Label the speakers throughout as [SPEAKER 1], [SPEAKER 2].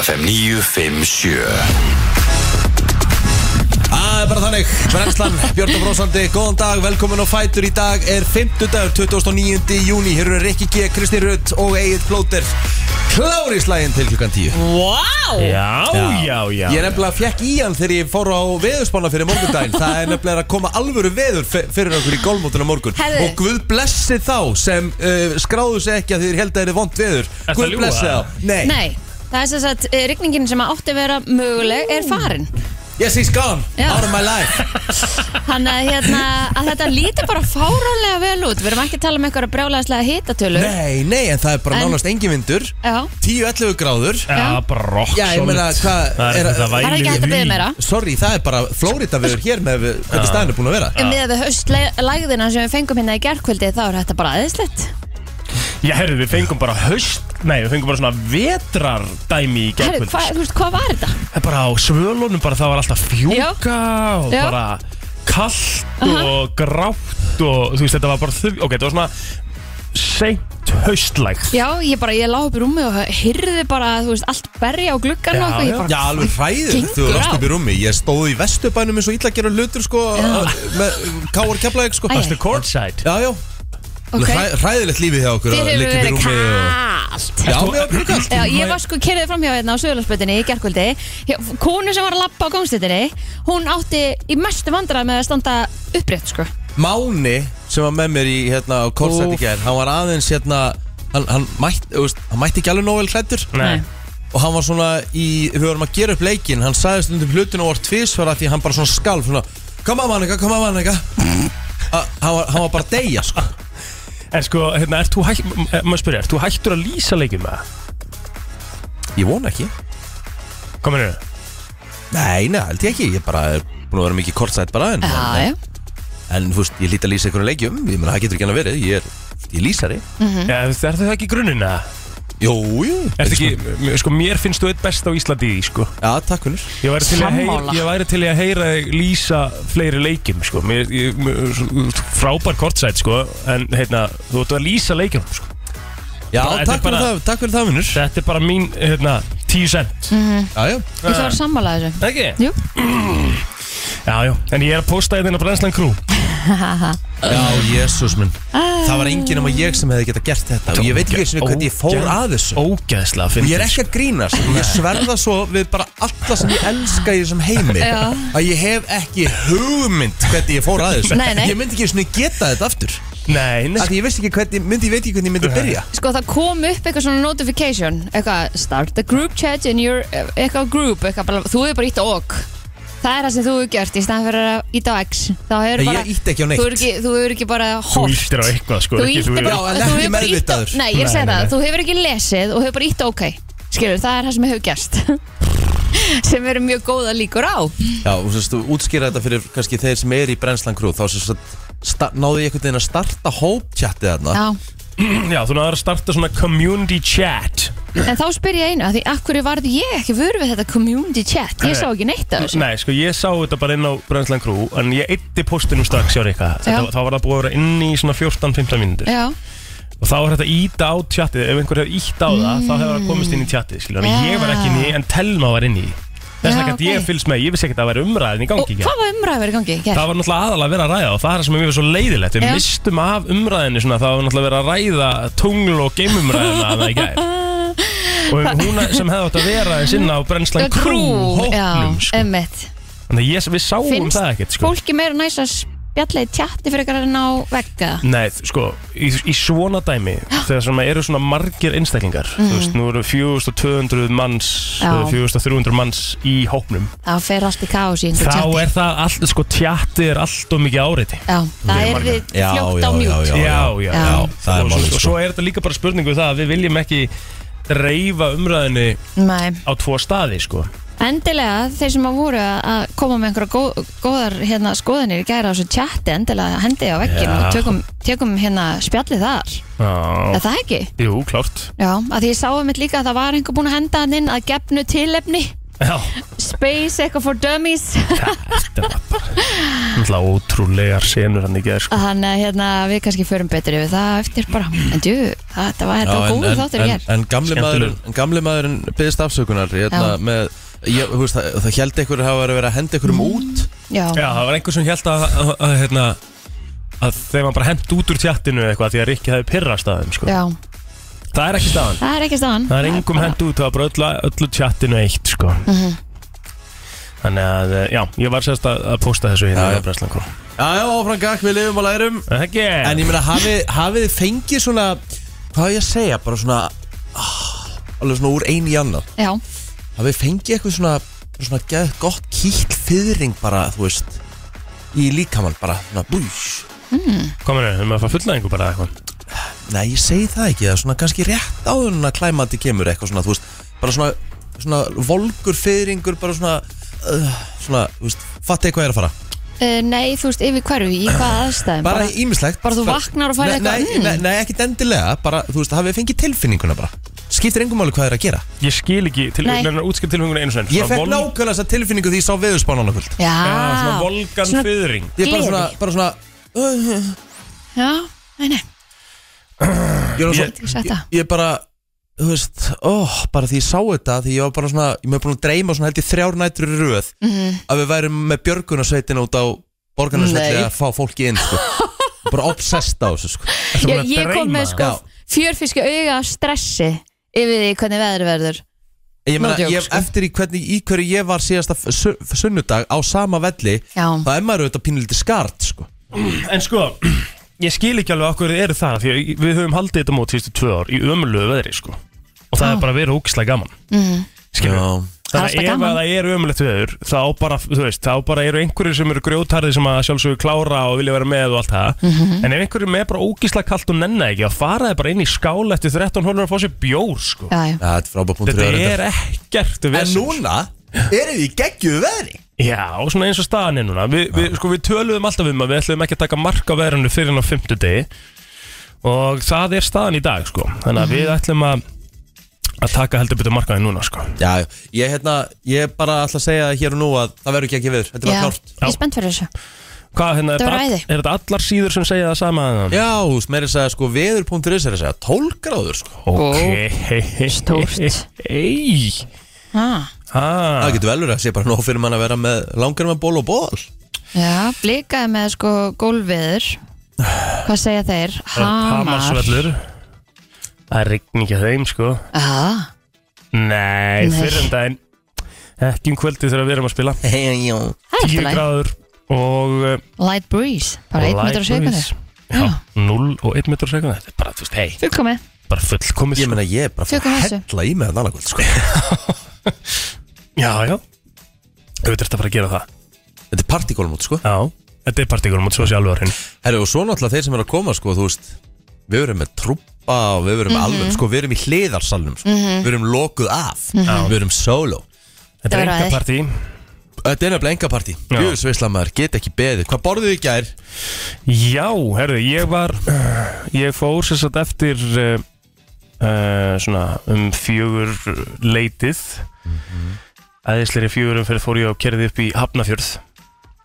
[SPEAKER 1] FM 957
[SPEAKER 2] Ah,
[SPEAKER 3] Það er bara þannig, Brennslan, Björn og Brósandi, góðan dag, velkomin og fætur í dag er 5. dagur, 29. júni, hér eru Rikki G, Kristi Rutt og Egil Plóter, klári í slægin til klukkan 10.
[SPEAKER 4] Wow!
[SPEAKER 5] Já, já, já
[SPEAKER 3] Ég nefnilega fekk í hann þegar ég fór á veðurspána fyrir morgundaginn, það er nefnilega að koma alvöru veður fe- fyrir okkur í gólmótuna morgun
[SPEAKER 4] Herðu.
[SPEAKER 3] og Guð blessi þá sem uh, skráðu sig ekki að þeir held að þeir eru vond veður,
[SPEAKER 5] Ertu að
[SPEAKER 3] Guð
[SPEAKER 5] ljúga?
[SPEAKER 3] blessi þá, nei,
[SPEAKER 4] Nei, það er sem sagt, eh, rigningin sem átti að vera möguleg er farin
[SPEAKER 3] yes he's gone,
[SPEAKER 4] Já.
[SPEAKER 3] out of my life.
[SPEAKER 4] Þannig að, hérna, að þetta lítur bara fáránlega vel út Við erum ekki að tala um eitthvað brjálæðislega hitatölu
[SPEAKER 3] Nei, nei, en það er bara
[SPEAKER 4] En-
[SPEAKER 3] nánast engin vindur,
[SPEAKER 4] Já,
[SPEAKER 3] 10-11 gráður.
[SPEAKER 5] Já, bara rock
[SPEAKER 3] Já, ég meina,
[SPEAKER 5] solid.
[SPEAKER 3] hvað-
[SPEAKER 5] Það
[SPEAKER 3] er-
[SPEAKER 5] er þetta
[SPEAKER 4] það er
[SPEAKER 5] vælir
[SPEAKER 4] ekki hægt að
[SPEAKER 5] í
[SPEAKER 4] byrja meira
[SPEAKER 3] Sorry, það er bara Flórida viður hér með við- hvernig staðin er búin að vera
[SPEAKER 4] En með við höstlægðina sem við fengum hérna í gerkvöldi þá er þetta bara aðeinslegt
[SPEAKER 5] Já, herru, við fengum bara höst Nei, við fengum bara svona vetrardæmi í
[SPEAKER 4] Herru,
[SPEAKER 5] gerkvöld
[SPEAKER 4] hva, þú veist, hvað var þetta?
[SPEAKER 5] Það er bara á svölunum, bara það var alltaf fjúka og
[SPEAKER 4] Já.
[SPEAKER 5] bara kallt og grátt og þú veist, þetta var bara þau Ok, þetta var svona seint haustlægt
[SPEAKER 4] Já, ég bara, ég lá upp í rúmi og hyrði bara, þú veist, allt berja á gluggan
[SPEAKER 5] Já,
[SPEAKER 4] og eitthvað,
[SPEAKER 5] já.
[SPEAKER 4] ég bara,
[SPEAKER 3] Já, alveg hræður,
[SPEAKER 4] Gengur
[SPEAKER 3] þú last
[SPEAKER 4] á.
[SPEAKER 3] upp í rúmi Ég stóð í vestubænum eins og illa að gera hlutur sko, með káar keflaðið sko.
[SPEAKER 4] Æ, æ.
[SPEAKER 5] The courtside
[SPEAKER 3] Já, já,
[SPEAKER 4] ok,
[SPEAKER 3] Hræ, hræðilegt lífið hjá okkur
[SPEAKER 4] þér
[SPEAKER 3] að
[SPEAKER 4] hefur
[SPEAKER 3] liggja upp í
[SPEAKER 4] verið kallt
[SPEAKER 3] rúmi og- Já, mér var mjög kallt
[SPEAKER 4] Já, ég var sko kerðið framhjá hérna á Söðlarsputinni í gerkvöldi Konu sem var að lappa á gangstéttinni Hún átti í mestu vandrað með að standa upprétt sko
[SPEAKER 3] Máni sem var með mér í hérna á Korsætt í
[SPEAKER 5] Úff.
[SPEAKER 3] gær, hann var aðeins hérna hann, hann, mætt, þú veist, hann mætti ekki alveg nóg vel hrættur
[SPEAKER 5] Nei,
[SPEAKER 3] og hann var svona í, við vorum að gera upp leikin hann sagði stundum hlutin og var tvísvara því hann bara svona skalf svona, koma mannika, koma mannika hann, var- hann var bara að deyja sko
[SPEAKER 5] en sko, hérna, ert þú hægt Maður spyrja, ert þú hægtur að lýsa leikjum með það?
[SPEAKER 3] Ég vona ekki
[SPEAKER 5] Komin hérna
[SPEAKER 3] Nei, neða, held ég ekki Ég bara er búin að vera mikið kortsætt bara en,
[SPEAKER 4] Já, já,
[SPEAKER 3] en þú veist, ég líti að lýsa einhverjum leikjum Ég meina, það getur ekki hann að verið Ég er, ég er lýsari
[SPEAKER 5] Já, er það ekki grunninn eða?
[SPEAKER 3] Jú, jú
[SPEAKER 5] Ertu ekki, m- sko, mér finnst þú eitt best á Íslandi í því, sko
[SPEAKER 3] Já, takk húnur
[SPEAKER 5] Ég væri til, í að heyra,
[SPEAKER 4] Sammála.
[SPEAKER 5] ég væri til í að heyra þig lýsa fleiri leikjum, sko mér, ég, mér, svo- Frábær kortsætt, sko En, hérna, þú ert að lýsa leikjum, sko
[SPEAKER 3] Já,
[SPEAKER 5] Bara, þetta er
[SPEAKER 3] takk fyrir
[SPEAKER 5] bara-
[SPEAKER 3] það, takk fyrir það húnur
[SPEAKER 5] Þetta er bara mín, hérna, tíu cent
[SPEAKER 3] Já, já
[SPEAKER 4] ég ætla að sammála þessu
[SPEAKER 5] Ekki?
[SPEAKER 4] Jú.
[SPEAKER 5] Já, já, en ég er að posta hérna þérna Brenslan Crew
[SPEAKER 3] Já, jésus minn Það var enginn nema ég sem hefði getað gert þetta Og ég veit ekki svona hvernig ég fór að þessu
[SPEAKER 5] Ógæðslega,
[SPEAKER 3] Og
[SPEAKER 5] finnst
[SPEAKER 3] ég er ekki að grínast Ég sverða svo við bara alla sem ég elska í þessum heimi
[SPEAKER 4] Já.
[SPEAKER 3] Að ég hef ekki hugmynd hvernig ég fór að þessu
[SPEAKER 4] Nei, nei.
[SPEAKER 3] Ég myndi ekki svona geta þetta aftur
[SPEAKER 5] Nei, nei,
[SPEAKER 3] Af því ég veist ekki hvernig, myndi, ég veit ekki hvernig ég myndi byrja
[SPEAKER 4] Sko það kom upp eitthvað svona notification Eitthvað, start the group chat in your Eitthvað group, eitthvað bara, þú hefur bara ítt á ok Það er það sem þú hefur gert í stæðan fyrir að ítt á x Þá hefur
[SPEAKER 3] Ég
[SPEAKER 4] bara
[SPEAKER 3] ýtti ekki á neitt.
[SPEAKER 4] Þú hefur ekki, þú hefur ekki bara
[SPEAKER 5] þú
[SPEAKER 4] hort
[SPEAKER 5] íttir á eitthvað, sko
[SPEAKER 4] Þú
[SPEAKER 5] ekki,
[SPEAKER 4] íttir bara
[SPEAKER 3] Já, en
[SPEAKER 4] þú hefur
[SPEAKER 3] ekki
[SPEAKER 4] bara ýtt á-
[SPEAKER 3] meðvitaður.
[SPEAKER 4] Nei, ég
[SPEAKER 5] Nei,
[SPEAKER 4] segi
[SPEAKER 5] nei,
[SPEAKER 4] það,
[SPEAKER 5] nei.
[SPEAKER 4] þú hefur ekki lesið og hefur bara ítt á ok Skilur, það er það sem hefur gerst Sem eru mjög góða líkur á
[SPEAKER 3] Já, og sérst, þú útskýra þetta fyrir kannski þeir sem er í Brensland Crew þá sérst, sta- náðu ég einhvern veginn að starta hóptjatti þarna
[SPEAKER 4] Já,
[SPEAKER 5] Já, þú náður að starta svona community chat
[SPEAKER 4] en þá spyr ég einu að Því akkur varði ég ekki vör við þetta community chat Ég sá ekki neitt af þessu
[SPEAKER 5] Nei, sko, ég sá þetta bara inn á Brenslan Crew En ég eitti postinum strax, Jóri, eitthvað
[SPEAKER 4] Já.
[SPEAKER 5] Þá var það búið að vera inn í svona 14-15 mínútur
[SPEAKER 4] Já,
[SPEAKER 5] og þá er þetta íta á tjattið ef einhver hefur íta á það, þá hefur það komist inn í tjattið skilur,
[SPEAKER 4] Já.
[SPEAKER 5] yeah. ég var ekki inn í, en Telma var inn í þess
[SPEAKER 4] Já,
[SPEAKER 5] vegna gæti ég
[SPEAKER 4] ok.
[SPEAKER 5] fylgst með, ég vissi ekki að það væri umræðin í
[SPEAKER 4] og
[SPEAKER 5] gangi
[SPEAKER 4] hvað
[SPEAKER 5] ekki
[SPEAKER 4] var umræður verið í gangi? í gær?
[SPEAKER 5] Það var náttúrulega aðalega að vera að ræða og það er það sem er mjög svo leiðilegt Við
[SPEAKER 4] Já.
[SPEAKER 5] mistum af umræðinu svona, það var náttúrulega verið að ræða tungl og geimumræðina að það í gær Og hún sem hefði átt að vera en sinna á brennslan
[SPEAKER 4] Krú,
[SPEAKER 5] krú hóknum
[SPEAKER 4] já,
[SPEAKER 5] sko.
[SPEAKER 4] emmitt
[SPEAKER 5] Þannig að ég- við sáum
[SPEAKER 4] Finnst
[SPEAKER 5] það ekkert sko.
[SPEAKER 4] fólki meira næs að spjalla í tjatti fyrir eitthvað en á vegga
[SPEAKER 5] Nei, þ- sko, í, í svona dæmi þegar svona eru svona margir einstaklingar þú veist, nú eru 4200
[SPEAKER 4] Mm.
[SPEAKER 5] manns
[SPEAKER 4] Já.
[SPEAKER 5] eða 4300 manns í hópnum
[SPEAKER 4] Þá fer allt í kaos í einhver
[SPEAKER 5] þá
[SPEAKER 4] tjatti
[SPEAKER 5] er það allt, sko, tjatti er allt og mikið áreiti
[SPEAKER 4] Já, það er við
[SPEAKER 3] Já,
[SPEAKER 4] fljótt á
[SPEAKER 3] já, já,
[SPEAKER 4] mjút
[SPEAKER 3] já.
[SPEAKER 5] já,
[SPEAKER 4] Já.
[SPEAKER 3] það er
[SPEAKER 5] og,
[SPEAKER 3] málið,
[SPEAKER 5] svo,
[SPEAKER 3] sko.
[SPEAKER 5] og svo er þetta líka bara spurningu það að við viljum ekki dreifa umræðinni
[SPEAKER 4] Nei
[SPEAKER 5] á tvo staði, sko
[SPEAKER 4] Endilega þeir sem að voru að- að koma með einhverja góð, góðar hérna, skoðanir í gæra á þessu chatti endilega hendi á veggin
[SPEAKER 5] Já.
[SPEAKER 4] og tökum, tökum hérna spjallið þar
[SPEAKER 5] Já,
[SPEAKER 4] Er það ekki?
[SPEAKER 5] jú, klárt
[SPEAKER 4] Já, að því ég sáum mitt líka að það var einhver búin að henda hann inn að gefnu tilefni
[SPEAKER 5] Já,
[SPEAKER 4] Space eitthvað for Dummies
[SPEAKER 5] þetta var bara Náttúrulega ótrúlegar senur hann í gerð sko.
[SPEAKER 4] Þannig að hérna, við kannski förum betur yfir það eftir bara En djú, það, það var þetta góð þáttur
[SPEAKER 3] en,
[SPEAKER 4] hér
[SPEAKER 3] en gamli
[SPEAKER 5] Skemmtilegur.
[SPEAKER 3] maðurinn, en gamli maðurinn byggðist afsökunar
[SPEAKER 4] Já.
[SPEAKER 3] hérna, með, ég, þú veist, það, það held ykkur að hafa verið að henda ykkur um út
[SPEAKER 4] Já,
[SPEAKER 5] Já, það var einhver sem held að, að, að, hérna, að þeim var bara hent út úr tjattinu eða eitthvað því að Rikki hefði pirrast að þeim sko.
[SPEAKER 4] já,
[SPEAKER 5] Það er ekki staðan
[SPEAKER 4] það er ekki stafan
[SPEAKER 5] Það er engum hend út, það var bara öllu, öllu tjattinu eitt sko.
[SPEAKER 4] Mhm.
[SPEAKER 5] Þannig að, eh, já, ég var sérst að, að posta þessu hérna
[SPEAKER 3] Já, já.
[SPEAKER 5] í Breslan Kró
[SPEAKER 3] Já, já, áfram gakk, við lifum og lærum
[SPEAKER 5] Það ekki
[SPEAKER 3] En ég meina, hafið hafi þið fengið svona Hvað á ég að segja, bara svona ah, Alveg svona úr einu í annað
[SPEAKER 4] Já,
[SPEAKER 3] Hafið þið fengið eitthvað svona Svona geð gott kýll fyrring bara, þú veist Í líkamann bara, svona bús
[SPEAKER 5] Kominu, við erum að fara fullaðingu bara eða eitthvað
[SPEAKER 3] Nei, ég segi það ekki, það er svona kannski rétt áður en að klæmandi kemur eitthvað svona, þú veist, bara svona, svona volgur fyrringur, bara svona, uh, svona, þú veist, fatti hvað ég er að fara.
[SPEAKER 4] uh, nei, þú veist, yfir hverju, í hvaða aðstæðum
[SPEAKER 3] Bara ímislegt.
[SPEAKER 4] bara þú vaknar og færð
[SPEAKER 3] Nei,
[SPEAKER 4] eitthvað,
[SPEAKER 3] Nei,
[SPEAKER 4] mm.
[SPEAKER 3] nei, nei, ekki dendilega, bara, þú veist, hafið fengið tilfinninguna bara. Skiptir engum máli hvað það er að gera.
[SPEAKER 5] Ég skil ekki, til,
[SPEAKER 4] Nei.
[SPEAKER 5] nefnir útskipt tilfenguna einu senn
[SPEAKER 3] Ég fekk nákvæmlega þessa tilfinningu því ég sá veðurspán annarkvöld.
[SPEAKER 4] Já,
[SPEAKER 5] Svona volgan
[SPEAKER 4] Svona-
[SPEAKER 5] fyrring
[SPEAKER 3] Ég bara svona,
[SPEAKER 4] Gleði.
[SPEAKER 3] bara svona, uh, uh,
[SPEAKER 4] Já, nei, nei,
[SPEAKER 3] ég, var
[SPEAKER 5] Ég-
[SPEAKER 3] svona,
[SPEAKER 4] þú veist þetta
[SPEAKER 3] ég, ég bara, þú veist, ó, bara því ég sá þetta, því ég var bara svona, ég mér búin að dreyma svona held ég þrjár nætur í röð.
[SPEAKER 4] Mhm.
[SPEAKER 3] að við værum með björgunarsveitin út á borgarnarsvelli
[SPEAKER 4] Nei.
[SPEAKER 3] að fá fólki inn sko. bara obsessed á þessu sko.
[SPEAKER 5] Ertu
[SPEAKER 4] Ég
[SPEAKER 5] búin að
[SPEAKER 4] ég kom
[SPEAKER 5] dreyma
[SPEAKER 4] með
[SPEAKER 5] það?
[SPEAKER 4] sko fjörfiska auga af stressi yfir því hvernig veður verður
[SPEAKER 3] ég meina,
[SPEAKER 4] No joke,
[SPEAKER 3] ég,
[SPEAKER 4] sko.
[SPEAKER 3] eftir í hvernig í hverju ég var síðasta f- su- sunnudag á sama velli
[SPEAKER 4] Já,
[SPEAKER 3] það er maður auðvitað pínuliti skart sko.
[SPEAKER 5] En sko, ég skil ekki alveg okkur þið eru það Því að við höfum haldið þetta mót síðustu tvö ár Í ömulegu veðri sko Og það
[SPEAKER 4] Já.
[SPEAKER 5] er bara verið ógislega gaman
[SPEAKER 4] Mhm.
[SPEAKER 5] Skilur við?
[SPEAKER 4] Það er
[SPEAKER 5] Þannig
[SPEAKER 4] alltaf
[SPEAKER 5] að ef
[SPEAKER 4] gaman.
[SPEAKER 5] að það er ömulegt veður Þá bara, þú veist, þá bara eru einhverjir sem eru grjótarði Sem að sjálfsögur klára og vilja vera með og allt það
[SPEAKER 4] Mhm.
[SPEAKER 5] En ef einhverjir er með bara ógislega kalt og nenni ekki Þá faraði bara inn í skál eftir 13 hólur að fá sér bjór sko
[SPEAKER 4] já, já
[SPEAKER 3] ja, þetta er frábært punktur
[SPEAKER 5] Þetta
[SPEAKER 3] að vera
[SPEAKER 5] er ekkert
[SPEAKER 3] þetta. en
[SPEAKER 5] vesen, sko.
[SPEAKER 3] núna erum við í geggjuðu veðri
[SPEAKER 5] Já, og svona eins og staðan er núna Vi, við, sko, við töluðum alltaf um að við ætlum ekki að taka mark á verðinu fyrir hann á fimmtudegi og það er staðan í dag sko. þannig
[SPEAKER 4] Mhm.
[SPEAKER 5] að við ætlum að að taka heldur betur markaði núna sko.
[SPEAKER 3] já, ég, hérna, ég bara ætla að segja hér og nú að það verður geggjuð veður þetta var
[SPEAKER 4] Já,
[SPEAKER 3] klárt
[SPEAKER 4] ég er spennt fyrir þessu
[SPEAKER 5] Hvað, hérna, er,
[SPEAKER 4] Þetta var
[SPEAKER 5] all,
[SPEAKER 4] ræði.
[SPEAKER 5] er þetta allar síður sem segja það sama að
[SPEAKER 3] já, þú veist, meira að segja sko veður.is er að segja 12 gráður sko.
[SPEAKER 5] Ok
[SPEAKER 4] Stórt.
[SPEAKER 5] Ei
[SPEAKER 4] ah,
[SPEAKER 3] það
[SPEAKER 5] ah.
[SPEAKER 3] getur velur að sé bara nóg fyrir mann að vera með langar með ból og ból
[SPEAKER 4] Já, blikaði með sko gólfiður Hvað segja þeir? Hamar
[SPEAKER 5] Hamarsvellur Það er rigning ekki þeim sko
[SPEAKER 4] ah,
[SPEAKER 5] Nei,
[SPEAKER 4] Nei.
[SPEAKER 5] fyrir en daginn Ekki um kvöldið þegar við erum að spila
[SPEAKER 3] Hey, já.
[SPEAKER 4] Það er
[SPEAKER 5] 10
[SPEAKER 4] alltaf læg
[SPEAKER 5] gráður og uh,
[SPEAKER 4] Light breeze, bara 1 meter á sekundi
[SPEAKER 5] Já, 0 og 1 meter á sekundi Þetta er bara, þú veist, hei,
[SPEAKER 4] Fullkomi,
[SPEAKER 5] bara fullkomið
[SPEAKER 3] Ég
[SPEAKER 5] sko.
[SPEAKER 3] meina ég er bara að fá
[SPEAKER 4] Tökum
[SPEAKER 3] að
[SPEAKER 4] þessu.
[SPEAKER 3] hella í með hann annarkvöld sko.
[SPEAKER 5] Já, já Auðvitað ertu að fara að gera það
[SPEAKER 3] Þetta er partíkólum út sko
[SPEAKER 5] Já, þetta er partíkur mot svo sé alveg orðin
[SPEAKER 3] Herru og svo náttúrulega þeir sem er að koma sko Þú veist Við verum með trúpa og við verum mm
[SPEAKER 4] Mhm.
[SPEAKER 3] alveg Sko við verum í hliðarsalnum sko. Við verum lokuð af Við verum solo
[SPEAKER 5] Þetta
[SPEAKER 4] var
[SPEAKER 5] er
[SPEAKER 4] Mhm. aðeins.
[SPEAKER 5] enga partí
[SPEAKER 3] Þetta er nefnilega enga partí
[SPEAKER 5] Já.
[SPEAKER 3] Jöfisveislamaður get ekki beðið Hvað borðuðu í gær?
[SPEAKER 5] Já, herðu, ég var Ég fór sér satt eftir uh, uh, Svona um fjögur leitið Æðisleiri fjögurum fyrir fór ég og kerði upp í Hafnafjörð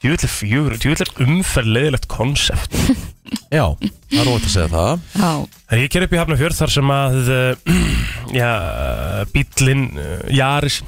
[SPEAKER 5] Djúvillir fjögur, djúvillir umferð leiðilegt konsept
[SPEAKER 3] Já, það er ótt að segja það
[SPEAKER 4] já,
[SPEAKER 5] Þegar ég ker upp í Hafnarfjörð þar sem að uh, já, bíllinn uh, Jaris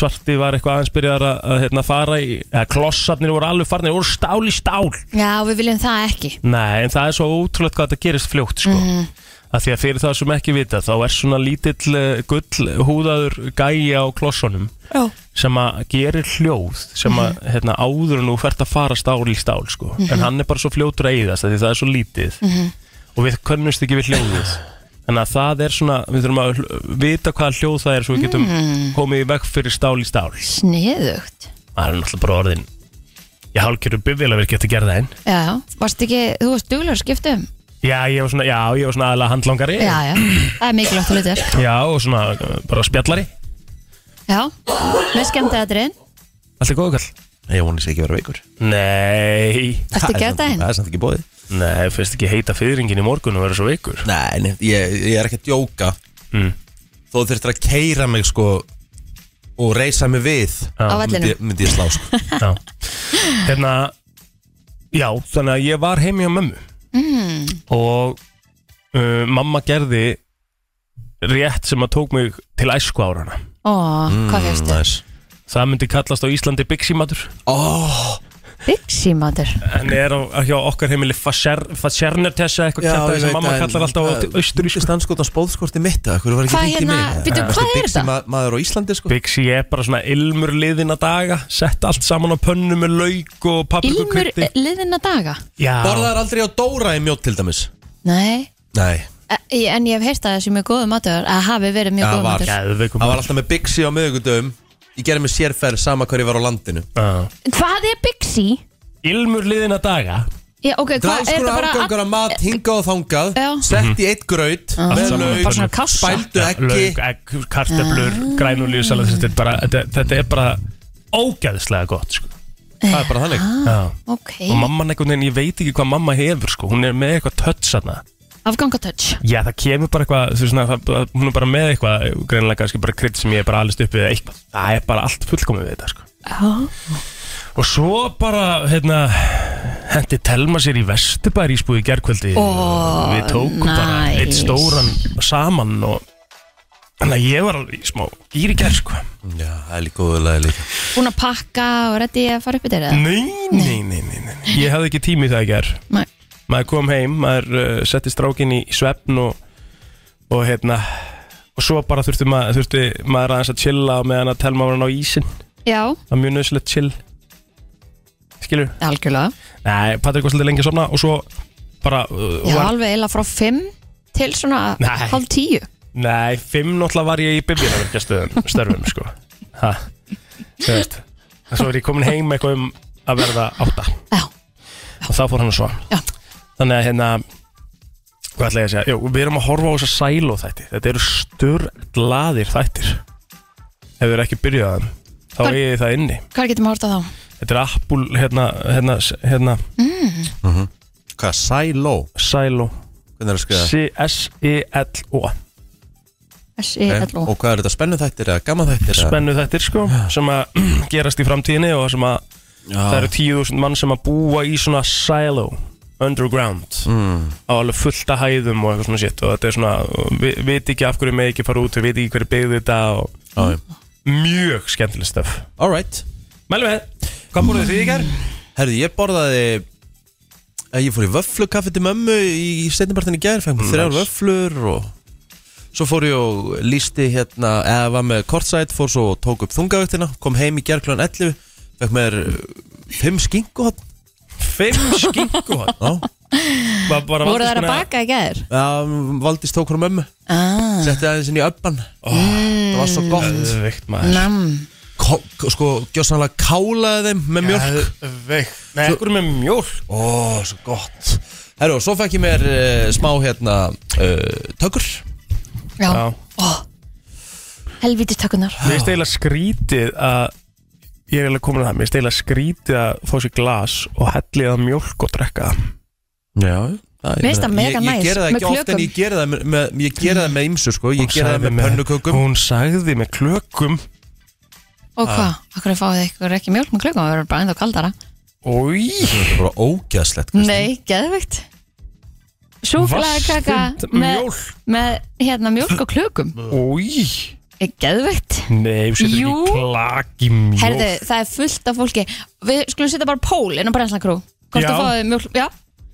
[SPEAKER 5] svarti var eitthvað aðeins byrjar að, að hérna, fara í, eða klossarnir voru alveg farnir voru stál í stál.
[SPEAKER 4] já, við viljum það ekki
[SPEAKER 5] Nei, en það er svo ótrúlegt hvað þetta gerist fljótt sko. Mm Af því að fyrir það sem ekki vita þá er svona lítill uh, gull húðaður gæi á klossunum
[SPEAKER 4] Já,
[SPEAKER 5] sem að gerir hljóð sem að hérna, áður en þú fært að fara stál í stál sko. en hann er bara svo fljótur að eyðast af því það er svo lítið
[SPEAKER 6] Mhm.
[SPEAKER 5] -hmm. og við könnumst ekki við hljóðið þannig að það er svona, við þurfum að hl- vita hvaða hljóð það er svo við getum komið í veg fyrir stál í stál
[SPEAKER 4] sniðugt
[SPEAKER 5] það er náttúrulega bara orðin ég hálkjöru bifvélavirki eftir gerðaðinn
[SPEAKER 4] Já, varst ekki, þú varst duglur að skipta um
[SPEAKER 5] já, ég var svona, já, ég var svona aðalega handlangari
[SPEAKER 4] Já, já, það er mikilvægt að hluta þér
[SPEAKER 5] Já, og svona uh, bara spjallari
[SPEAKER 4] Já, með skemmti aðriðin
[SPEAKER 5] allt er góðu kall
[SPEAKER 3] Ég vonið sér ekki að vera veikur
[SPEAKER 5] nei,
[SPEAKER 4] Ertu
[SPEAKER 3] Það
[SPEAKER 4] ekki
[SPEAKER 3] er
[SPEAKER 4] að
[SPEAKER 3] samt-
[SPEAKER 4] daginn?
[SPEAKER 3] Það er samt ekki bóðið
[SPEAKER 5] nei, fyrst ekki heita fyrringin í morgun og vera svo veikur
[SPEAKER 3] Nei, nei ég, ég er ekki að djóka
[SPEAKER 5] Mm.
[SPEAKER 3] Þó þurftir að keira mig sko og reysa mig við
[SPEAKER 4] Á vellinum.
[SPEAKER 3] myndi, myndi ég slá sko.
[SPEAKER 5] já. Hérna, já, þannig að ég var heimi á mömmu
[SPEAKER 4] Mm.
[SPEAKER 5] og uh, mamma gerði rétt sem að tók mig til æsku árana.
[SPEAKER 4] Ó, Ah,
[SPEAKER 5] Mm.
[SPEAKER 4] hvað fyrstu?
[SPEAKER 3] Mm, Nice.
[SPEAKER 5] Það myndi kallast á Íslandi byggsímatur
[SPEAKER 3] oh,
[SPEAKER 4] Bixi matur
[SPEAKER 5] en er á, hjá okkar heimili Fasjernertessa eitthvað kjarta sem mamma kallar alltaf á austurísku.
[SPEAKER 3] Stanskotans bóðskorti mitt eða hverju var ekki
[SPEAKER 4] Hvað
[SPEAKER 3] hringt í
[SPEAKER 4] hérna-
[SPEAKER 3] mig?
[SPEAKER 4] Bíddu,
[SPEAKER 3] Varstu
[SPEAKER 4] hvað er
[SPEAKER 3] Bixi
[SPEAKER 4] þetta?
[SPEAKER 3] ma- maður á Íslandi sko
[SPEAKER 5] Bixi er bara svona ilmur liðina daga Sett allt saman á pönnu með lauk og paprika og
[SPEAKER 4] Ilmur
[SPEAKER 5] krytti
[SPEAKER 4] eh, liðinna daga?
[SPEAKER 5] Já,
[SPEAKER 3] Borðaðar aldrei á Dóra í mjótt til dæmis
[SPEAKER 4] Nei
[SPEAKER 3] Nei,
[SPEAKER 4] Eh, En ég hef heyrt að það sé mjög góðu matur að hafi verið mjög
[SPEAKER 3] Já,
[SPEAKER 4] góðu
[SPEAKER 3] var.
[SPEAKER 4] matur
[SPEAKER 5] geðveikum
[SPEAKER 3] það var alltaf með Bixi á miðugundum Ég gerði mig sérferð sama hver ég var á landinu
[SPEAKER 4] Hvað er Bixi?
[SPEAKER 5] Ilmur liðina daga
[SPEAKER 4] Já, ok, hvað er
[SPEAKER 3] Dráskuna
[SPEAKER 4] þetta bara
[SPEAKER 3] afgangur af mat hingað og þangað
[SPEAKER 4] Já.
[SPEAKER 3] Sett í eitt graut Með
[SPEAKER 5] saman á
[SPEAKER 4] Bara svona Ah.
[SPEAKER 3] lauk,
[SPEAKER 4] kassa.
[SPEAKER 3] spældu ekki
[SPEAKER 5] Lauk, egg, kartöflur, grænulíusalat þetta, er bara- þetta, þetta er bara ógeðslega gott sko.
[SPEAKER 3] Það er bara þannig
[SPEAKER 4] Ah.
[SPEAKER 5] Já.
[SPEAKER 4] Ok,
[SPEAKER 5] Og mamman einhvern veginn, ég veit ekki hvað mamma hefur sko. Hún er með eitthvað tötsaðna
[SPEAKER 4] afgangatöts
[SPEAKER 5] Já, það kemur bara eitthvað, þú veist svona, það, það- hún er bara með eitthvað, greinilega kannski bara krydd sem ég er bara allist upp við eða eitthvað. Það er bara allt fullkomið við þetta, sko.
[SPEAKER 4] Já
[SPEAKER 5] Og svo bara, hérna, hendi Telma sér í Vesturbær ísbúið í gerkvöldi
[SPEAKER 4] Ó,
[SPEAKER 5] og við tókum bara
[SPEAKER 4] nice.
[SPEAKER 5] eitt stóran saman og þannig að ég var alveg í smá gýr í gerð, sko.
[SPEAKER 3] Já, það er líka góðulega líka
[SPEAKER 4] Búin að pakka og reddi að fara upp í þeirra
[SPEAKER 5] Nei, nei, nei, nei, nei. Ég hafði ekki tími það í gerð.
[SPEAKER 4] Nei.
[SPEAKER 5] Maður kom heim, maður uh, setti strákinn í, í svefn og, og hérna, og svo bara þurfti, ma þurfti maður aðeins að chilla á meðan að Telma var hann á ísin.
[SPEAKER 4] Já,
[SPEAKER 5] Það er mjög nöðsilegt chill Skilur?
[SPEAKER 4] algjörlega
[SPEAKER 5] Nei, Patrik var svolítið lengi að sofna og svo bara uh,
[SPEAKER 4] Já,
[SPEAKER 5] var,
[SPEAKER 4] alveg eila frá 5 til svona
[SPEAKER 5] Nei.
[SPEAKER 4] hálf 10
[SPEAKER 5] Nei, fimm náttúrulega var ég í biblíunarverkjastöðum Störfum, sko Ha, þú veist Svo er ég komin heim eitthvað um að verða átta
[SPEAKER 4] Já,
[SPEAKER 5] Og þá fór hann að svo
[SPEAKER 4] Já.
[SPEAKER 5] Þannig að hérna Hvað ætla ég að segja? Jú, við erum að horfa á þessa sæló þætti Þetta eru störglaðir þættir Ef við erum ekki byrjað að þeim Þá
[SPEAKER 4] Hvað-
[SPEAKER 5] er ég það inni
[SPEAKER 4] hvað getum að horta þá?
[SPEAKER 5] Þetta er Apple, hérna, hérna, hérna
[SPEAKER 3] Mhm. Hvað, sæló?
[SPEAKER 5] Sæló
[SPEAKER 3] Hvernig er að skrifa?
[SPEAKER 5] E C-S-E-L-O
[SPEAKER 3] E
[SPEAKER 4] S-I-L-O
[SPEAKER 3] Og hvað er þetta? Spennu þættir eða Eh, gaman þættir? eða?
[SPEAKER 5] Spennu þettir sko sem að gerast í framtíðinni og sem að
[SPEAKER 3] Já.
[SPEAKER 5] það eru 10.000 mann sem að búa í svona silo underground mm. á alveg fullta hæðum og eitthvað svona shit og þetta er svona, og vi, veit ekki af hverju með ekki fara út og veit ekki hverju byggði þetta og
[SPEAKER 3] Já, já.
[SPEAKER 5] mjög skemmtileg stöf
[SPEAKER 3] Alright
[SPEAKER 5] Mælum við, hvað búið þið í gær?
[SPEAKER 3] Herðu, ég borðaði eh, Ég fór í vöflukaffi til mömmu í steinarpartin í gær, fæk mér þrjár vöflur og svo fór ég og lísti hérna, eða var með kortsætt fór svo og tók upp þungavöktina kom heim í gær klán 11 fæk mér eh, 5 skingu hot
[SPEAKER 5] Fimm skingu
[SPEAKER 3] Já,
[SPEAKER 5] Var bara
[SPEAKER 4] Voru þær að
[SPEAKER 5] Valdís búin
[SPEAKER 4] baka í gær?
[SPEAKER 3] Já, Valdís tók hún mömmu
[SPEAKER 4] Ah, Mm.
[SPEAKER 3] setti aðeins inn í öppan það var svo gott
[SPEAKER 5] Geðveikt, maður.
[SPEAKER 4] nam
[SPEAKER 3] Ko, ko- sko, gjóðsannlega kálaði þeim með mjölk
[SPEAKER 5] Geðveikt. Nei, ekkur með mjólk
[SPEAKER 3] Ó, svo gott Herru, og svo fekk ég mér uh, smá hérna uh, tökur
[SPEAKER 4] Já,
[SPEAKER 5] Já.
[SPEAKER 4] helvítið takunar
[SPEAKER 5] Mér finnst eiginlega skrítið að Ég er eiginlega komin að það Mér finnst eiginlega skrítið að fá sér glas Og hellið að mjólk og drekka það.
[SPEAKER 3] Já Mér
[SPEAKER 4] finnst það mega næs,
[SPEAKER 3] Ég gera það
[SPEAKER 4] með
[SPEAKER 3] ekki oft en
[SPEAKER 4] klökum.
[SPEAKER 3] ég gera það með- með, ég gera það með ymsu sko Ég
[SPEAKER 5] Hún
[SPEAKER 3] gera það
[SPEAKER 5] sagði
[SPEAKER 3] með pönnukökum
[SPEAKER 5] Hún sagði með klökum
[SPEAKER 4] Og hvað? Akkur fáið ykkur ekki mjólk með klukkan Það verður bara ennþá kaldara
[SPEAKER 5] Új
[SPEAKER 3] Það er bara ógæðslegt
[SPEAKER 4] Nei, geðveikt Súklaði
[SPEAKER 5] Vastund
[SPEAKER 4] kaka með,
[SPEAKER 5] mjólk
[SPEAKER 4] með hérna mjólk og klukum
[SPEAKER 5] Új
[SPEAKER 4] Geðveikt
[SPEAKER 5] Nei, þú setur
[SPEAKER 4] Jú.
[SPEAKER 5] ekki klak í mjólk
[SPEAKER 4] Herðu, það er fullt af fólki Við skulum setja bara pól inn á Brenslan Crew Hvort
[SPEAKER 5] Já.
[SPEAKER 4] að fáið mjólk, já,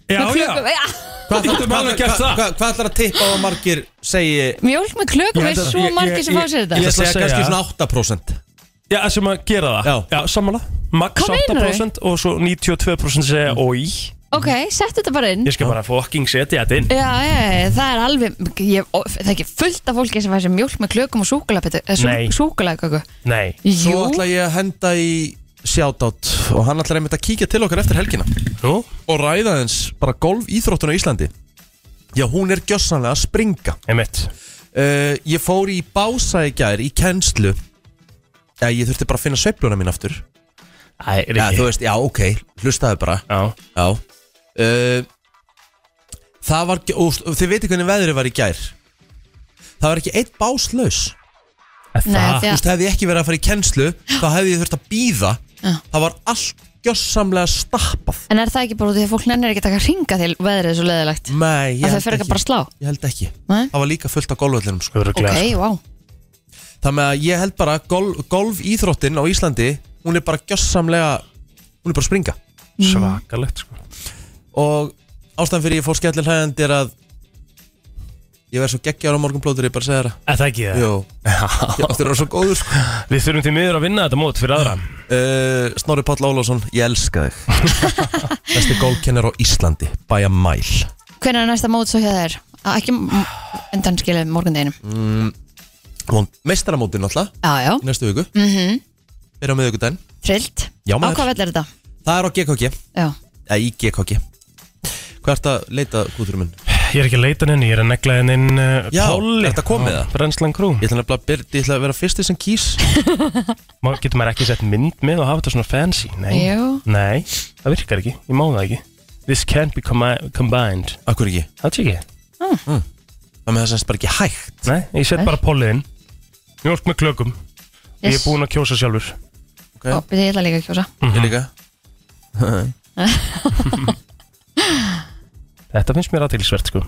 [SPEAKER 5] Já,
[SPEAKER 4] með
[SPEAKER 5] já
[SPEAKER 4] klökum, já.
[SPEAKER 3] Hvað
[SPEAKER 5] Getum alveg
[SPEAKER 3] ætlar-
[SPEAKER 5] gert
[SPEAKER 3] hvað-
[SPEAKER 5] það.
[SPEAKER 3] hvað- hvað ætlar að tippa á að margir segi
[SPEAKER 4] Mjólk með klökum er
[SPEAKER 5] Ég held að-
[SPEAKER 4] svo
[SPEAKER 5] ég-
[SPEAKER 4] margir
[SPEAKER 5] ég-
[SPEAKER 4] sem fá sér
[SPEAKER 3] Ég
[SPEAKER 4] þetta
[SPEAKER 5] ætla
[SPEAKER 3] ætla
[SPEAKER 5] að
[SPEAKER 3] að segja
[SPEAKER 5] segja-
[SPEAKER 3] kannski svona 8%
[SPEAKER 5] Já, sem að gera það
[SPEAKER 3] Já.
[SPEAKER 5] sammála Max
[SPEAKER 4] Hvað meinar
[SPEAKER 5] 8% og svo 92% segja
[SPEAKER 3] Mm.
[SPEAKER 5] Új
[SPEAKER 4] Ok, sett þetta bara inn
[SPEAKER 5] Ég skal bara fucking setja þetta inn
[SPEAKER 4] Já, já, já, það er alveg ég, ó, Það er ekki fullt af fólki sem fær sér mjólk með klökum og eh,
[SPEAKER 5] Nei.
[SPEAKER 4] súkulega
[SPEAKER 5] Nei
[SPEAKER 3] Svo
[SPEAKER 4] Jú,
[SPEAKER 3] ætla ég að henda í shoutout Og hann ætlar einmitt að kíkja til okkar eftir helgina
[SPEAKER 5] Nú?
[SPEAKER 3] Og ræða eins bara golf íþróttuna í Íslandi Já, hún er gjössanlega að springa
[SPEAKER 5] Einmitt
[SPEAKER 3] uh, Ég fór í bása í gær í kennslu Já, ég þurfti bara að finna sveifluna mín aftur
[SPEAKER 5] Æ, er
[SPEAKER 3] Já,
[SPEAKER 5] ekki
[SPEAKER 3] þú veist, já, ok, hlustaðu bara
[SPEAKER 5] Já,
[SPEAKER 3] Já uh, Það var, og, og þið veitir hvernig veðrið var í gær Það var ekki eitt báslaus
[SPEAKER 5] Er
[SPEAKER 4] Nei, því
[SPEAKER 5] það?
[SPEAKER 3] Þú
[SPEAKER 4] að-
[SPEAKER 3] veist, hefði ég ekki verið að fara í kennslu þá hefði ég þurft að býða
[SPEAKER 4] Já.
[SPEAKER 3] það var allt gjössamlega stappað
[SPEAKER 4] En er það ekki bara út í því að fólk nennir ekki að taka ringa til veðrið er svo leðilegt?
[SPEAKER 3] Nei, ég
[SPEAKER 4] Að þau
[SPEAKER 3] held
[SPEAKER 4] fer
[SPEAKER 3] ekki
[SPEAKER 4] ekki bara að slá?
[SPEAKER 3] Ég held ekki
[SPEAKER 4] Nei?
[SPEAKER 3] Það var líka fullt af golvöllinum sko.
[SPEAKER 4] Ok,
[SPEAKER 5] Örugglega,
[SPEAKER 4] vá.
[SPEAKER 3] Það með að ég held bara golf, golf á Íslandi hún er bara gjössamlega hún er bara að springa
[SPEAKER 5] sko. Svakalegt sko.
[SPEAKER 3] og ástæðan fyrir ég fór skellir hægandi er að ég verð svo geggjar á morgunblótur ég bara segja það
[SPEAKER 5] Er það ekki það?
[SPEAKER 3] Jó, ég áttur að vera svo góður sko.
[SPEAKER 5] Við þurfum til miður að vinna þetta mót fyrir aðra
[SPEAKER 3] uh, Snorri Páll Ólásson, ég elska þig Besti golfkennar á Íslandi bæja mæl
[SPEAKER 4] Hvernig er næsta mót svo hjá þér? Að Ekki m- undan skilja morgundeginum.
[SPEAKER 3] Meistaramótin Mm, náttúrulega
[SPEAKER 4] Já, já.
[SPEAKER 3] í næstu viku
[SPEAKER 4] Mm
[SPEAKER 3] fyrir Mhm. á miðvikudaginn
[SPEAKER 4] Trillt.
[SPEAKER 3] Já,
[SPEAKER 4] Á
[SPEAKER 3] maður.
[SPEAKER 4] hvað vell er þetta?
[SPEAKER 3] Það er á GKG,
[SPEAKER 4] Já.
[SPEAKER 3] eða í GKG Hvað ertu að leita gúturum minn?
[SPEAKER 5] Ég er ekki að leita henni, ég er að negla henni inn uh,
[SPEAKER 3] Já,
[SPEAKER 5] Pálli
[SPEAKER 3] ertu að koma með það?
[SPEAKER 5] Brennslan Krú
[SPEAKER 3] Ég ætla nefnilega að byrja, ég ætla að vera fyrsti sem kýs
[SPEAKER 5] Má, Getur maður ekki sett mynd með og hafa þetta svona fancy? Nei,
[SPEAKER 4] Jú.
[SPEAKER 5] Nei það virkar ekki, ég má það ekki This can't be combi- combined
[SPEAKER 3] Akkur ekki, Hmm.
[SPEAKER 5] Það sé ekki
[SPEAKER 3] það með það sem bara ekki hægt
[SPEAKER 5] Nei, ég set
[SPEAKER 4] Ah. Nei.
[SPEAKER 5] bara Pálli inn Mjólk með klökum Ég er búinn að kjósa sjálfur Mhm.
[SPEAKER 4] Ó,
[SPEAKER 3] okay.
[SPEAKER 4] byrja, ég ætla líka að kjósa.
[SPEAKER 3] Ég líka
[SPEAKER 5] Þetta finnst mér aðtilsvert sko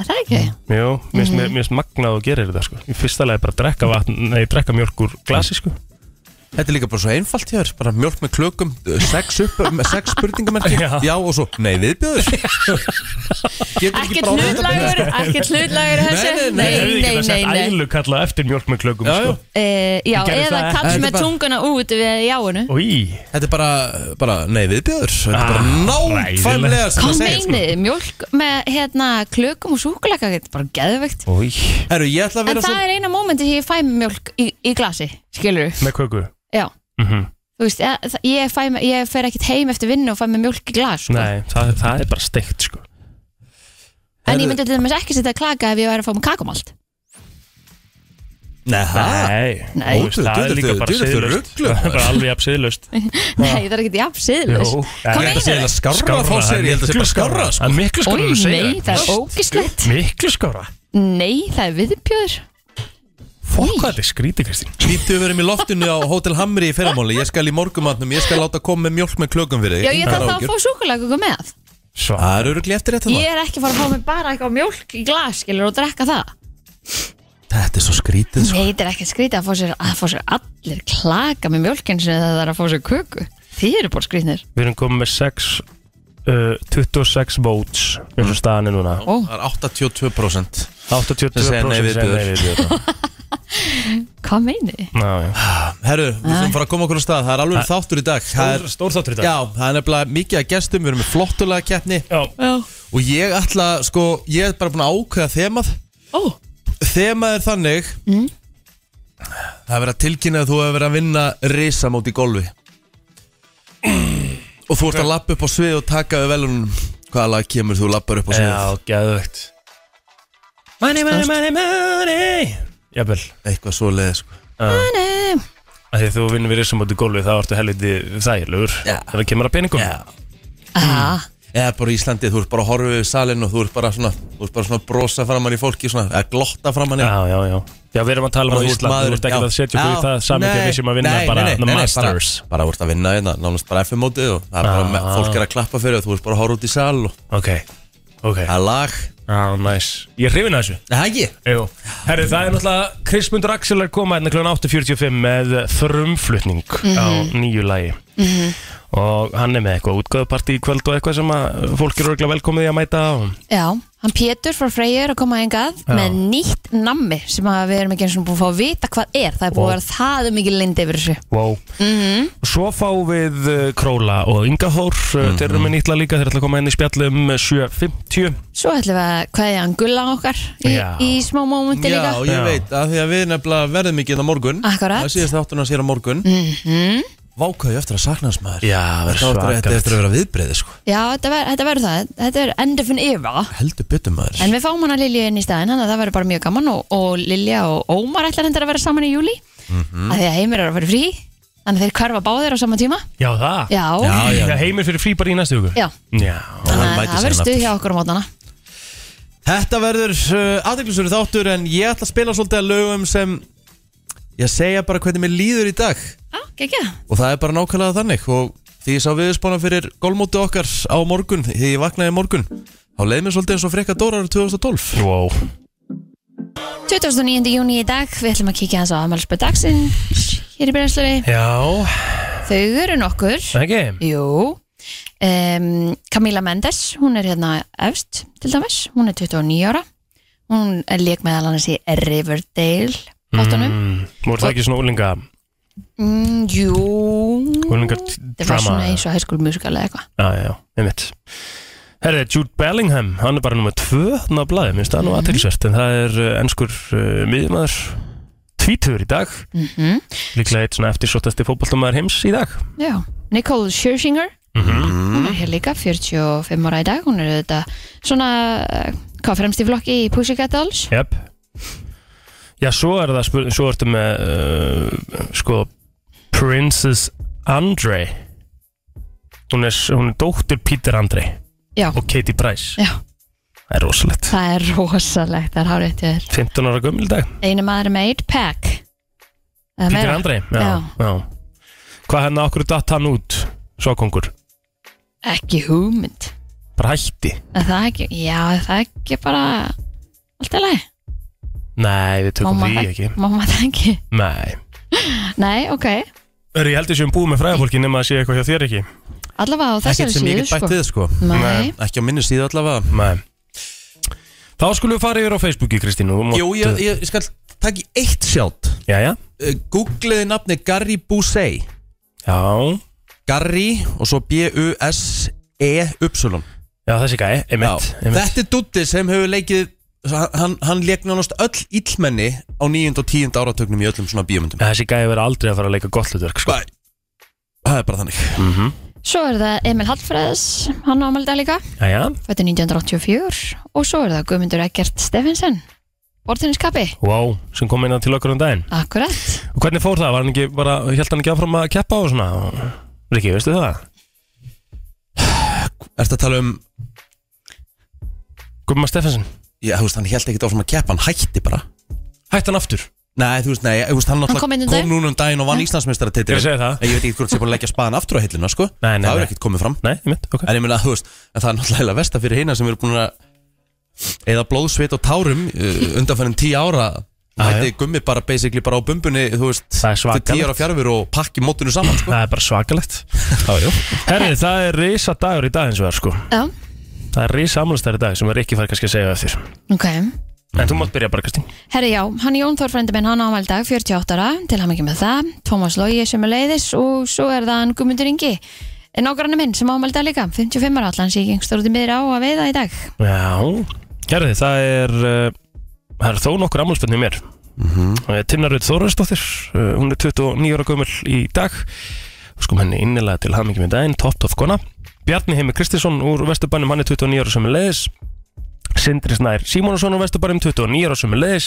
[SPEAKER 4] Er það ekki?
[SPEAKER 5] Jú, mér
[SPEAKER 4] Mhm.
[SPEAKER 5] finnst mm -hmm. magnað og gerir þetta sko Í fyrsta lagi bara að drekka vatn, nei, drekka mjólk úr glasi sko
[SPEAKER 3] Þetta er líka bara svo einfalt hjá þér, bara mjölk með klökum, eh, sex upp, með sex spurningamerki,
[SPEAKER 5] Já.
[SPEAKER 3] já. og svo, nei viðbjöður. Getur
[SPEAKER 4] Ekkert
[SPEAKER 3] ekki bara orðað þetta
[SPEAKER 4] hlutlagur, ekkert hlutlagur í þessu.
[SPEAKER 3] Nei, nei,
[SPEAKER 5] Nei, nei,
[SPEAKER 4] nei, nei, nei.
[SPEAKER 5] Ælu kalla eftir mjölk með klökum
[SPEAKER 3] Já, já.
[SPEAKER 5] sko.
[SPEAKER 4] Eh, já,
[SPEAKER 5] Ég gerði
[SPEAKER 4] eða
[SPEAKER 5] það.
[SPEAKER 4] kall
[SPEAKER 3] Þetta er
[SPEAKER 4] með
[SPEAKER 3] bara-
[SPEAKER 4] tunguna út við jáinu.
[SPEAKER 5] Í,
[SPEAKER 3] Þetta er bara, bara nei viðbjöður, þetta er bara
[SPEAKER 5] Ah,
[SPEAKER 3] nákvæmlega sem sko.
[SPEAKER 4] Hvað
[SPEAKER 3] það segir.
[SPEAKER 4] meinið? þið? Mjólk með hérna, klökum og súkulega, þetta er bara geðveikt.
[SPEAKER 5] Í,
[SPEAKER 3] sko. Herru, ég
[SPEAKER 4] En
[SPEAKER 3] ætla að vera
[SPEAKER 4] það
[SPEAKER 3] svo,
[SPEAKER 4] er eina mómenti sem ég fæ mjólk í, í glasi, skilur
[SPEAKER 5] með köku
[SPEAKER 4] Já,
[SPEAKER 5] mm
[SPEAKER 4] þú veist, ég, það- ég, fæ, me- ég fer ekkert heim eftir vinnu og fæ með mjólk í glas sko.
[SPEAKER 5] Nei, það, það er bara steikt sko
[SPEAKER 4] En
[SPEAKER 3] Herðu-
[SPEAKER 4] ég myndi til dæmis ekki setja klaka ef ég væri að fá með kakumalt
[SPEAKER 3] nei það,
[SPEAKER 5] Nei,
[SPEAKER 4] Nei.
[SPEAKER 5] Þú veist, það er
[SPEAKER 3] Djöfull,
[SPEAKER 5] líka
[SPEAKER 3] djöfull,
[SPEAKER 5] bara
[SPEAKER 3] djöfull,
[SPEAKER 5] siðlust
[SPEAKER 3] rugluð.
[SPEAKER 5] Það er bara alveg jafn siðlust
[SPEAKER 4] Nei, það er ekkert jafn siðlis Hvað
[SPEAKER 5] Nei,
[SPEAKER 3] þetta
[SPEAKER 4] meinarðu?
[SPEAKER 3] sé eða skárra frá sér, ég held að sé bara skárra,
[SPEAKER 5] Það
[SPEAKER 3] sko.
[SPEAKER 5] er miklu
[SPEAKER 4] Ói,
[SPEAKER 5] skárra en þú segir
[SPEAKER 4] nei, það er
[SPEAKER 5] Þú
[SPEAKER 4] ógislegt
[SPEAKER 5] veist, Miklu skárra
[SPEAKER 4] Nei, það er viðbjöður
[SPEAKER 5] Fokk hvað þetta er skrítið Kristín
[SPEAKER 3] Býttu verið mér í loftinu á Hotel Hamri í ferramáli, ég skal í morgumatnum, ég skal láta koma með mjölk með klökum fyrir þig.
[SPEAKER 4] Já, ég
[SPEAKER 3] Engar
[SPEAKER 4] þarf þá að
[SPEAKER 3] áhyggjur.
[SPEAKER 4] fá súkulega með
[SPEAKER 5] Svá
[SPEAKER 3] Það eru örugglega eftir þetta
[SPEAKER 4] Ég er ekki að fara að fá með bara eitthvað mjólk í glas skilur og drekka það
[SPEAKER 3] Þetta er svo skrítið, sko.
[SPEAKER 4] Nei, þetta er ekkert skrítið að fá sér, að fá sér allir klaka með mjólkinn sinni þegar það er að fá sér köku Þið eru bara skrítnir
[SPEAKER 5] Við erum komið með 6 uh, 26 votes eins
[SPEAKER 3] Mm.
[SPEAKER 5] og staðan er núna
[SPEAKER 4] Ó,
[SPEAKER 3] Það er 82%.
[SPEAKER 5] 82%
[SPEAKER 3] Sem segja nei við
[SPEAKER 5] segja
[SPEAKER 3] bjór.
[SPEAKER 5] nei við bjór.
[SPEAKER 4] hvað meinið? þið?
[SPEAKER 5] Já, já.
[SPEAKER 3] Herru, við þurfum fara að koma okkur á stað, það er alveg þáttur í dag. Það er
[SPEAKER 5] Stór- Stór þáttur í dag
[SPEAKER 3] Já, það er nefnilega mikið að gestum, við erum með flottulega keppni
[SPEAKER 5] Já.
[SPEAKER 4] Já
[SPEAKER 3] og ég ætla, sko, ég er bara búin að ákveða þemað.
[SPEAKER 4] Ó,
[SPEAKER 3] Þemað er þannig
[SPEAKER 5] Mm.
[SPEAKER 3] Það er verið að tilkynna að þú hefur verið að vinna risamót í golfi og þú ert að lappa upp á svið og taka við velunum Hvaða lag kemur þú lappar upp á svið?
[SPEAKER 5] Já, gæðvögt Money, money, money, money Jafnvel
[SPEAKER 3] Eitthvað svo leið, sko
[SPEAKER 4] nei
[SPEAKER 5] að Því að þú vinnur við risamóti gólfi þá ertu helviti þægilegur
[SPEAKER 3] Já.
[SPEAKER 5] Þegar það kemur að peningum
[SPEAKER 3] Mm.
[SPEAKER 4] Ah,
[SPEAKER 3] Eða bara í Íslandi, þú ert bara að horfa við salin og þú ert bara svona, þú ert bara svona að brosa framann í fólki svona, eða glotta framann í
[SPEAKER 5] Já, já, já Já, við erum að tala um
[SPEAKER 3] Bara
[SPEAKER 5] að
[SPEAKER 3] þú
[SPEAKER 5] Ísland
[SPEAKER 3] maður-
[SPEAKER 5] Þú ert ekki
[SPEAKER 3] já.
[SPEAKER 5] að setja okkur í
[SPEAKER 3] Já,
[SPEAKER 5] það samingi að
[SPEAKER 3] nei,
[SPEAKER 5] við sem að vinna
[SPEAKER 3] nei,
[SPEAKER 5] bara
[SPEAKER 3] nei, nei,
[SPEAKER 5] The
[SPEAKER 3] nei, nei, bara-
[SPEAKER 5] Masters
[SPEAKER 3] Bara úrst að vinna hérna, nánast bara FM-mótið og það er bara,
[SPEAKER 5] Ah.
[SPEAKER 3] með, fólk er að klappa fyrir og þú ert bara að horfa út í sal og
[SPEAKER 5] Ok, ok
[SPEAKER 3] það er lag
[SPEAKER 5] Já, næs Ég er hrifin að þessu
[SPEAKER 3] Það er ekki
[SPEAKER 5] Jú Herri, það er náttúrulega Kristmundur Axel er koma hérna kl. 8.45 með frumflutning á nýju lagi Mhm. Og hann er með eitthvað útgáðuparti í kvöld og eitthvað sem að fólk eru örugglega velkomið í að mæta á
[SPEAKER 4] já, hann Pétur frá Freyjur að koma engað
[SPEAKER 5] Já.
[SPEAKER 4] með nýtt nammi sem að við erum ekki eins og búin að fá að vita hvað er það er búin
[SPEAKER 5] Ó.
[SPEAKER 4] að vera það um mikið lind yfir þessu
[SPEAKER 5] Wow.
[SPEAKER 3] Mm.
[SPEAKER 4] Mm?
[SPEAKER 5] Svo fáum við uh, Króla og Ingahór mm
[SPEAKER 3] Mhm.
[SPEAKER 5] Þeir eru með nýtla líka, þeir ætla að koma inn í spjallum uh, 7.50
[SPEAKER 4] Svo ætlum við að kveðja hann gulla okkar í,
[SPEAKER 5] Já.
[SPEAKER 4] í smá mómenti
[SPEAKER 3] Já,
[SPEAKER 4] líka
[SPEAKER 3] ég
[SPEAKER 5] Já.
[SPEAKER 3] veit að því að við nefnilega verðum ekki hérna á morgun
[SPEAKER 4] Akkurat.
[SPEAKER 3] Það síðast áttunas hér á morgun mm -hmm. Vákaðu eftir að sakna hans maður
[SPEAKER 5] Já,
[SPEAKER 3] Þetta á eftir- þetta er eftir að vera viðbreiði sko
[SPEAKER 4] Já, þetta ver- þetta verður það, þetta er endurfinn yfa
[SPEAKER 3] Heldur byttum maður
[SPEAKER 4] En við fáum hana Lilju inn í staðinn, þannig að það verður bara mjög gaman og, og Lilja og Ómar ætlar hendur að vera saman í júli
[SPEAKER 3] Hmm. Mhm.
[SPEAKER 4] af því að heimir er að vera frí þannig að þeir hverfa báðir á sama tíma
[SPEAKER 5] Já, það
[SPEAKER 4] Já,
[SPEAKER 3] Já, já,
[SPEAKER 5] Já, heimir fyrir frí bara í næstu hugur
[SPEAKER 4] Já. þannig
[SPEAKER 3] hann
[SPEAKER 4] að
[SPEAKER 3] mætir
[SPEAKER 4] það verður
[SPEAKER 3] síðan
[SPEAKER 4] stuð
[SPEAKER 3] aftur.
[SPEAKER 4] hjá okkur á mótana
[SPEAKER 3] eh, Þetta verður uh, aðeinsverið þáttur en ég ætla að spila svolítið að lögum sem ég segja bara hvernig mér líður í dag
[SPEAKER 4] Á, gekkja
[SPEAKER 3] og það er bara nákvæmlega þannig og því ég sá viðspána fyrir golfmóti okkar á morgun, því ég vaknaði í morgun þá leið mér svolítið eins og frekka dórar 2012
[SPEAKER 5] Wow
[SPEAKER 4] 2009. júni í dag, við ætlum að kíkja hans á aðmálspöð dagsins hér í brennslunni
[SPEAKER 5] Já,
[SPEAKER 4] Þau eru nokkur
[SPEAKER 5] ekki
[SPEAKER 4] Jú um, Camila Mendes, hún er hérna efst til dæmis, hún er 29 ára hún er leik meðal annars í Riverdale þáttunum
[SPEAKER 5] mm, Voru það ekki svona úlinga
[SPEAKER 4] mm, Jú
[SPEAKER 5] Úlinga
[SPEAKER 4] Það var
[SPEAKER 5] drama
[SPEAKER 4] svona eins og hæskul musikal eða eitthvað
[SPEAKER 5] Já, já, einmitt Herri, Jude Bellingham, hann er bara nummer tvö hann á blæði, minnst það er nú
[SPEAKER 4] Mhm.
[SPEAKER 5] aðtilsvert en það er uh, enskur uh, miðmaður tvítur í dag
[SPEAKER 4] mm
[SPEAKER 5] líklega eitt svona eftirsóttasti fótboltamaður heims í dag
[SPEAKER 4] Já, Nicole Scherzinger
[SPEAKER 5] mm
[SPEAKER 4] hún er hér líka, 45 ára í dag hún er auðvitað svona eh, hvað fremst í flokki í Pussycat Dolls
[SPEAKER 5] Jep Já, svo er það spurning, svo ertu með uh, sko Princess Andre hún er, hún er dóttir Peter Andre
[SPEAKER 4] Já.
[SPEAKER 5] og Katie Price
[SPEAKER 4] Já.
[SPEAKER 5] Það er rosalegt
[SPEAKER 4] það er rosalegt, það er hárið til þér
[SPEAKER 5] 15 ára gömul í dag,
[SPEAKER 4] einu maður er með 1 pack Eða
[SPEAKER 5] Peter
[SPEAKER 4] meira.
[SPEAKER 5] Andre Já, já.
[SPEAKER 4] Já.
[SPEAKER 5] Hvað henni okkur datt hann út svo kongur,
[SPEAKER 4] ekki hugmynd
[SPEAKER 5] bara hætti
[SPEAKER 4] er það ekki, já, er það ekki bara allt er leið
[SPEAKER 5] Nei, við tökum
[SPEAKER 4] Mamma
[SPEAKER 5] því
[SPEAKER 4] það-
[SPEAKER 5] ekki
[SPEAKER 4] mamma það ekki,
[SPEAKER 5] Nei,
[SPEAKER 4] nei, ok
[SPEAKER 5] Hörru, ég heldur sem búið með fræðafólki nema að sé eitthvað hjá þér ekki
[SPEAKER 4] allavega á
[SPEAKER 3] ekkert
[SPEAKER 4] þessari
[SPEAKER 3] sem ég
[SPEAKER 4] síðu
[SPEAKER 3] get bætt
[SPEAKER 4] sko.
[SPEAKER 3] við sko
[SPEAKER 4] nei,
[SPEAKER 3] ekki á minni síðu allavega
[SPEAKER 5] Nei Þá skulum við fara yfir á Facebooki, Kristín og þú mátt- eh,
[SPEAKER 3] Jú, ég, ég, ég skal taka í eitt sjátt
[SPEAKER 5] Jæja,
[SPEAKER 3] Googleði nafni Gary Busey
[SPEAKER 5] já
[SPEAKER 3] Gary og svo B-U-S-E-Y
[SPEAKER 5] Já, þessi gæi,
[SPEAKER 3] E Já,
[SPEAKER 5] einmitt, einmitt.
[SPEAKER 3] Þetta er Dutti sem hefur leikið hann, hann leik nánast öll illmenni á 9. og 10. áratögnum í öllum svona bíomundum
[SPEAKER 5] Já, Þessi gæi verður aldrei að fara að leika gott hlutverk sko.
[SPEAKER 3] Bæ. Það er bara þannig
[SPEAKER 5] mm
[SPEAKER 4] svo er það Emil Hallfræðs hann ámaldi líka
[SPEAKER 5] Jæja,
[SPEAKER 4] fættu 1984 og svo er það Guðmundur Eggert Steffensen bortinniskapi,
[SPEAKER 5] wow, sem kom inn til okkur um daginn
[SPEAKER 4] akkurat
[SPEAKER 5] Og hvernig fór það? Var hann ekki bara, held hann ekki áfram að keppa og svona? Riki, veistu það?
[SPEAKER 3] Ertu að tala um,
[SPEAKER 5] Gumma Steffensen,
[SPEAKER 3] já, þú veist, hann held ekkit á svona keppa, hann hætti bara
[SPEAKER 5] hætti hann aftur?
[SPEAKER 3] Nei, þú veist, nei, þú veist, hann
[SPEAKER 4] kom inn um
[SPEAKER 3] náttúrulega
[SPEAKER 4] daginn.
[SPEAKER 3] kom núna um daginn og vann Íslandsmeistaratitil
[SPEAKER 5] Ég segi það.
[SPEAKER 3] Ég veit ekki hvort sé búin að leggja spaðan aftur á hillina, sko
[SPEAKER 5] Nei,
[SPEAKER 3] Það
[SPEAKER 5] nei, nei.
[SPEAKER 3] er ekkit komið fram
[SPEAKER 5] Nei, einmitt, ok
[SPEAKER 3] En ég meina, þú veist, en það er náttúrulega versta fyrir hina sem eru búin að eða blóðsveit og tárum uh, undanfærin tíu ára
[SPEAKER 5] Já,
[SPEAKER 3] Það hætti gummi bara basically bara á bumbunni, þú veist
[SPEAKER 5] Það er
[SPEAKER 3] til tíu
[SPEAKER 5] svakalegt
[SPEAKER 3] ára fjarfur og pakki mótinu saman, sko
[SPEAKER 5] Það er bara svakalegt
[SPEAKER 3] Já, já
[SPEAKER 5] Herri, það er risa dagur í dag eins og það sko
[SPEAKER 4] já,
[SPEAKER 5] Það er risa amlustæri dag sem er ekki fara kannski að segja eftir
[SPEAKER 4] ok
[SPEAKER 5] En þú mátt byrja bara, Kristín
[SPEAKER 4] Herri já, hann Jón Þór frændi minn, hann ámæl dag 48 ára, til hann ekki með það Tómas Lógi sem er leiðis og svo er það hann Guðmundur Ingi Nágrannu minn sem ámæl dag líka, 55 ára allan sé yengstur út í miðri á að veiða í dag
[SPEAKER 5] Já, herri, það er uh, það er þó nokkur ammálspenni mér mm -hmm. Tinnarud Þóraðsdóttir uh, hún er 29 ára gömul í dag sko henni innilega til hamingi með daginn top top kona Bjarni Heimi Kristinsson úr Vesturbænum hann er 29 ára sem er leiðis Sindri Snær Simonsson úr Vesturbænum 29 ára sem er leiðis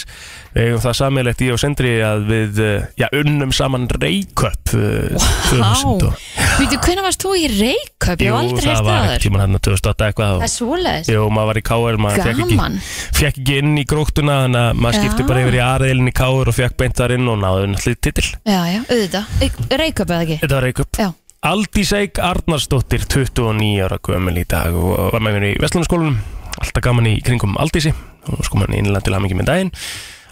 [SPEAKER 5] við eigum það sammeilegt ég og Sindri að við uh, já, unnum saman reiköp uh, 2000 og-
[SPEAKER 4] Vítu, hvernig varst þú í Reykjöp? Ég hef
[SPEAKER 5] Jú,
[SPEAKER 4] aldrei
[SPEAKER 5] það
[SPEAKER 4] hefst
[SPEAKER 5] var
[SPEAKER 4] það
[SPEAKER 5] ekki
[SPEAKER 4] þar
[SPEAKER 5] tíma hann 2008 eitthvað og-
[SPEAKER 4] Það er svoleiðis,
[SPEAKER 5] Jú, maður var í KR, maður fekk ekki
[SPEAKER 4] gaman
[SPEAKER 5] fekk ekki inn í gróktuna þannig að maður
[SPEAKER 4] Já.
[SPEAKER 5] skipti bara yfir í aðreilin í káður og fekk beint þar inn og náðu náttúrulega titill
[SPEAKER 4] Já, já, auðvitað, Reykjöp eða ekki
[SPEAKER 5] Þetta var Reykjöp
[SPEAKER 4] Já.
[SPEAKER 5] Aldís Eik Arnarsdóttir, 29 ára gömul í dag og var með mér í Vestlunarskólanum alltaf gaman í kringum Aldísi og sko mann innlega til hamingi með daginn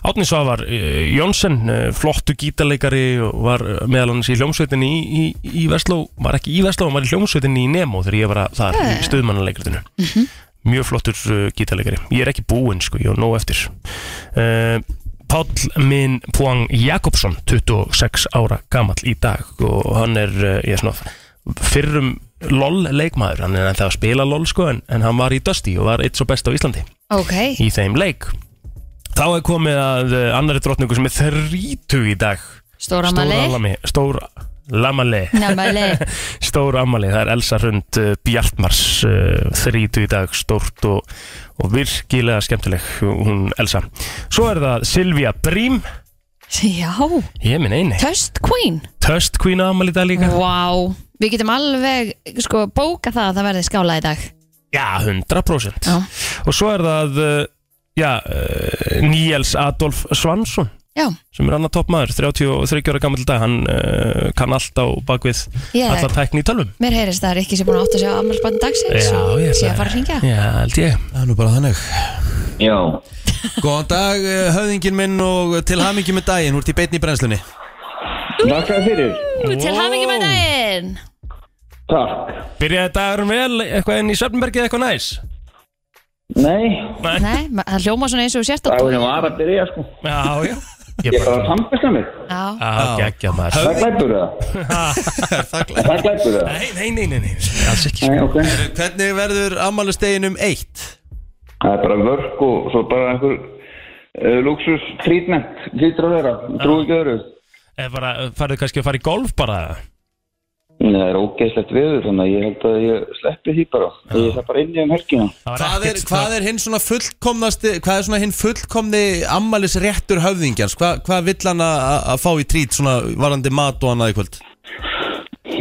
[SPEAKER 5] Átni Svavar uh, Jónsson, uh, flottu gítarleikari og var eh, meðal hans í hljómsveitinni í, í, í Vestló, var ekki í Vestló, hann var í hljómsveitinni í Nemo þegar ég var að- þar
[SPEAKER 4] Já, já,
[SPEAKER 5] í
[SPEAKER 4] já.
[SPEAKER 5] stuðmannaleikritinu. Mjög flottur uh, gítarleikari. Ég er ekki búinn sko, ég er nóg eftir. Uh, Páll minn Púang Jakobsson 26 ára gamall í dag og hann er, eh, ég er svona fyrrum LOL leikmaður hann er ennþá að spila LOL sko en, en hann var í Dusty og var eitt svo best á Íslandi
[SPEAKER 4] Ok,
[SPEAKER 5] í þeim leik þá er komið að eh, annarri drottningu sem er 30 í dag
[SPEAKER 4] stóra mali
[SPEAKER 5] Stóramali Stóra Lamali
[SPEAKER 4] Namali,
[SPEAKER 5] Stór ammali, það er Elsa Rund uh, Bjartmars uh, 30 í dag stórt og, og virkilega skemmtileg hún Elsa. Svo er það Silvia Brím,
[SPEAKER 4] já,
[SPEAKER 5] ég minn eini,
[SPEAKER 4] Töst Queen
[SPEAKER 5] Töst Queen ammali í dag líka.
[SPEAKER 4] Vá, við getum alveg sko bóka það að það verði skála í dag
[SPEAKER 5] Já, 100%.
[SPEAKER 4] Já.
[SPEAKER 5] eh, Og svo er það, uh, já, uh, Níels eh, Adolf Svansson,
[SPEAKER 4] Já,
[SPEAKER 5] sem er annar toppmaður, 33 ára gammal dag hann uh, kann allt á bakvið
[SPEAKER 4] Ég-
[SPEAKER 5] alla tækni í tölvum
[SPEAKER 4] mér heyrist það er ekki sem búin að átta sig á afmælsbæðin dagsins og sé að fara að ringja
[SPEAKER 5] Já, held ég
[SPEAKER 3] Það er nú bara þannig
[SPEAKER 1] Já,
[SPEAKER 3] Góðan dag, eh, höfðinginn minn og til hamingi með daginn Þú ert í beitni í brennslunni
[SPEAKER 1] þakka þér fyrir
[SPEAKER 4] Til hamingi með daginn
[SPEAKER 1] Takk
[SPEAKER 5] Byrjaði dagurum vel, eitthvað inn í Svefnbergi eitthvað næs
[SPEAKER 1] Nei,
[SPEAKER 4] Nei, ma- það hljóma svona eins og þú sért að
[SPEAKER 1] dagurinn var að byrja sko
[SPEAKER 5] Já, já
[SPEAKER 1] Ég er bara að sambesta mig
[SPEAKER 4] Já,
[SPEAKER 5] Já, geggja maður
[SPEAKER 1] Það glæpur það Það glæpur það
[SPEAKER 5] Nei, nei, nei, nei, nei, alls ekki sko.
[SPEAKER 1] Nei, ok
[SPEAKER 3] Hvernig verður ammælusteginum eitt?
[SPEAKER 1] Það er bara vörk og svo bara einhver uh, luxus treatment Lítur að vera, trúi ekki öðru
[SPEAKER 5] Eða Eh, bara, farið kannski að fara í golf bara
[SPEAKER 1] Nei, Það er ógeðslegt veður þannig að ég held að ég sleppi því bara Ég er það bara inni um helgina
[SPEAKER 5] Það var
[SPEAKER 3] Hvað er,
[SPEAKER 5] ekkert- sko.
[SPEAKER 3] hvað er hinn svona fullkomnasti Hvað er svona hinn fullkomni ammælisréttur höfðingjans? Hva, hvað vill hann að að fá í trít svona varandi mat og annað í kvöld?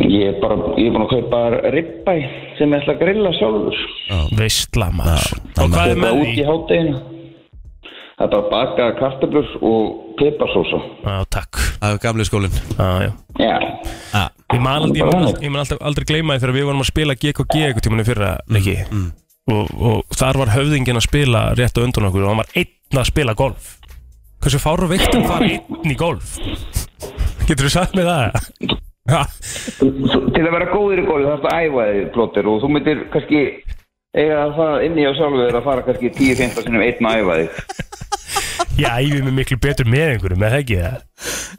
[SPEAKER 1] Ég er bara, ég er búin að kaupa ribbæ sem ég ætla að grilla sjálfur
[SPEAKER 5] Veistla maður Og
[SPEAKER 3] annað.
[SPEAKER 5] hvað er
[SPEAKER 1] Þetta
[SPEAKER 5] með
[SPEAKER 1] út í
[SPEAKER 5] því?
[SPEAKER 1] hátteginu Það er bara baka kartöflur og piparsósa
[SPEAKER 5] Já, takk
[SPEAKER 3] Það er gamli skólinn
[SPEAKER 5] Já, já
[SPEAKER 1] Já,
[SPEAKER 5] Ég man, aldrei, ég, man, ég man alltaf aldrei gleyma því þegar við vorum að spila GKG eitthvað tímanu fyrra leiki og, og þar var höfðingin að spila rétt á undan okkur og hann var einn að spila golf Hversu fáru veiktum fara einn í golf? Getur þú sagt með það? Ha,
[SPEAKER 1] til að vera góður í góðu þarfst að æfa þig plóttir og þú myndir kannski eiga að fara inn í á sjálfur að fara kannski 10-15 sinum einn að æfa þig
[SPEAKER 5] ég æfi mig miklu betur með einhverjum, með það ekki það?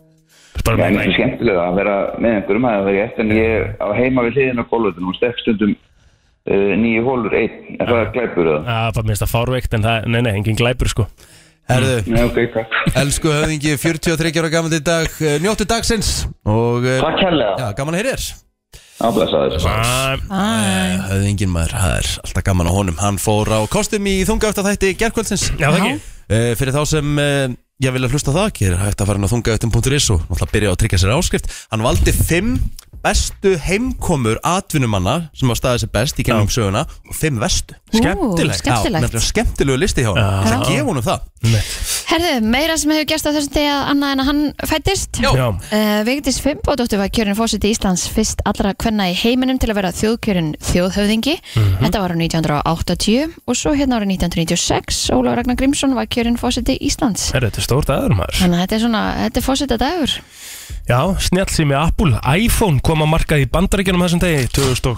[SPEAKER 1] Það
[SPEAKER 5] Bara
[SPEAKER 1] er
[SPEAKER 5] með
[SPEAKER 1] mjög
[SPEAKER 5] einhverjum
[SPEAKER 1] skemmtilega að vera með einhverjum að það verið eftir en ég er á heima við hliðin á gólfutinu og stekk stundum uh, nýju hólur einn en það er glæpur það
[SPEAKER 5] Já, bara minnst það fárveikt en það, nei, nei, engin glæpur sko
[SPEAKER 3] Herðu,
[SPEAKER 1] Nei, ok, takk
[SPEAKER 3] Elsku höfðingi, 43 ára gaman í dag eh, Njóttu dagsins Og eh,
[SPEAKER 1] Takk hérlega,
[SPEAKER 3] já, gaman að heyri þér
[SPEAKER 1] áblæsaður
[SPEAKER 5] Ah,
[SPEAKER 4] Æ,
[SPEAKER 3] Höfðingin maður, það er alltaf gaman á honum Hann fór á kostum í þunga eftir þætti gerkvöldsins
[SPEAKER 5] Já, það ekki
[SPEAKER 3] Eh, Fyrir þá sem eh, ég vilja hlusta á það ekki er hægt að fara inn á þungaöftum.is og náttúrulega byrja að tryggja sér áskrift Hann valdi fimm bestu heimkomur atvinnumanna sem hafa staðið sér best í gennum söguna og fimm vestu
[SPEAKER 5] Skemmtilegt.
[SPEAKER 4] Ú, skemmtilegt.
[SPEAKER 3] Já, skemmtilegu listi hjá hann,
[SPEAKER 5] Já.
[SPEAKER 3] það gefur honum það
[SPEAKER 4] Herðu, meira sem hefur gerst á þessum degi að annað en að hann fættist
[SPEAKER 3] Já.
[SPEAKER 5] Já,
[SPEAKER 4] Uh, Vigdís Fimbodóttir var kjörin fósiti Íslands fyrst allra kvenna í heiminum til að vera þjóðkjörin þjóðhöfðingi
[SPEAKER 5] Mhm.
[SPEAKER 4] Þetta var á 1980 og svo hérna árið 1996 Ólaf Ragnar Grímsson var kjörin fósiti Íslands
[SPEAKER 5] herru, þetta er stórt aður maður
[SPEAKER 4] Þannig að þetta er svona, þetta er fósita dagur
[SPEAKER 5] Já, snjallsími Apple, iPhone kom að markaði í bandaríkjunum þessum degi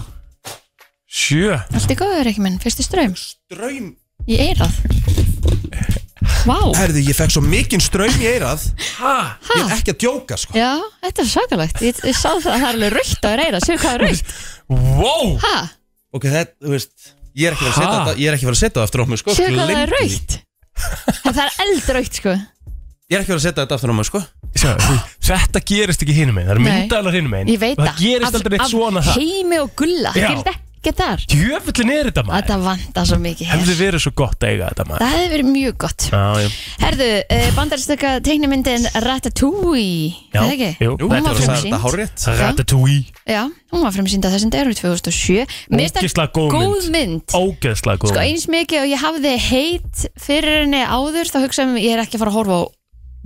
[SPEAKER 5] 2007
[SPEAKER 4] Allt í góður ekki minn, fyrsti ströym
[SPEAKER 3] Ströym
[SPEAKER 4] Í eirað Vá,
[SPEAKER 3] Herðu, ég fekk svo mikinn ströym í eirað
[SPEAKER 5] Ha?
[SPEAKER 3] Ég er ekki að djóka, sko
[SPEAKER 4] já, þetta er svakalegt Ég, ég sá það að það er alveg raukt á þér eirað Sér hvað er raukt?
[SPEAKER 5] Wow!
[SPEAKER 4] Ha?
[SPEAKER 3] Ok, þetta, þú veist Ég er ekki verið að setja
[SPEAKER 5] Ha?
[SPEAKER 3] þetta Ég er ekki verið að setja þetta aftur á mig, sko
[SPEAKER 4] Sér hvað það er
[SPEAKER 3] Gleymdi því.
[SPEAKER 4] raukt? Það er eldraukt sko
[SPEAKER 3] Ég er ekki verið að setja þetta aftur á mig, sko
[SPEAKER 5] Sjá, þetta gerist ekki hinum einn, það eru
[SPEAKER 4] Nei.
[SPEAKER 5] myndaðalar hinum einn
[SPEAKER 4] Ég veit
[SPEAKER 5] það Það gerist
[SPEAKER 4] Af-
[SPEAKER 5] aldrei neitt
[SPEAKER 4] af
[SPEAKER 5] svona það
[SPEAKER 4] Heimi og gulla,
[SPEAKER 5] Já.
[SPEAKER 4] gerist ekkert þar
[SPEAKER 5] Jöfullin er þetta maður
[SPEAKER 4] Þetta vanda svo mikið hér
[SPEAKER 5] Hefði verið svo gott að eiga þetta maður
[SPEAKER 4] Það hefur verið mjög gott
[SPEAKER 5] Já, já,
[SPEAKER 4] Herðu, uh, bandarstöka teiknumyndin Ratatouille er
[SPEAKER 5] Já,
[SPEAKER 4] það ekki?
[SPEAKER 5] jú,
[SPEAKER 4] hún var
[SPEAKER 3] Það
[SPEAKER 5] þetta var
[SPEAKER 3] er
[SPEAKER 4] frumsýnd
[SPEAKER 3] þetta hárrétt
[SPEAKER 5] Ratatouille
[SPEAKER 4] Já, hún var frumsýnd á þessum degur 2007 Mér finnst
[SPEAKER 5] Ógeðslega
[SPEAKER 4] það
[SPEAKER 5] góð mynd.
[SPEAKER 4] Góð mynd
[SPEAKER 5] Ógeðslega góð
[SPEAKER 4] Sko eins mikið og ég hafði heit fyrir henni áður þá hugsaðum ég er ekki að fara að horfa á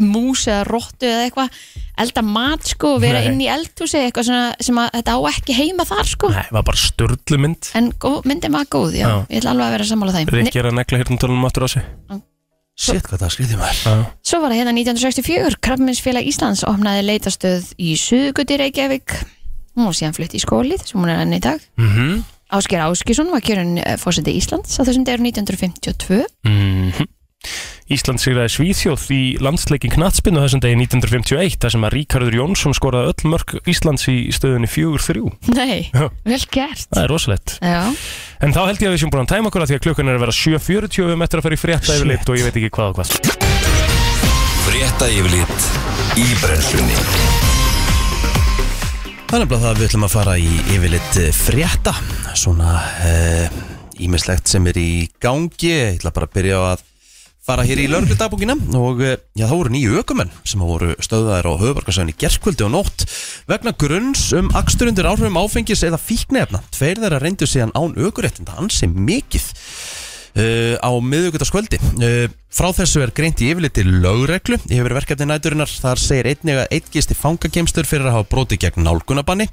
[SPEAKER 4] mús eða rottu eða eitthvað elda mat sko og vera
[SPEAKER 5] Nei.
[SPEAKER 4] inn í eldhúsi eitthvað svona sem að þetta á ekki heima þar sko
[SPEAKER 5] Nei, það var bara störlu mynd
[SPEAKER 4] en gó- myndin var góð, já,
[SPEAKER 5] Já.
[SPEAKER 4] ég ætla alveg að vera sammála þeim Nei,
[SPEAKER 5] Rikki er að negla hirtundalunum aftur á sig
[SPEAKER 3] Sitt hvað það skriði maður
[SPEAKER 5] Já,
[SPEAKER 4] Svo var það hérna 1964, Krabbminsfélag Íslands opnaði leitastöð í Suðugut í Reykjavík. Hún var síðan flutt í skólið sem hún er enn í dag.
[SPEAKER 3] Hmm?
[SPEAKER 5] mhm
[SPEAKER 4] Ásker Áskísson var kjörun fórseti Íslands á þessum degur 1952.
[SPEAKER 5] Mhm. Ísland sigraði Svíþjóð í landsleikin knatsbyrnu þessum degi 1951 þar sem að Ríkardur Jónsson skoraði öll mörg Íslands í stöðunni 4-3
[SPEAKER 4] Nei,
[SPEAKER 5] Já.
[SPEAKER 4] vel gert.
[SPEAKER 5] Það er rosalegt
[SPEAKER 4] Já,
[SPEAKER 5] En þá held ég að við séum búin að tæma okkur að því að klukkan er að vera 7.40 við mettur að fara í frétta yfirleitt og ég veit ekki hvað og hvað
[SPEAKER 7] Frétta yfirlit í brennslunni
[SPEAKER 3] Það er nefnilega það að við ætlum að fara í yfirleitt eh, frétta Svona ímislegt sem er í gangi Ég ætla bara að byrja á að fara hér í lörglutagbúkina og eh, já, það voru nýju ökumenn sem voru stöðaðir á höfubarkasöðinni gerkvöldi og nótt vegna grunns um akstur undir áhrifum áfengis eða fíknefna. Tveir þeirra reyndu síðan án ökuréttinda ansi mikið uh, á miðugutaskvöldi uh, frá þessu er greint í yfirliti lögreglu yfir verkefni næturinnar þar segir einnig að einn gisti fangagemstur fyrir að hafa broti gegn nálgunabanni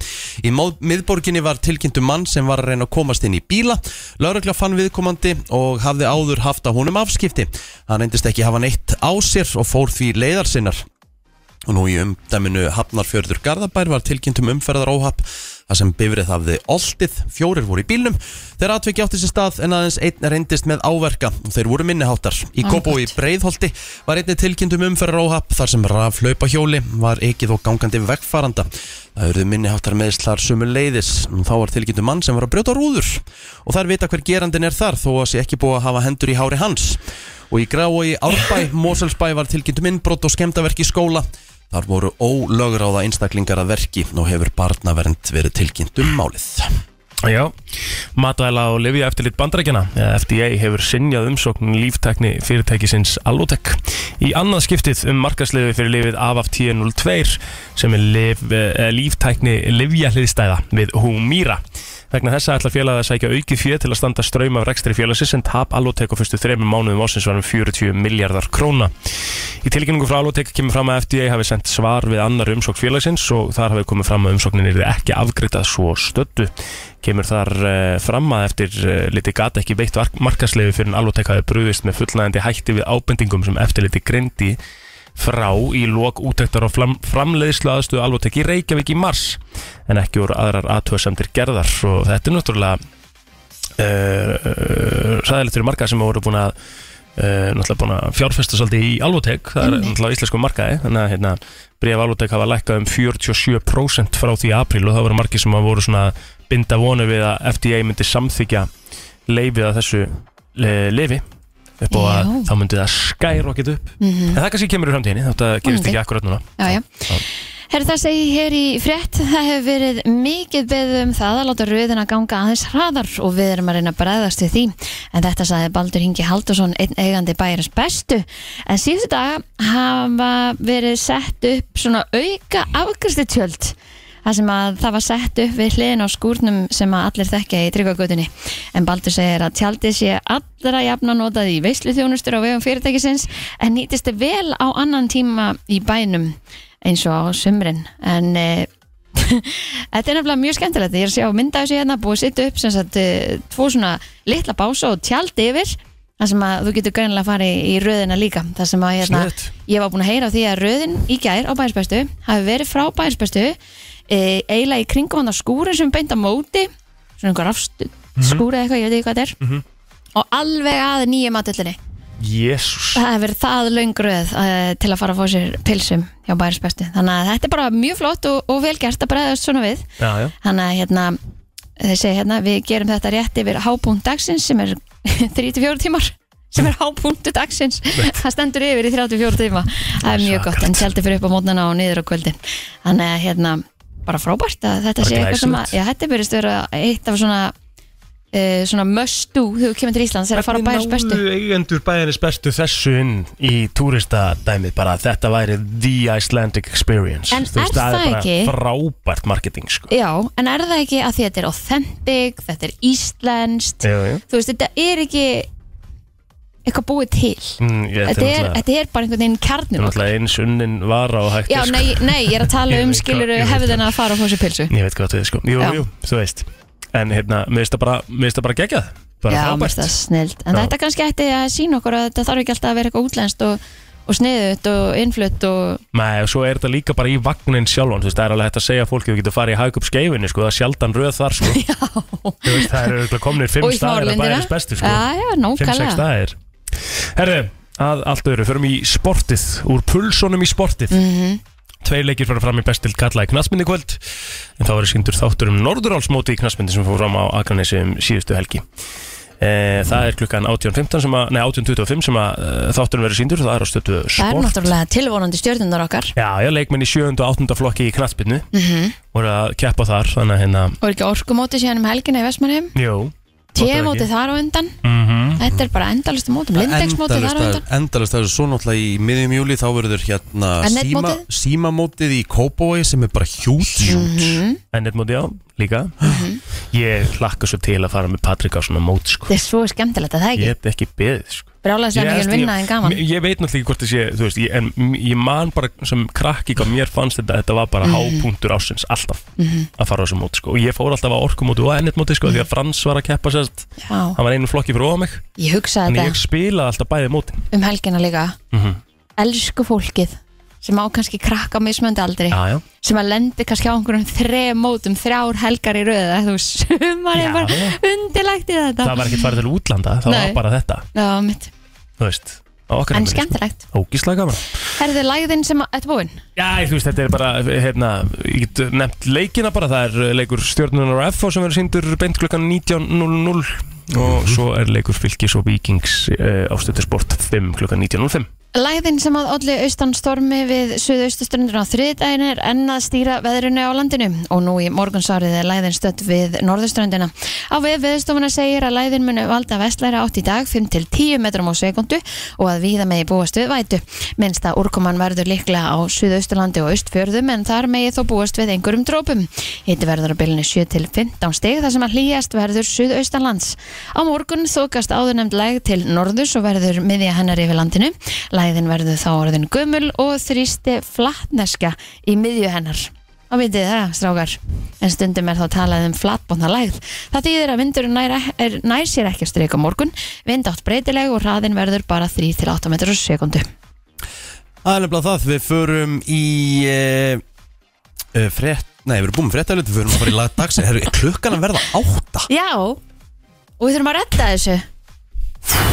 [SPEAKER 3] í móð- miðborginni var tilkynntu mann sem var að reyna að komast inn í bíla lögregla fann viðkomandi og hafði áður haft að honum afskipti hann reyndist ekki hafa neitt á sér og fór því leiðar sinnar og nú í umdæminu Hafnarfjörður Garðabær var tilkynntum umferðar óhapp þar sem bifrið hafði oltið, fjórir voru í bílnum þeir atveki átti sér stað en aðeins einn reyndist með áverka og þeir voru minniháttar í Kobo í Breiðholti var einni tilkynntum umferðar óhapp þar sem raflaupa hjóli var ekið og gangandi vegfaranda það eruðu minniháttar meðslar sumu leiðis og þá var tilkynntum mann sem var að brjóta rúður og þær vita hver gerandin er þar þó að sé ekki búið að hafa hendur í hári hans og í Grávói Árbæ, Moselsbæ var tilkynntum innbrott og skemdaverk í skóla Þar voru ólögráða einstaklingar að verki og hefur barnavernd verið tilkynnt um málið.
[SPEAKER 5] Já, matvæla og lifja eftirlit bandarækjana FDA hefur sinjað umsókn líftekni fyrirtækisins Allotec í annað skiptið um markasliði fyrir lifið AFAF 1002 sem er lif, eh, líftekni lifja hliðstæða við Humira vegna þessa ætla félagið að sækja aukið fjö til að standa ströym af rekstri félagsins en tap Allotec á fyrstu þremur mánuðum ásins var um 40 miljardar króna Í tilkynningu frá Alotec kemur fram að FDA hafi sendt svar við annar umsókn félagsins og þar hafi komið fram að umsóknin er ekki afgriðað svo stöddu. Kemur þar eh, fram að eftir eh, liti gata ekki veitt markasleifi fyrir en Alotec hafi brugðist með fullnægandi hætti við ábendingum sem eftirliti greindi frá í lok útæktar og fram, framleiðslu aðstöðu Alotec í Reykjavík í mars en ekki úr aðrar aðtöðsamdir gerðar og þetta er náttúrulega uh, sæðilegt Eh, fyrir marga sem voru búin að Uh, náttúrulega búin að fjárfesta svolítið í Alvotec það er náttúrulega á íslensku markaði þannig að hérna, bref Alvotec hafa lækkað um 47% frá því í apríl og það voru margir sem að voru svona að binda vonu við að FDA myndi samþykja leifið að þessu le leifi upp á að
[SPEAKER 4] Já. Mm.
[SPEAKER 5] þá myndi það skyrocket upp
[SPEAKER 4] mhm.
[SPEAKER 5] en það kannski kemur í framtíðinni þetta gerist
[SPEAKER 4] Vonandi.
[SPEAKER 5] ekki akkurat núna
[SPEAKER 4] já, já. Herri, það segi hér í frétt, það hefur verið mikið beðið um það að láta rauðina ganga aðeins hraðar og við erum að reyna að bregðast við því. En þetta sagði Baldur Hingi Haldursson, einn eigandi bæjarins bestu. En síðustu dag hafa verið sett upp svona auka afgristutjöld. Það sem að það var sett upp við hliðin á skúrnum sem að allir þekkja í tryggagötunni. En Baldur segir að tjaldið sé allra jafna notað í veisluþjónustur á vegum fyrirtækisins en nýtist vel á annan tíma í bænum eins og á sumrin en e, þetta er nefnilega mjög skemmtilegt ég er að sjá mynda þessu hérna búið að setja upp sem sagt, e, tvo svona litla bása og tjald yfir þar sem að þú getur greinilega að fara í, í röðina líka þar sem að hérna,
[SPEAKER 5] Sniðugt.
[SPEAKER 4] ég var búin að heyra af því að röðin í gær á bæðisbestu hafi verið frá bæðisbestu e, eiginlega í kringum hann á skúrin sem er beint á móti svona einhver afstu skúri eða eitthvað, ég veit ekki hvað þetta er og alveg að nýju matullinni
[SPEAKER 5] Jésús
[SPEAKER 4] Það hefur verið það löngröð uh, til að fara að fá sér pilsum hjá bærisbestu. Þannig að þetta er bara mjög flott og, og vel gert að bregðast svona við.
[SPEAKER 5] já, já.
[SPEAKER 4] Þannig að hérna, þeir segja hérna, við gerum þetta rétt yfir hápunkt dagsins sem er 34 tímar sem er hápunktu dagsins það stendur yfir í 34 tíma það er mjög gott, en tjaldi fyrir upp á mótnana og niður á kvöldi þannig að hérna bara frábært að þetta
[SPEAKER 5] Bara
[SPEAKER 4] sé eitthvað sem að
[SPEAKER 5] glæsilegt.
[SPEAKER 4] já, þetta er byrjast að vera eitt af svona uh, svona must do þegar þú kemur til Íslands þegar að fara á bæris bestu
[SPEAKER 5] Náðu eigendur bæjarins bestu þessu inn í túristadæmið bara að þetta væri The Icelandic Experience
[SPEAKER 4] En
[SPEAKER 5] Þú veist,
[SPEAKER 4] er það ekki?
[SPEAKER 5] er bara frábært marketing sko.
[SPEAKER 4] Já, en er það ekki að því að þetta er authentic, þetta er íslenskt
[SPEAKER 5] Jú, jú.
[SPEAKER 4] þú veist, þetta er ekki eitthvað búið til
[SPEAKER 5] Mm, ég,
[SPEAKER 4] þetta er,
[SPEAKER 5] náttúrulega-
[SPEAKER 4] þetta er bara einhvern veginn
[SPEAKER 5] þetta er
[SPEAKER 4] kjarnum okkar.
[SPEAKER 5] náttúrulega eins unnin vara og hægt
[SPEAKER 4] Já,
[SPEAKER 5] er, sko.
[SPEAKER 4] nei, nei, ég er að tala
[SPEAKER 5] Ég
[SPEAKER 4] um
[SPEAKER 5] veit hvað-
[SPEAKER 4] skilur
[SPEAKER 5] ég veit
[SPEAKER 4] hefðina að fara á þessu pilsu
[SPEAKER 5] Ég veit hvað þú veist sko Jú,
[SPEAKER 4] Já.
[SPEAKER 5] jú, þú veist En hérna, mér finnst það bara, mér finnst það bara gegjað Bara
[SPEAKER 4] Já, mér finnst það
[SPEAKER 5] frábært
[SPEAKER 4] snilt En
[SPEAKER 5] Já.
[SPEAKER 4] þetta kannski ætti að sína okkur að þetta þarf ekki alltaf að vera eitthvað útlenskt og, og sniðut og innflutt og
[SPEAKER 5] Nei, og svo er þetta líka bara í vagnin sjálfan Þú veist, það er alveg hægt að segja fólki Þú getur farið í hagkup skeifinni, sko Það er sjaldan röð þar, sko Já Þú veist, það eru örugglega komnir fimm
[SPEAKER 4] og í
[SPEAKER 5] staðir að
[SPEAKER 4] smárlindina
[SPEAKER 5] bæjarins bestu, sko
[SPEAKER 4] Já, já,
[SPEAKER 5] 5-6
[SPEAKER 4] nákvæmlega
[SPEAKER 5] staðir Herðu, að allt öðru, förum í sportið Úr pulsónum í sportið mm
[SPEAKER 4] Mhm.
[SPEAKER 5] Tveir leikir fyrir fram í bestild kalla í knastmyndi kvöld En þá verður síndur þáttur um Norðurálsmóti í knastmyndi sem fór fram á Akranesi um síðustu helgi e, Það er klukkan 18.15 sem að, nei 18.25 sem að e, þátturinn verður síndur Það er á stötu
[SPEAKER 4] Það er
[SPEAKER 5] sport
[SPEAKER 4] náttúrulega tilvonandi stjörnunar okkar Mhm.
[SPEAKER 5] Já, já, leikmenn í 7. og 8. flokki í knastmyndu voru að keppa þar, þannig að hérna
[SPEAKER 4] og er ekki orkumóti síðan um helgina í Vestmannheim
[SPEAKER 5] Jú,
[SPEAKER 4] T-móti þar á undan
[SPEAKER 5] mm
[SPEAKER 4] Þetta er bara endalustu mótum, lindegsmótið þar á undan
[SPEAKER 3] Endalist að svo náttúrulega í miðjum júli þá verður hérna
[SPEAKER 4] En
[SPEAKER 3] síma,
[SPEAKER 4] netmótið? Mhm.
[SPEAKER 3] símamótið í Kópói sem er bara hjút
[SPEAKER 5] En eitt móti á, líka Ég hlakka svo til að fara með Patrik á svona mót sko.
[SPEAKER 4] Þetta er svo skemmtilegt að það
[SPEAKER 5] Ég
[SPEAKER 4] ekki
[SPEAKER 5] hef ekki beðið sko.
[SPEAKER 4] Brálaðslega mikið
[SPEAKER 5] Ég-
[SPEAKER 4] vinna en gaman
[SPEAKER 5] Ég, ég veit náttúrulega ekki hvort það sé þú veist, ég, En m- ég man bara sem krakki Hvað mér fannst þetta, þetta var bara
[SPEAKER 4] Mhm.
[SPEAKER 5] hápunktur ásins Alltaf að fara á þessu mót sko. Og ég fór alltaf á orkumóti og ennitmóti sko, Því að Frans var að keppa sérst
[SPEAKER 4] Mhm. Já,
[SPEAKER 5] Hann var einu flokki fyrir ofan mig
[SPEAKER 4] ég hugsaði
[SPEAKER 5] Þannig ég
[SPEAKER 4] þetta
[SPEAKER 5] spilaði alltaf bæði mótin Mhm.
[SPEAKER 4] um helgina líka Elsku fólkið sem á kannski krakka á mismöndi aldri
[SPEAKER 5] Já, já
[SPEAKER 4] sem að lendi kannski á einhverjum þrejum mótum þrjár helgar í röðu þú sumar
[SPEAKER 5] Já.
[SPEAKER 4] er bara undirlegt í þetta
[SPEAKER 5] Það var ekkert farið til útlanda, það
[SPEAKER 4] Nei.
[SPEAKER 5] var bara þetta
[SPEAKER 4] Já, mitt.
[SPEAKER 5] Þú veist, á okkar
[SPEAKER 4] en
[SPEAKER 5] heimili, sko.
[SPEAKER 4] skemmtilegt
[SPEAKER 5] Ógíslega gaman
[SPEAKER 4] Herðu lægðin sem að, þetta búinn
[SPEAKER 5] Já, þú veist, þetta er bara, hérna, ég get nefnt leikina bara, það er eh, leikur stjórnunar og FH sem verður síndur beint klukkan 19.00 og
[SPEAKER 8] Mhm.
[SPEAKER 5] svo er leikur fylgis og vikings uh, ástöðusport 5 klukkan 19.05
[SPEAKER 4] Læðin sem að olli austan stormi við suðaustustundur á þriðdægin er enn að stýra veðrunni á landinu og nú í morgunsárið er læðin stödd við norðuströndina. Á við veðstofuna segir að læðin muni valda vestlæra átt í dag 5-10 metrum á sekundu og að víða megi búast við vætu. Minnsta úrkoman verður líklega á suðausturlandi og austfjörðum en þar megi þó búast við einhverjum drópum. Hitti verður á bylunni 7-15 stig þar sem að hlýjast verður suðaustanlands. Á morgun þókast áðurnemd læg til norðus og verður miðja hennar yfir landinu. Læðin verður þá orðin gömul og þrýsti flatneska í miðju hennar. Á vitið það, strákar. En stundum er þá talað um flatbóna lægð. Það þýðir að vindurinn nær, e- er, nær sér ekki að streika morgun, vind átt breytileg og hraðin verður bara 3-8 metrur á sekundu.
[SPEAKER 3] Það er nefnilega það, við förum í e, e, frétt, nei við erum búin fréttalut, við förum að fara í lag dagsins, herru, er klukkan að verða átta.
[SPEAKER 4] Já, og við þurfum að redda þessu.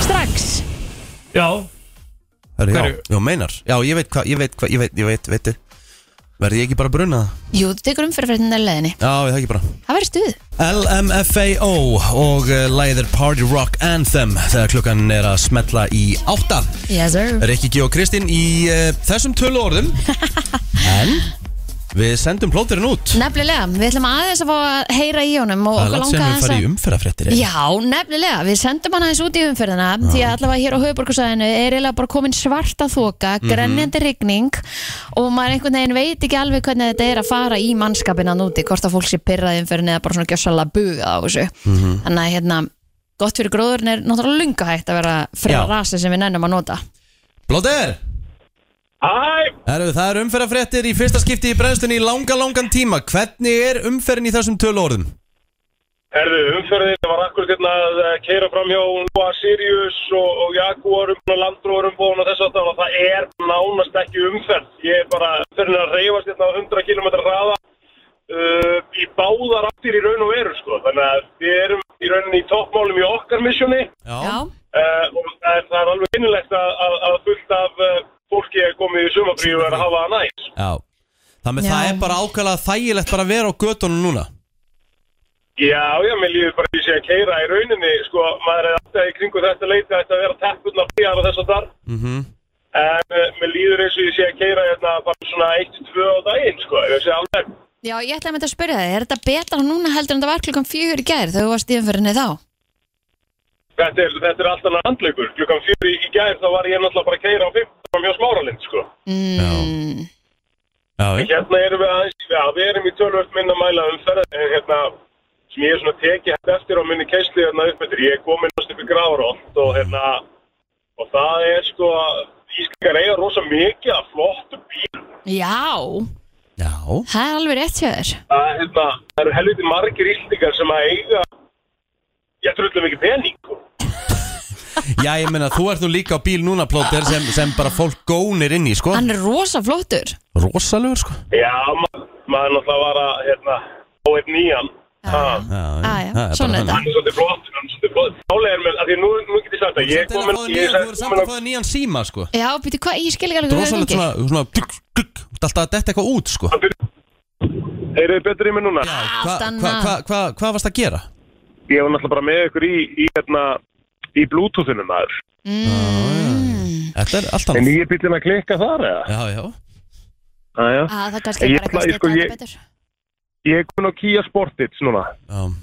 [SPEAKER 4] Strax.
[SPEAKER 5] Já,
[SPEAKER 3] Herru, já,
[SPEAKER 5] Hverju?
[SPEAKER 3] já, meinar, já, ég veit hvað, ég veit hvað, ég veit, ég veit, veitu, verði ég ekki bara að bruna það?
[SPEAKER 4] Jú, þú tekur umfyrirfréttin í leðinni.
[SPEAKER 3] Já, við það ekki bara.
[SPEAKER 4] Það verður stuð.
[SPEAKER 3] LMFAO og uh, læðir Party Rock Anthem þegar klukkan er að smetla í átta.
[SPEAKER 4] Yes, sir.
[SPEAKER 3] Rikki G og Kristín í uh, þessum tölu orðum, en við sendum plóturinn út.
[SPEAKER 4] Nefnilega, við ætlum aðeins að fá að heyra í honum og
[SPEAKER 3] Það er
[SPEAKER 4] okkur
[SPEAKER 3] langt sem
[SPEAKER 4] langa aðeins
[SPEAKER 3] við farið í hérna.
[SPEAKER 4] að...
[SPEAKER 3] umferðafréttir. eiginlega.
[SPEAKER 4] Já, nefnilega, við sendum hann aðeins út í umferðina því að allavega hér á höfuborgarsæðinu er eiginlega bara komin svarta þoka,
[SPEAKER 3] Mhm.
[SPEAKER 4] grenjandi rigning og maður einhvern veginn veit ekki alveg hvernig þetta er að fara í mannskapina núti, hvort að fólk sé pyrraði umferðinu eða bara svona gjössalega bugað á þessu
[SPEAKER 3] Mhm.
[SPEAKER 4] þannig að hérna, gott fyrir gróðurinn er náttúrulega lunga hægt að vera fyrir
[SPEAKER 3] Já.
[SPEAKER 4] rasi sem við nennum að nota
[SPEAKER 3] Blóter!
[SPEAKER 8] Hæ,
[SPEAKER 3] Herru, það er umferðafréttir í fyrsta skipti í brennslunni í langa, langan tíma. Hvernig er umferðin í þessum tölu orðum?
[SPEAKER 8] herðu, umferðin var akkur hérna að keira fram hjá Lua Sirius og, og Jaguarum og Landrórum bóðan og þess að það, það er nánast ekki umferð. Ég er bara, umferðin er að reyfast hérna á 100 km hraða uh, í báðar áttir í raun og veru, sko. Þannig að við erum í rauninni í toppmálum í okkar missjóni
[SPEAKER 4] Já,
[SPEAKER 8] uh, og það er, það er alveg innilegt að, að, að fullt af uh, fólki er komið í sumabríu og er að hafa það næs.
[SPEAKER 3] Já. Þannig
[SPEAKER 4] Já.
[SPEAKER 3] að það er bara ákveðlega þægilegt bara að vera á götunum núna.
[SPEAKER 8] Já, já, mér líður bara því sé að keira í rauninni, sko, maður er alltaf í kringu þetta leiti að þetta vera teppurna fríðar og þess að þar. Mm -hmm. En uh, mér líður eins og ég sé að keira hérna bara svona 1-2 á daginn, sko, ég sé alveg.
[SPEAKER 4] Já, ég ætlaði að mynda að spyrja þig, er þetta betra núna heldur en þetta var klukkan fjögur í gær þegar þú varst í umfyrinni þá?
[SPEAKER 8] Þetta er, þetta er alltaf annar handleikur. Klukkan fjöri í gær þá var ég náttúrulega bara að keira á 15 mjög smáralind, sko.
[SPEAKER 4] Mm,
[SPEAKER 3] Já, já.
[SPEAKER 8] Hérna erum við aðeins, já, við erum í tölvöld minna mæla um ferð, en hérna, sem ég er svona tekið hægt eftir á minni keisli hérna upp eftir, ég er komin næst upp í gráðrótt og hérna, og það er sko, Íslingar eiga rosa mikið af flottu bíl,
[SPEAKER 4] já,
[SPEAKER 3] Já.
[SPEAKER 4] það er alveg rétt hjá þér.
[SPEAKER 8] það er hérna, það eru helviti margir Íslingar sem að eiga, ég trullu mikið pening, sko.
[SPEAKER 3] Já, ég meina, þú ert nú líka á bíl núna, Plóter, sem, sem bara fólk gónir inn í, sko.
[SPEAKER 4] Hann er rosa flottur.
[SPEAKER 3] Rosalur, sko.
[SPEAKER 8] Já, ma maður náttúrulega var að, hérna, á einn nýjan, það.
[SPEAKER 3] Já,
[SPEAKER 4] Já, Ah, já,
[SPEAKER 3] það er bara
[SPEAKER 4] svona er
[SPEAKER 3] þannig.
[SPEAKER 8] Hann er svolítið flott, hann er svolítið flott. Málega er með, af því nú, nú get ég sagt að ég er
[SPEAKER 3] Samt er að
[SPEAKER 8] komin,
[SPEAKER 3] fá þér
[SPEAKER 8] ég
[SPEAKER 3] nýjan- Þú
[SPEAKER 8] er
[SPEAKER 3] er samt
[SPEAKER 8] komin
[SPEAKER 3] að fá þér nýjan síma, sko.
[SPEAKER 4] Já, býtu hvað, ég skil ekki alveg
[SPEAKER 3] Þetta er
[SPEAKER 4] hvað
[SPEAKER 3] rosalegt svona, svona, dugg, dugg, þú ert alltaf að detta eitthvað út, sko.
[SPEAKER 8] Heyrið þið betur í mig núna?
[SPEAKER 3] Já,
[SPEAKER 4] allt
[SPEAKER 3] hvað
[SPEAKER 4] annað.
[SPEAKER 3] hva, hva, hva, hva varst að gera?
[SPEAKER 8] Ég var náttúrulega bara með ykkur í, í, hérna, í bluetoothinu maður.
[SPEAKER 4] Mm.
[SPEAKER 3] Þetta er allt
[SPEAKER 8] En
[SPEAKER 3] annað.
[SPEAKER 8] ég er bíllinn að klikka þar eða?
[SPEAKER 3] Já, já.
[SPEAKER 8] Aðja.
[SPEAKER 4] Að Ah, það er kannski
[SPEAKER 8] Ég
[SPEAKER 4] bara
[SPEAKER 8] ætla-
[SPEAKER 4] eitthvað
[SPEAKER 8] ég sko,
[SPEAKER 4] stilla
[SPEAKER 8] ég-
[SPEAKER 4] þetta betur.
[SPEAKER 8] Ég er komin á Kia Sportage núna.
[SPEAKER 3] Já,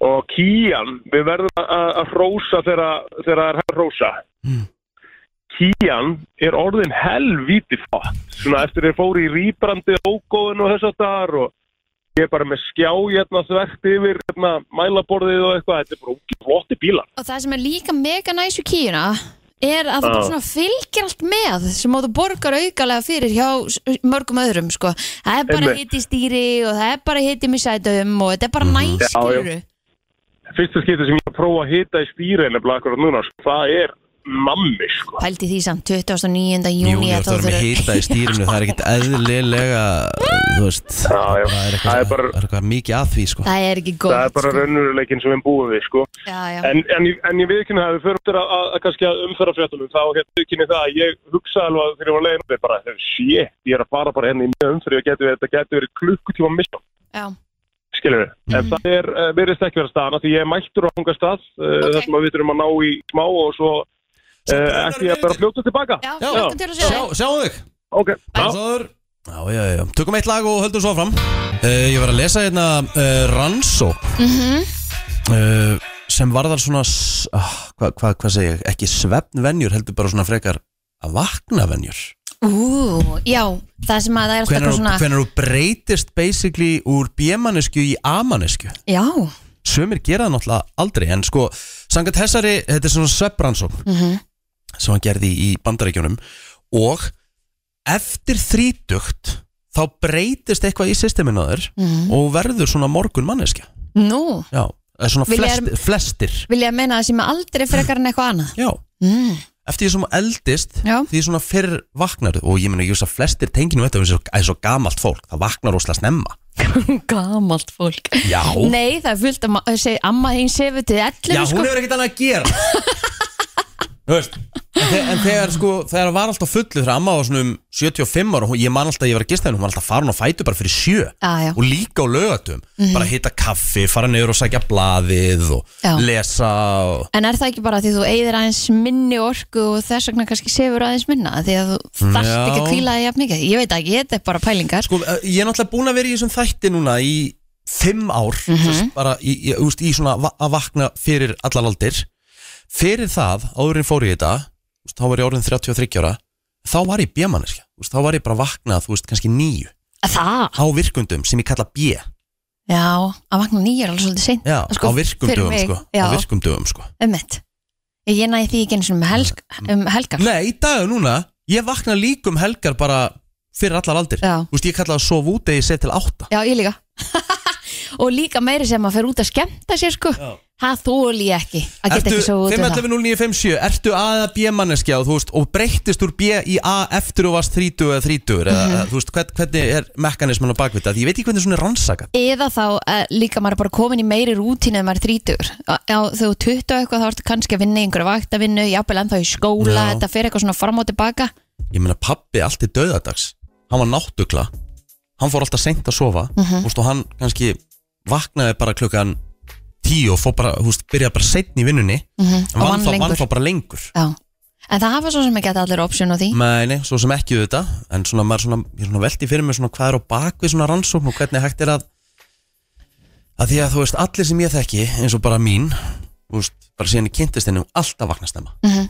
[SPEAKER 8] Og Kian, við verðum að, að rósa þegar þegar það er hann rósa.
[SPEAKER 3] Mm.
[SPEAKER 8] Kian er orðin helvíti flott. Svona eftir þeir fóru í rýbrandi ógóðin og þess að þar og ég er bara með skjá hérna þvert yfir hérna mælaborðið og eitthvað, þetta er bara ógeð flotti bílar.
[SPEAKER 4] Og það sem er líka mega næs við kíuna er að það bara
[SPEAKER 8] Ah.
[SPEAKER 4] svona fylgir allt með sem þú borgar aukalega fyrir hjá s- mörgum öðrum sko. Það er bara hitt
[SPEAKER 8] Einmitt.
[SPEAKER 4] í stýri og það er bara hitt í misætum og þetta er
[SPEAKER 3] Mhm.
[SPEAKER 4] bara næs
[SPEAKER 8] Já, já.
[SPEAKER 4] skiluru.
[SPEAKER 8] Fyrsta skipti sem ég er að prófa að hita í stýri nefnilega akkurat núna, sko, það er nammi, sko.
[SPEAKER 4] Pældi því samt 29.
[SPEAKER 3] Júni,
[SPEAKER 4] júni að þá
[SPEAKER 3] þú erum með
[SPEAKER 4] þurfur-
[SPEAKER 3] hýta í stýrinu Það er ekkert eðlilega Þú veist
[SPEAKER 8] Já, já.
[SPEAKER 3] Það er
[SPEAKER 8] Það
[SPEAKER 3] eitthvað,
[SPEAKER 8] er bara-
[SPEAKER 3] það er eitthvað mikið að því sko.
[SPEAKER 4] Það er ekki góð
[SPEAKER 8] Það er bara raunveruleikin sem við búum við, sko.
[SPEAKER 4] Já, já,
[SPEAKER 8] En, en, ég- en ég viðkynna að við förum til að, að, að kannski að umfæra fréttunum þá hérna viðkynni það að ég hugsa alveg að þegar ég var leiðin þetta er bara, shit, ég er að fara bara henni í mjög umfæri og getur verið, þetta getur verið klukkutíma misjón,
[SPEAKER 4] já.
[SPEAKER 8] skilur við. En það er uh, verið ekki verið staðan af því ég er mættur á hunga stað, uh,
[SPEAKER 4] Ok.
[SPEAKER 8] þar sem að við þurfum að ná í smá og svo uh, ekki að vera fljóta tilbaka.
[SPEAKER 4] Já,
[SPEAKER 3] Já.
[SPEAKER 4] flokkum til að sjá
[SPEAKER 3] Sjá,
[SPEAKER 4] þig.
[SPEAKER 3] Sjáum þig
[SPEAKER 8] Ok,
[SPEAKER 3] Já, já, já, já Tökum eitt lag og höldum svo fram uh, Ég var að lesa hérna uh, Rannsó uh, Sem varðar svona s- ah, Hvað hva, hva segi ég? Ekki svefnvenjur heldur bara svona frekar Að vakna venjur
[SPEAKER 4] Ú, já, það sem að það er alltaf
[SPEAKER 3] Hvenar
[SPEAKER 4] eitthvað svona
[SPEAKER 3] þú breytist basically úr bjemannesku í amannesku
[SPEAKER 4] Já,
[SPEAKER 3] sömur gera það náttúrulega aldrei en sko, sangat þessari, þetta er svona svepprannsókn sem hann gerði í bandaríkjunum og eftir þrítugt þá breytist eitthvað í systeminu á þér
[SPEAKER 4] Mhm.
[SPEAKER 3] og verður svona morgun manneskja
[SPEAKER 4] nú
[SPEAKER 3] já, eða svona
[SPEAKER 4] Vil ég-
[SPEAKER 3] flest, flestir
[SPEAKER 4] Vil ég meina að sem aldrei frekar en eitthvað annað
[SPEAKER 3] já,
[SPEAKER 4] mm.
[SPEAKER 3] eftir því sem þú eldist
[SPEAKER 4] Já.
[SPEAKER 3] því svona fyrr vaknar og ég meina, ég veist að flestir tenginu þetta er svo, er svo gamalt fólk, það vaknar óslega snemma
[SPEAKER 4] Gamalt fólk
[SPEAKER 3] já,
[SPEAKER 4] Nei, það er fullt að ma- að segja amma þín sefu til
[SPEAKER 3] já
[SPEAKER 4] 11
[SPEAKER 3] hún
[SPEAKER 4] sko.
[SPEAKER 3] hefur ekkert annað að gera Þú veist En, þe en þegar sko, þegar það var alltaf fullu þegar amma var svona um 75 ára og hún- ég man alltaf að ég var að gista henni, hún var alltaf farin á fætu bara fyrir sjö
[SPEAKER 4] Já, já. Mhm.
[SPEAKER 3] og líka á lögatum bara hitta kaffi, fara niður og sækja blaðið og
[SPEAKER 4] Já.
[SPEAKER 3] lesa og...
[SPEAKER 4] En er það ekki bara því þú eigðir aðeins minni orku og þess vegna kannski sefur aðeins minna því að þú þarft
[SPEAKER 3] Já.
[SPEAKER 4] ekki að kvíla þig jafn mikið Ég veit ekki, þetta er bara pælingar
[SPEAKER 3] Sko, eh, ég er náttúrulega búin að vera í þessum þætti núna í fimm ár mm
[SPEAKER 4] Mhm.
[SPEAKER 3] -hmm. bara í, í, úst, í svona va- að vakna fyrir allar aldir fyrir það, áðurinn fór ég þetta úst, þá var ég orðin 33 ára þá var ég bjömanneskja, þá var ég bara að vakna þú veist, kannski nýju,
[SPEAKER 4] Það?
[SPEAKER 3] á virkundum sem ég kalla bjö
[SPEAKER 4] Já, að vakna nýja er alveg svolítið seint
[SPEAKER 3] já,
[SPEAKER 4] Sko,
[SPEAKER 3] á virkum
[SPEAKER 4] fyrir
[SPEAKER 3] dögum
[SPEAKER 4] mig,
[SPEAKER 3] sko,
[SPEAKER 4] já.
[SPEAKER 3] á virkum dögum sko
[SPEAKER 4] um mitt Ég næði því ekki eins og um, helg, um helgar
[SPEAKER 3] nei, í dag og núna, ég vakna líkum helgar bara fyrir allar aldir
[SPEAKER 4] Já.
[SPEAKER 3] Þú veist, ég kalla það að sofa út eða ég set til átta
[SPEAKER 4] Já, ég líka Og líka meiri sem að fer út að skemmta sér sko
[SPEAKER 3] Já.
[SPEAKER 4] Það þóli ég ekki að geta ekki svo út um það
[SPEAKER 3] 5.11.09.57 Ertu A eða B manneskja og, þú veist, og breyttist úr B í A eftir þú varst 30 eða 30 eða,
[SPEAKER 4] Mhm.
[SPEAKER 3] þú veist, hvern, hvernig er mekanismin á bakvita því ég veit ekki hvernig svona er rannsakað
[SPEAKER 4] Eða þá eh, líka maður er bara komin í meiri rútínu ef maður er þrítur Þegar þú tuttu eitthvað þá ertu kannski að vinna í einhverju vaktavinnu Jafnvel ennþá í skóla,
[SPEAKER 3] Já.
[SPEAKER 4] þetta fer eitthvað svona fram og tilbaka
[SPEAKER 3] Ég meina pappi allt í döðadags Hann var náttugla Hann fór alltaf seint að sofa mm
[SPEAKER 4] Mhm.
[SPEAKER 3] veist, og hann kannski vaknaði bara klukkan 10 og fór bara, þú veist, byrjaði bara seinn í vinnunni
[SPEAKER 4] Mhm,
[SPEAKER 3] en
[SPEAKER 4] og vann
[SPEAKER 3] vann þá- vann
[SPEAKER 4] lengur.
[SPEAKER 3] þá bara lengur
[SPEAKER 4] Já. En það hafa svo sem ekki allir option á því
[SPEAKER 3] Nei, nei, svo sem ekki auðvitað En svona, maður svona, ég svona velti fyrir mig svona hvað er á bakvið svona rannsókn og hvernig hægt er að að því að þú veist, allir sem ég þekki eins og bara mín, þú veist bara síðan í kynntistinni og alltaf vakna stemma mm
[SPEAKER 4] Mhm,
[SPEAKER 3] -hmm.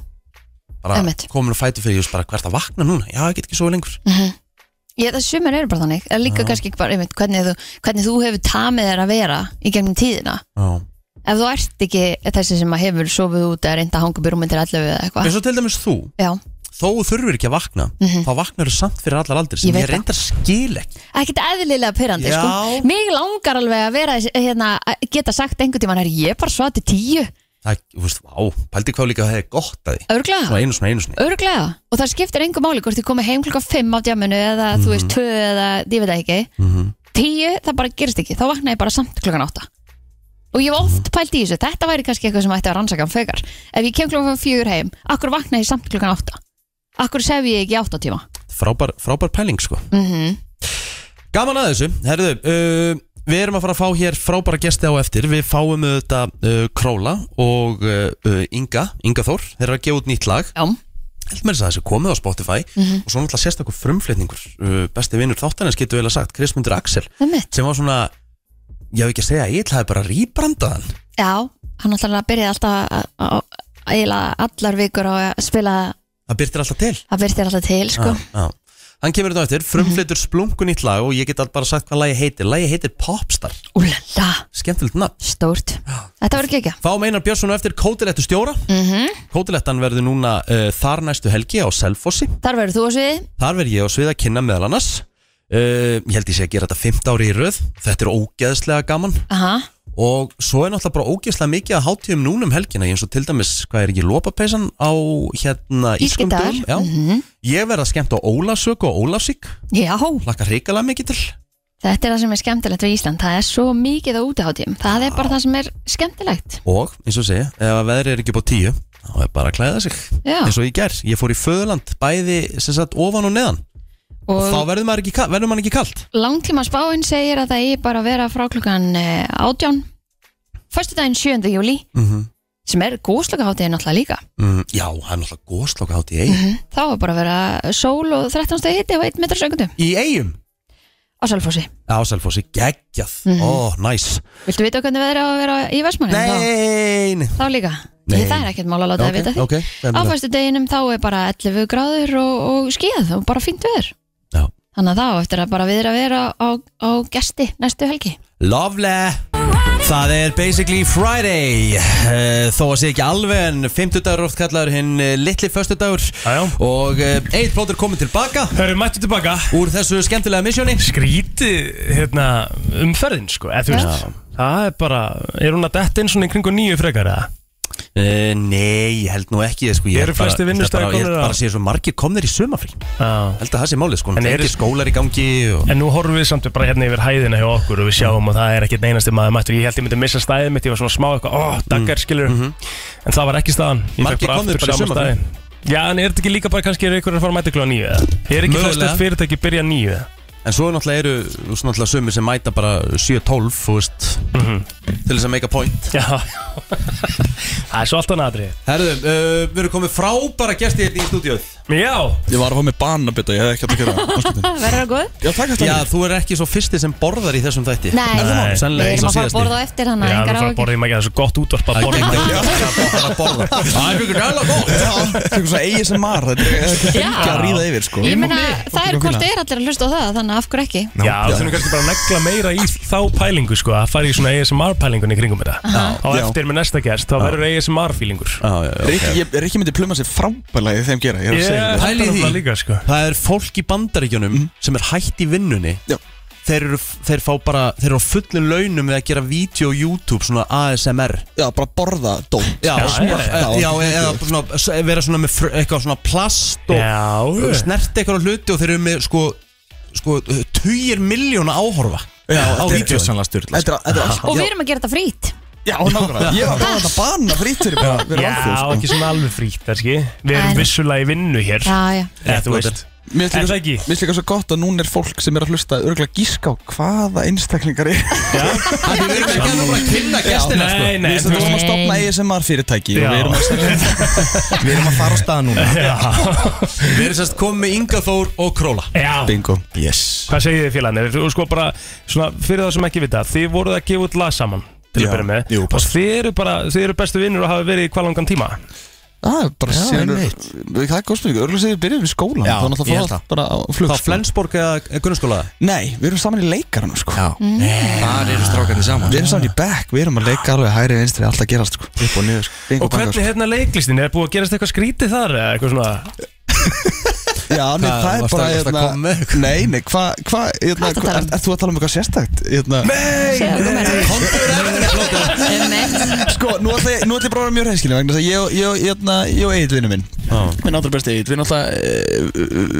[SPEAKER 3] bara
[SPEAKER 4] Einmitt.
[SPEAKER 3] komin og fætu fyrir ég veist bara hvert að vakna núna, já, ég get ekki svo lengur mm
[SPEAKER 4] mhm. Ég, það sumir eru bara þannig, en líka kannski bara, einmitt, hvernig, þú, hvernig þú hefur tamið þér að vera í gegnum tíðina
[SPEAKER 3] -hmm.
[SPEAKER 4] Ef þú ert ekki þessi sem að hefur sofið út eða reynda að hanga upp í rúmið til allu eða eitthvað
[SPEAKER 3] eins og til dæmis þú,
[SPEAKER 4] Já,
[SPEAKER 3] þó þú þurfir ekki að vakna þá vaknar þú samt fyrir allar aldrei sem
[SPEAKER 4] Mhm. Ég
[SPEAKER 3] ég,
[SPEAKER 4] veit
[SPEAKER 3] ég
[SPEAKER 4] það.
[SPEAKER 3] reyndar skil ekki
[SPEAKER 4] ekkert eðlilega pyrrandi
[SPEAKER 3] Já.
[SPEAKER 4] sko. Mig langar alveg að vera þessi- hérna, að geta sagt einhvern tímann er ég bara svo til tíu,
[SPEAKER 3] það, þú veist, á, pældi hvað líka það er gott að því svona
[SPEAKER 4] örglega
[SPEAKER 3] einu svona einu svona
[SPEAKER 4] Örglega, og það skiptir engu máli hvort þið komið heim klukka 5 á djáminu eða þú
[SPEAKER 3] Mhm.
[SPEAKER 4] veist 2 eða ég veit það ekki mm 10, það bara gerist ekki, þá vakna ég bara samt klukkan 8 og ég hef oft pælt í þessu, þetta væri kannski eitthvað sem ætti að rannsaka um fegar ef ég kem klukkan 4 heim, akkur vakna ég samt klukkan 8 akkur sef ég ekki í 8 tíma
[SPEAKER 3] frábær, frábær pæling sko Gaman að þessu, herðu uh, Við erum að fara að fá hér frábæra gesti á eftir Við fáum auðvitað uh, Króla og uh, uh, Inga Inga Þór, þeir eru að gefa út nýtt lag
[SPEAKER 4] Já,
[SPEAKER 3] Held með þess að þessu komið á Spotify Og svo náttúrulega sérstakur frumflutningur uh, Besti vinnur þáttanins getur vel að sagt Krismundur Axel,
[SPEAKER 4] það mitt
[SPEAKER 3] sem var svona Ég hef ekki að segja, ég ætlaði bara að rýbranda hann
[SPEAKER 4] Já, hann alltaf byrjaði alltaf að- að- að eiginlega allar vikur á að spila
[SPEAKER 3] Það byrtir alltaf til
[SPEAKER 4] að byrja alltaf til sko.
[SPEAKER 3] Já, já. Hann kemur þetta á eftir, frumflyttur splunkun ítt lag og ég get bara sagt hvað lagi heitir Lagi heitir Popstar,
[SPEAKER 4] Úlala,
[SPEAKER 3] Ah, skemmtilegt nafn
[SPEAKER 4] stórt Þetta verður ekki
[SPEAKER 3] Fá meinar Björnsson á eftir Kótilettu stjóra mm -hmm. Kótilettan verður núna uh, þar næstu helgi á Selfossi
[SPEAKER 4] Þar verður þú á sviði
[SPEAKER 3] Þar verð ég á svið að kynna meðal annars uh, Ég held ég sé að gera þetta 15 ári í röð Þetta er ógeðslega gaman
[SPEAKER 4] Aha.
[SPEAKER 3] Og svo er náttúrulega bara ógeðslega mikið að hátíðum núna um helgina Ég eins og til dæmis, hvað er ekki, lopapeysan á hérna ískum
[SPEAKER 4] Ísgildar.
[SPEAKER 3] dögum Já, ég verð að skemmta á Ólafsök og Ólafsík
[SPEAKER 4] Já,
[SPEAKER 3] Laka hrikalega mikið til
[SPEAKER 4] þetta er það sem er skemmtilegt við Ísland Það er svo mikið á útiháttíum Það er bara það sem er skemmtilegt
[SPEAKER 3] Og, eins og segja, ef að veðri er ekki upp á tíu Þá er bara að klæða sig
[SPEAKER 4] Já.
[SPEAKER 3] Eins og ég ger, ég fór í föðuland Bæði, sem sagt, ofan og neðan
[SPEAKER 4] Og
[SPEAKER 3] Þá verður maður ekki, ka- verður maður ekki kalt
[SPEAKER 4] langtíma spáin segir að það er bara að vera frá klukkan eh, 18 Föstudaginn 7. júli sem er góðslöka hátíðin alltaf líka
[SPEAKER 3] mm, Já, það er náttúrulega góðslokk hátíð í eigum
[SPEAKER 4] Þá er bara að vera sól og 13 stegi hitti og 1 metr sekundu
[SPEAKER 3] Í eigum?
[SPEAKER 4] á Salfossi
[SPEAKER 3] Já, Selfossi, geggjað
[SPEAKER 4] Mhm.
[SPEAKER 3] Ó, næs
[SPEAKER 4] Viltu vita hvernig veður á að vera í Vestmanni?
[SPEAKER 3] Nei, nei.
[SPEAKER 4] Þá, þá líka
[SPEAKER 3] Nei.
[SPEAKER 4] Nei. Það er ekkert mál að láta
[SPEAKER 3] Ok,
[SPEAKER 4] að vita því
[SPEAKER 3] ok, hvað er
[SPEAKER 4] Á
[SPEAKER 3] það?
[SPEAKER 4] fæstu deginum þá er bara 11 gráður og, og skíð og bara fínt veður
[SPEAKER 3] Já.
[SPEAKER 4] Þannig að þá eftir að bara viðra vera á, á gesti næstu helgi
[SPEAKER 3] Lovely Það er basically Friday uh, Þó að sé ekki alveg en 50 dagur oft kallaður hinn uh, litli föstudagur
[SPEAKER 5] já.
[SPEAKER 3] Og uh, Egil Plóter komið tilbaka
[SPEAKER 5] Hörru, mættu tilbaka
[SPEAKER 3] Úr þessu skemmtilega misjóni
[SPEAKER 5] Skrítið, hérna, umferðin, sko eða þú veist Það er bara, er hún að detta inn svona í kringu nýju frekar eða?
[SPEAKER 3] uh, Nei, ég held nú ekki sko, ég
[SPEAKER 5] Eru
[SPEAKER 3] held bara-
[SPEAKER 5] flestir
[SPEAKER 3] ég held
[SPEAKER 5] vinnustaðir
[SPEAKER 3] bara- Ég
[SPEAKER 5] komnir
[SPEAKER 3] held
[SPEAKER 5] á?
[SPEAKER 3] bara að sé svo margir komnir í sumafrí
[SPEAKER 5] Já
[SPEAKER 3] Held að það sé málið sko
[SPEAKER 5] En
[SPEAKER 3] En
[SPEAKER 5] eru-
[SPEAKER 3] eru skólar í gangi og...
[SPEAKER 5] En nú horfum við samt bara hérna yfir hæðina hjá okkur og við sjáum að það er ekkert einasti maður mættur Ég held ég myndi missa stæðið mitt, ég var svona smá eitthvað, ó, daggar skilur En það var ekki staðan Ég
[SPEAKER 3] Margir
[SPEAKER 5] fekk bara
[SPEAKER 3] komnir
[SPEAKER 5] aftur
[SPEAKER 3] bara í
[SPEAKER 5] sama
[SPEAKER 3] sumarfrí.
[SPEAKER 5] staðinn. Já, en er þetta ekki líka bara kannski er einhverjum að fara að mæta klúa nýju eða? Er ekki
[SPEAKER 3] Mögulega.
[SPEAKER 5] flestir fyrirtæki byrja nýju eða?
[SPEAKER 3] En svo náttúrulega eru þú veist, náttúrulega sumir sem mæta bara 7-12 þú veist, Til þess að make a point
[SPEAKER 5] Mhm. Já, það er svo allt annað atrið
[SPEAKER 3] Herðu, uh, við erum komið frábæra gesti hérna í stúdíóð
[SPEAKER 5] Já,
[SPEAKER 9] Ég var að fá mig bananbytta, ég hef ekki átt að gera það Áskiptin.
[SPEAKER 4] Verður það góð?
[SPEAKER 9] Já, takk
[SPEAKER 3] Já,
[SPEAKER 9] eftir
[SPEAKER 3] þú er ekki svo fyrsti sem borðar í þessum þætti
[SPEAKER 4] Nei.
[SPEAKER 3] Er það mál?
[SPEAKER 5] Nei.
[SPEAKER 4] Við
[SPEAKER 3] Sennilega eins
[SPEAKER 4] erum
[SPEAKER 3] og
[SPEAKER 4] að fara að
[SPEAKER 3] síðasti
[SPEAKER 4] borða hérna á eftir hann
[SPEAKER 5] já, þú
[SPEAKER 4] engar
[SPEAKER 5] fara að
[SPEAKER 4] áhyggjur.
[SPEAKER 5] borða í mækja, það er svo gott útvarp að borða í mækja
[SPEAKER 3] að borða Það er fyrir gæla gott
[SPEAKER 9] Það er svona eigi sem mar, þetta er ekki fylgja að ríða yfir sko
[SPEAKER 4] Ég meina, það er hvort er allir að hlusta á það þannig að af hverju ekki
[SPEAKER 5] Já, þú þurfum kannski bara að negla meira í þá pælingu sko, að fara í svona ASMR-pælingunni kringum þetta Á
[SPEAKER 9] Já.
[SPEAKER 5] eftir með næsta gæst, þá verður ASMR-fílingur
[SPEAKER 9] Rikki, ég, Rikki myndi pluma sér frábælega í þeim gera, ég er að segja
[SPEAKER 5] Ég
[SPEAKER 9] yeah.
[SPEAKER 3] Pælið í
[SPEAKER 5] pæli
[SPEAKER 3] því.
[SPEAKER 5] því líka, sko.
[SPEAKER 3] Það er fólk í bandaríkjunum sem er hætt í vinnunni
[SPEAKER 9] Já.
[SPEAKER 3] Þeir eru, þeir fá bara, þeir eru á fullu launum við að gera vídeo og YouTube, svona ASMR
[SPEAKER 9] Já, bara borða dót
[SPEAKER 3] Já,
[SPEAKER 5] já,
[SPEAKER 3] svona,
[SPEAKER 9] já.
[SPEAKER 3] já, eða svona, s- vera svona með fr- eitthvað svona plast og
[SPEAKER 5] Já, já.
[SPEAKER 3] snerti eitthvað á hluti og þeir eru með sko, sko, tugir miljóna áhorfa á vídeo
[SPEAKER 9] styrla Þetta er-
[SPEAKER 4] Og
[SPEAKER 9] þetta er allt
[SPEAKER 4] við
[SPEAKER 9] já,
[SPEAKER 4] erum að gera þetta Ah. frít
[SPEAKER 9] já, nákvæmlega Ég var bara
[SPEAKER 4] um
[SPEAKER 9] að banna frýtt fyrir bara fyrir
[SPEAKER 5] Já,
[SPEAKER 9] alþjóð,
[SPEAKER 5] ekki svona alveg frítt, kannski Við erum
[SPEAKER 4] En-
[SPEAKER 5] vissulega í vinnu hér
[SPEAKER 4] Já, já
[SPEAKER 5] Eða þú veist
[SPEAKER 9] sko. Mér
[SPEAKER 5] Er
[SPEAKER 9] finnst
[SPEAKER 5] það
[SPEAKER 9] líka-
[SPEAKER 5] ekki?
[SPEAKER 9] mér finnst líka svo gott að núna er fólk sem er að hlusta örgulega gíska á hvaða einstaklingar er
[SPEAKER 3] Það er ekki að bara kynna gestina sko.
[SPEAKER 5] Nei, nei,
[SPEAKER 9] Við
[SPEAKER 5] þú
[SPEAKER 9] erum að stopna ASMR fyrirtæki og
[SPEAKER 5] Já.
[SPEAKER 9] við erum að Við erum að fara á stað núna
[SPEAKER 5] veist
[SPEAKER 3] Við erum sérst komið með Inga Þór og Króla
[SPEAKER 5] Já,
[SPEAKER 9] Bingo Yes
[SPEAKER 5] hvað segir þið félagarnir? Þú sko bara, svona, fyrir það sem ekki vita Þið voruð að gefa út lag saman til
[SPEAKER 9] Já,
[SPEAKER 5] að byrja með
[SPEAKER 9] jú,
[SPEAKER 5] Og
[SPEAKER 9] pass.
[SPEAKER 5] þið eru bara, þið eru bestu vinnur og hafa verið í hvað langan tíma
[SPEAKER 9] Það er bara síðan
[SPEAKER 3] einmitt.
[SPEAKER 9] Við- Það er góð spurning Örgulega segir við byrjum við skólan
[SPEAKER 3] Já,
[SPEAKER 9] Þá náttúrulega
[SPEAKER 3] ég
[SPEAKER 9] fór
[SPEAKER 3] held
[SPEAKER 9] allt bara á flug
[SPEAKER 3] Þá
[SPEAKER 9] sko.
[SPEAKER 3] Flensborg eða Gunnarskóla
[SPEAKER 9] Nei, við erum saman í leikaranum sko Já
[SPEAKER 10] Þar eru strákarnir saman
[SPEAKER 9] Við erum saman í back Við erum að leika alveg hæri vinstri Alltaf gerast sko Upp og niður sko Bingo,
[SPEAKER 5] Og hvernig hérna leiklistin, er búið að gerast eitthvað skrítið þar? eða Eitthvað svona,
[SPEAKER 9] Já, nei,
[SPEAKER 3] Hvað,
[SPEAKER 9] það er bara
[SPEAKER 3] varstu að- varstu að
[SPEAKER 9] hérna-
[SPEAKER 3] koma með
[SPEAKER 9] Nei, nei, hvað hva, hérna,
[SPEAKER 4] Hvað ertu að tala um?
[SPEAKER 9] ert- ert Þú að tala um eitthvað sérstakt hérna,
[SPEAKER 4] Segðu okkur meira. Einmitt.
[SPEAKER 9] Sko, nú ætla ég, nú ætla ég bara að vera mjög reynskilin vegna þess að ég, og- ég, og- hérna, ég og Egil vinnu minn minn allra besti Egil, við náttúrulega eh,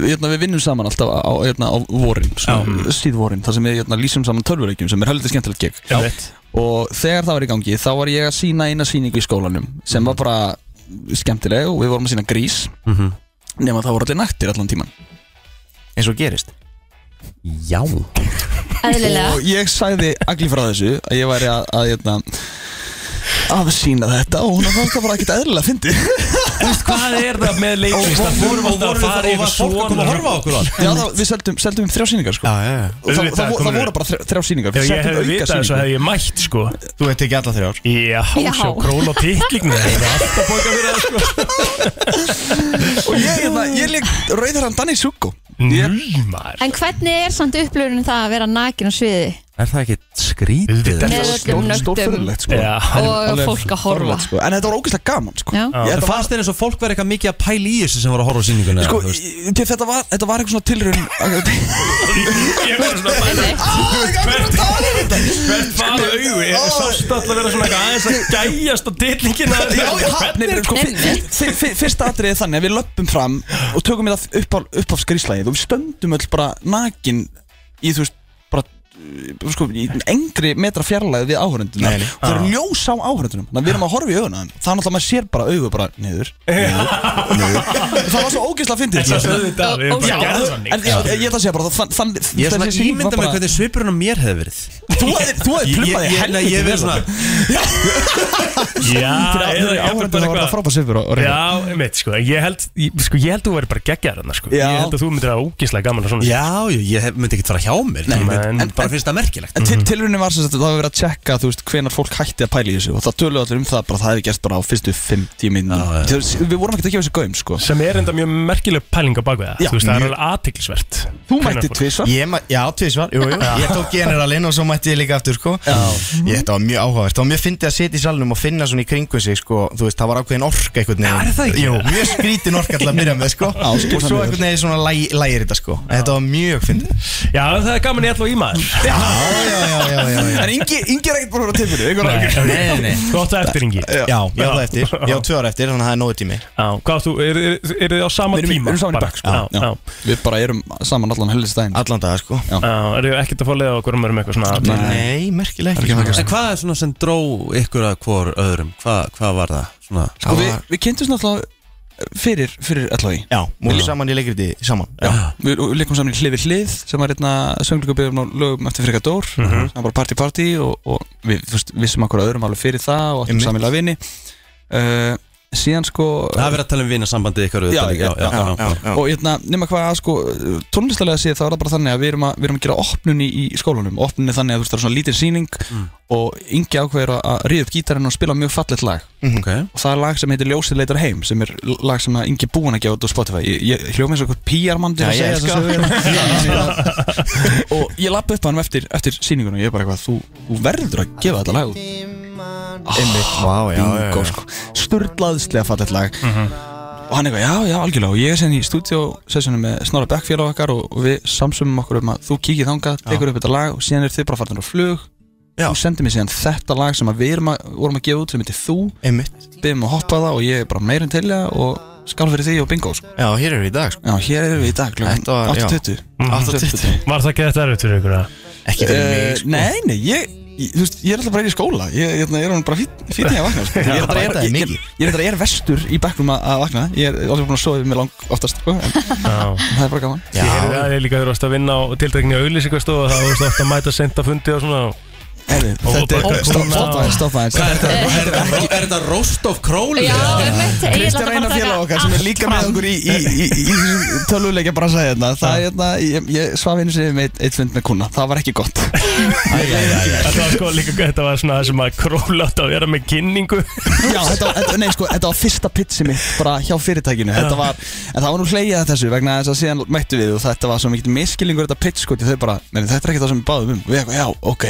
[SPEAKER 9] hérna, við vinnum saman alltaf á, hérna, á vorin, svona, síð vorin þar sem við hérna, lýsum saman tölvuleikjum sem er heldur skemmtilegt gig
[SPEAKER 5] einmitt.
[SPEAKER 9] og þegar það var í gangi þá var ég að sína eina síningu í skólanum sem var bara skemmtileg og við vorum að sína grís
[SPEAKER 2] Mhm.
[SPEAKER 9] nema það voru allir naktir allan tíman
[SPEAKER 10] Eins og gerist
[SPEAKER 3] Já
[SPEAKER 4] Eðlilega
[SPEAKER 9] og ég sagði allir frá þessu að ég væri að, að hérna, að sína þetta og hún fannst það bara ekkert eðlilega fyndi
[SPEAKER 5] Þú veist, hvað er það með leiklist? Það fórum alltaf að fara
[SPEAKER 3] og
[SPEAKER 5] yfir
[SPEAKER 3] var fólk að koma að horfa á okkur þar?
[SPEAKER 9] Já, það, við seldum, seldum þrjá síningar sko.
[SPEAKER 10] já,
[SPEAKER 9] Og
[SPEAKER 10] já
[SPEAKER 9] það,
[SPEAKER 5] Auðvitað,
[SPEAKER 9] það, það,
[SPEAKER 5] komum
[SPEAKER 9] það
[SPEAKER 5] við.
[SPEAKER 9] voru bara þrjá, þrjá síningar
[SPEAKER 5] Ef
[SPEAKER 9] Við
[SPEAKER 5] ég
[SPEAKER 9] settum
[SPEAKER 5] hefði
[SPEAKER 9] auka
[SPEAKER 5] vitað þessu
[SPEAKER 9] sýningu.
[SPEAKER 5] hefði ég mætt sko
[SPEAKER 10] Þú ert ekki alla þrjár
[SPEAKER 5] Já,
[SPEAKER 4] Já.
[SPEAKER 5] sjó, krón og tikkling Það er alltaf bókað fyrir það sko
[SPEAKER 9] Og ég, hérna, ég leik Rauðherran Danny Suko
[SPEAKER 5] Núl maður
[SPEAKER 4] En hvernig er samt upplöfunin það að vera nakin á sviði
[SPEAKER 10] Er það ekki skrítið?
[SPEAKER 5] Auðvitað er
[SPEAKER 4] Með
[SPEAKER 5] það
[SPEAKER 4] öllum nögtum
[SPEAKER 9] Stórfurðulegt sko
[SPEAKER 5] Já,
[SPEAKER 4] og fólk að horfa
[SPEAKER 9] Forlegt, sko. En þetta var ógeðslega gaman sko.
[SPEAKER 4] Já.
[SPEAKER 9] Ég,
[SPEAKER 3] En
[SPEAKER 9] þetta, var,
[SPEAKER 3] fannst þér eins og fólk verið eitthvað mikið að pæla í þessu sem var að horfa á sýninguna
[SPEAKER 9] sko,
[SPEAKER 3] eða, þú veist?
[SPEAKER 9] ég- þetta, var, þetta var eitthvað svona tilraun
[SPEAKER 5] Ég var svona að bæta Hvert var auðu? Er sást alltaf að vera svona eitthvað aðeins að gæjast á dillingina?
[SPEAKER 9] Nei, sko, fyr- fyr- fyr- fyr- Fyrsta atriðið er þannig að við löppum fram og tökum þetta upp á, upp á skrýslægið og við stöndum öll bara nakin í þú veist bara uh, sko, í engri metra fjarlæði við áhörundina
[SPEAKER 10] Nei, nei.
[SPEAKER 9] og það
[SPEAKER 5] Ah.
[SPEAKER 9] er ljós á áhörundunum þannig að við erum að horfa í augun á þeim þannig að maður sér bara augu bara niður, niður, niður. það var svo ógeðslega fyndið
[SPEAKER 5] Þetta er svo auðvitað, við erum
[SPEAKER 4] Já,
[SPEAKER 5] bara að gera
[SPEAKER 9] en já, ég, ég ætla að segja bara það- þann, þann,
[SPEAKER 3] Ég er svona
[SPEAKER 9] þessi sýning var
[SPEAKER 3] ímynda mér
[SPEAKER 9] bara-
[SPEAKER 3] hvernig svipurinn á mér hefði verið
[SPEAKER 9] þú hefði þú hefði
[SPEAKER 3] Ég-
[SPEAKER 9] plummaði
[SPEAKER 3] ég- nei, Ég verið
[SPEAKER 9] sko.
[SPEAKER 3] svona
[SPEAKER 5] Já,
[SPEAKER 9] fyrir
[SPEAKER 5] eða jafnvel
[SPEAKER 9] áhörundunum
[SPEAKER 5] bara
[SPEAKER 9] var þetta
[SPEAKER 5] eitthvað
[SPEAKER 9] frábæð sifur
[SPEAKER 5] Já, mitt, sko, ég held, ég, sko, ég held þú verið bara geggjaður þarna, sko
[SPEAKER 9] Já.
[SPEAKER 5] Ég held að þú myndir að ógislega gaman að svona
[SPEAKER 3] Já, já, ég hef- myndi ekkert fara hjá mér
[SPEAKER 5] Nei,
[SPEAKER 3] Ég myndi-
[SPEAKER 5] en- Mhm.
[SPEAKER 3] en bara finnst það merkilegt
[SPEAKER 9] En til, tilraunin var sem sagt að það var verið að tjekka þú veist hvenar fólk hætti að pæla í þessu og það töluðu allir um það bara það hefði gert bara á fyrstu 50 minna
[SPEAKER 3] Já, já.
[SPEAKER 9] Við vorum ekkert að gefa þessu gaum sko
[SPEAKER 5] Sem er enda mjög merkileg pæling á bakvið það
[SPEAKER 9] Já,
[SPEAKER 5] Þú veist, það er
[SPEAKER 9] mjög.
[SPEAKER 5] alveg aðtiklisvert
[SPEAKER 9] Þú mætti tvisvar
[SPEAKER 10] Ég mæ, já, tvísvar, jú, jú Ég tók generalinn og svo mætti ég líka aftur, sko Já Ég, þetta var mjög áhugavert Það var mjög fyndið að setja í salnum og finna svona í kringu sig, sko Þú veist, það var ákveðin orka einhvern veginn
[SPEAKER 5] Já, er það ekki?
[SPEAKER 10] Jú, mjög skrítin orka alltaf að byrja með, sko
[SPEAKER 9] Já,
[SPEAKER 10] Og
[SPEAKER 9] skil það
[SPEAKER 10] svo
[SPEAKER 9] mjög.
[SPEAKER 10] einhvern veginn svona læ, lægir þetta, sko En Þetta var mjög fyndið
[SPEAKER 5] Já, það er gaman í alltaf í maður
[SPEAKER 10] Já, já, já, já, já, já.
[SPEAKER 9] En Ingi, Ingi er ekkert búin að vera tilbyrðu einhvern veginn
[SPEAKER 10] Nei, nei, nei
[SPEAKER 5] Gott að eftir yngi
[SPEAKER 10] Já, ég á það eftir, ég á tvö ára eftir, þannig að það er nógu tími
[SPEAKER 5] Já, hvað áttu, eru er, er þið á sama
[SPEAKER 9] Við erum-
[SPEAKER 5] tíma?
[SPEAKER 9] við erum saman í
[SPEAKER 5] bara?
[SPEAKER 9] bekk, sko.
[SPEAKER 5] Já,
[SPEAKER 9] Já.
[SPEAKER 5] já,
[SPEAKER 9] Við bara erum saman allan helgist daginn
[SPEAKER 10] Allan dag, sko
[SPEAKER 5] já, eru þið ekkert að fá leið á okkur um erum eitthvað svona
[SPEAKER 9] Nei. sko.
[SPEAKER 10] Nei, merkilega ekki
[SPEAKER 3] En hvað er svona sem dró ykkur að hvor öðrum? Hvað, hvað var það? Svona,
[SPEAKER 9] Sko við, við kynntum náttúrulega fyrir, fyrir allavegi
[SPEAKER 10] Já, múlið saman í leikriti, saman Já,
[SPEAKER 9] Við við leikum saman í Hlifi Hlið sem var einna sönglíkabíðum og lögum eftir Frika Dór sem var bara party party og, og við þú veist, vissum okkur öðrum alveg fyrir það og áttum
[SPEAKER 10] Einmitt.
[SPEAKER 9] samanlega vini uh, Síðan sko
[SPEAKER 3] það er verið að tala um vinasambandið ykkur
[SPEAKER 9] Já,
[SPEAKER 3] auðvitað líka,
[SPEAKER 9] já, já,
[SPEAKER 10] já, já.
[SPEAKER 9] og hérna, nema hvað sko, tónlistalega séð þá er það bara þannig að við erum að, við erum að gera opnun í, í skólanum og opnun er þannig að þú veist það er svona lítið síning og yngi ákveður að- að ríða upp gítarinn og spila mjög fallet lag
[SPEAKER 3] Ok,
[SPEAKER 9] og það er lag sem heitir Ljósið leitar heim sem er lag sem að yngi er búinn að gefa út á Spotify ég, ég hljóma eins og eitthvað píarmandi
[SPEAKER 10] Já, ég
[SPEAKER 9] sko.
[SPEAKER 10] elska
[SPEAKER 9] og ég lappi upp á hann eftir, eftir síninguna og ég er bara eitthvað, þú, þú verður að gefa þetta lag út
[SPEAKER 10] einmitt Vá, já, já,
[SPEAKER 9] bingo
[SPEAKER 10] já
[SPEAKER 9] sko Sturlaðslega fallet lag Og hann eitthvað, já, já, algjörlega Og ég er sen í stúdíósessjónu með Snorra Beck félag okkar og, og við samsumum okkur um að þú kikið þangað, tekur upp þetta lag og síðan er þið bara farnir á flug
[SPEAKER 10] Já.
[SPEAKER 9] Þú sendir mér síðan þetta lag sem að við erum að, vorum að gefa út sem heitir Þú
[SPEAKER 10] Einmitt
[SPEAKER 9] Byðum að hoppa á það og ég er bara meirinn til það og skál fyrir því og bingo sko.
[SPEAKER 10] Já, hér erum við í dag, sko
[SPEAKER 9] Já, hér erum við í dag, klukkan
[SPEAKER 10] Þetta var- já.
[SPEAKER 9] 8.20
[SPEAKER 10] 8.20
[SPEAKER 5] Mm. Var það ekki þetta erfitt fyrir ykkur að?
[SPEAKER 10] Ekki fyrir mig,
[SPEAKER 9] Uh,
[SPEAKER 10] sko
[SPEAKER 9] nei, nei, ég, ég, þú veist, ég er alltaf bara í skóla Ég, ég, ég er hann bara fýtni fít, að vakna sko. Ég er alltaf-
[SPEAKER 10] bæta
[SPEAKER 9] ég-
[SPEAKER 10] þig
[SPEAKER 9] ég-
[SPEAKER 10] mikið.
[SPEAKER 9] ég er alltaf- ég er vestur í bekknum að, að vakna Ég er alltaf búin að sofa yfir mig lang oftast sko, En
[SPEAKER 5] Já
[SPEAKER 9] það er bara gaman
[SPEAKER 10] Já,
[SPEAKER 5] Ég heyrði að ég líka þurfast að vinna á tiltekni auðlýsingastofu Það þú veist ofta að mæta senda fundi og svona
[SPEAKER 9] Heyrðu,
[SPEAKER 5] Og
[SPEAKER 9] Þetta
[SPEAKER 5] bara
[SPEAKER 9] er, stoppa
[SPEAKER 5] koma-
[SPEAKER 9] stoppa aðeins, stoppa aðeins
[SPEAKER 3] Er þetta- er þetta- er þetta roast of króli?
[SPEAKER 4] Já, einmitt, ég ætla
[SPEAKER 9] Kristján
[SPEAKER 4] bara
[SPEAKER 9] Einar
[SPEAKER 4] að
[SPEAKER 9] félag okkar sem er líka með okkur í, í, í, í, í þessum tölvuleikja bara að segja hérna Það er hérna, ég, ég svaf einu sinni með eitt, eitt fund með kuna Það var ekki gott
[SPEAKER 5] Þetta var sko líka, þetta var svona það sem að króla átt að vera með kynningu
[SPEAKER 9] Já, þetta var, þetta- nei, sko, þetta var fyrsta pitsi mitt bara hjá fyrirtækinu þetta var, En það var nú hleyjað að þessu vegna þess að síðan mættu við og þetta var svo mikið miskilningur þetta pitch sko, því þau bara, meni, þetta er ekki það sem við báðum um og ég eitthvað, já, ok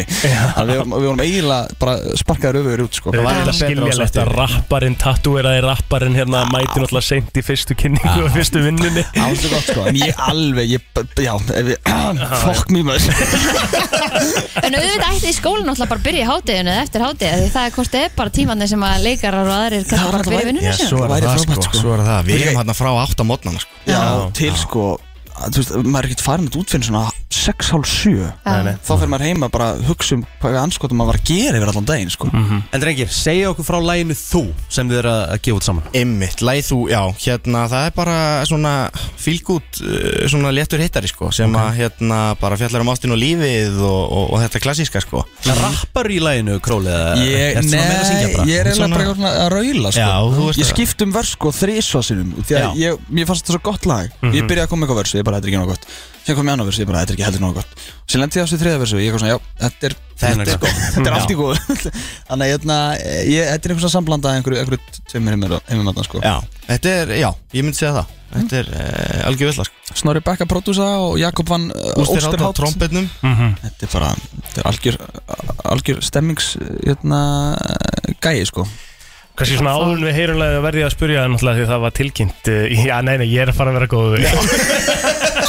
[SPEAKER 9] Þannig við, vorum- við vorum eiginlega bara sparkaður öfugur út sko.
[SPEAKER 5] Það var
[SPEAKER 10] betra
[SPEAKER 5] eitthvað
[SPEAKER 10] á
[SPEAKER 5] skiljalegt
[SPEAKER 10] svartir.
[SPEAKER 5] að rapparinn, tattúeraði rapparinn hérna mæti náttúrulega seint í fyrstu kynningu og fyrstu vinnunni
[SPEAKER 9] Það var svo gott sko, en ég alveg, ég, já, ef ég, fuck me maður
[SPEAKER 4] En auðvitað ætti í skólinn náttúrulega bara að byrja í hátíðinu eða eftir hátíð því það er hvort eð er bara tímanir sem að leikarar og aðrir
[SPEAKER 9] Já,
[SPEAKER 4] kannski bara
[SPEAKER 9] það
[SPEAKER 4] byrja í
[SPEAKER 9] væri-
[SPEAKER 4] vinnunni
[SPEAKER 10] Já,
[SPEAKER 4] sinni
[SPEAKER 10] svo er
[SPEAKER 9] væri
[SPEAKER 10] það,
[SPEAKER 9] frábært,
[SPEAKER 10] sko,
[SPEAKER 9] sko.
[SPEAKER 10] svo er það Við erum hérna frá 8 mótnana, sko
[SPEAKER 9] Já, til sko, að, þú veist, maður er ekkert farin að útfinn svona 6,5-7
[SPEAKER 4] Já.
[SPEAKER 9] Þá fer maður heima bara að hugsa um hvað anskotum maður var að gera yfir allan daginn sko
[SPEAKER 10] Mhm.
[SPEAKER 3] En drengir, segja okkur frá læginu þú sem þið eru að að gefa út saman
[SPEAKER 10] Einmitt, læð þú, já, hérna, það er bara svona fílgút, uh, svona léttur hittari, sko Sem að, hérna, bara fjallar um ástin og lífið og, og, og þetta klassíska, sko
[SPEAKER 3] Rappar í læginu króli? eða-
[SPEAKER 9] Ég,
[SPEAKER 3] eh, Ertu svona meira að syngja bara?
[SPEAKER 9] nei, ég er eiginlega
[SPEAKER 10] Svona-
[SPEAKER 9] bara eitthvað svona að raula sko.
[SPEAKER 10] Já, þú veist
[SPEAKER 9] Ég
[SPEAKER 10] það.
[SPEAKER 9] skipt um vers sko þrísva sinum Því að
[SPEAKER 10] Já. Mhm.
[SPEAKER 9] ég, mér fannst þetta svo gott lag Ég byrjaði að koma með eitthvað vers, ég bara, þetta er ekki nóg gott Sér kom ég annað vers, ég bara, þetta er ekki heldur nóg gott Og sér lendi ég á þessu þriða versu, ég kom svona, já, þetta er
[SPEAKER 10] Þetta er gott.
[SPEAKER 9] Þetta er allt í góð Þannig að hérna, ég- þetta er einhversa samblanda af einhverju, einhverju tveimur heimur heimur sko.
[SPEAKER 10] Já, þetta er, já, ég myndi segja það þetta er uh, algjör villar sko.
[SPEAKER 9] Snorri Bekka prodúsa og Jakob van
[SPEAKER 10] Ústir hát á
[SPEAKER 9] Ósterhátt
[SPEAKER 10] trombetnum
[SPEAKER 9] Þetta er bara, þetta er algjör, algjör stemmings hérna, gæi sko
[SPEAKER 5] Kanski svona áður en við heyrunlega verði ég að spurja það náttúrulega því það var tilkynnt eh, Já, nei, nei, ég er að fara að vera góður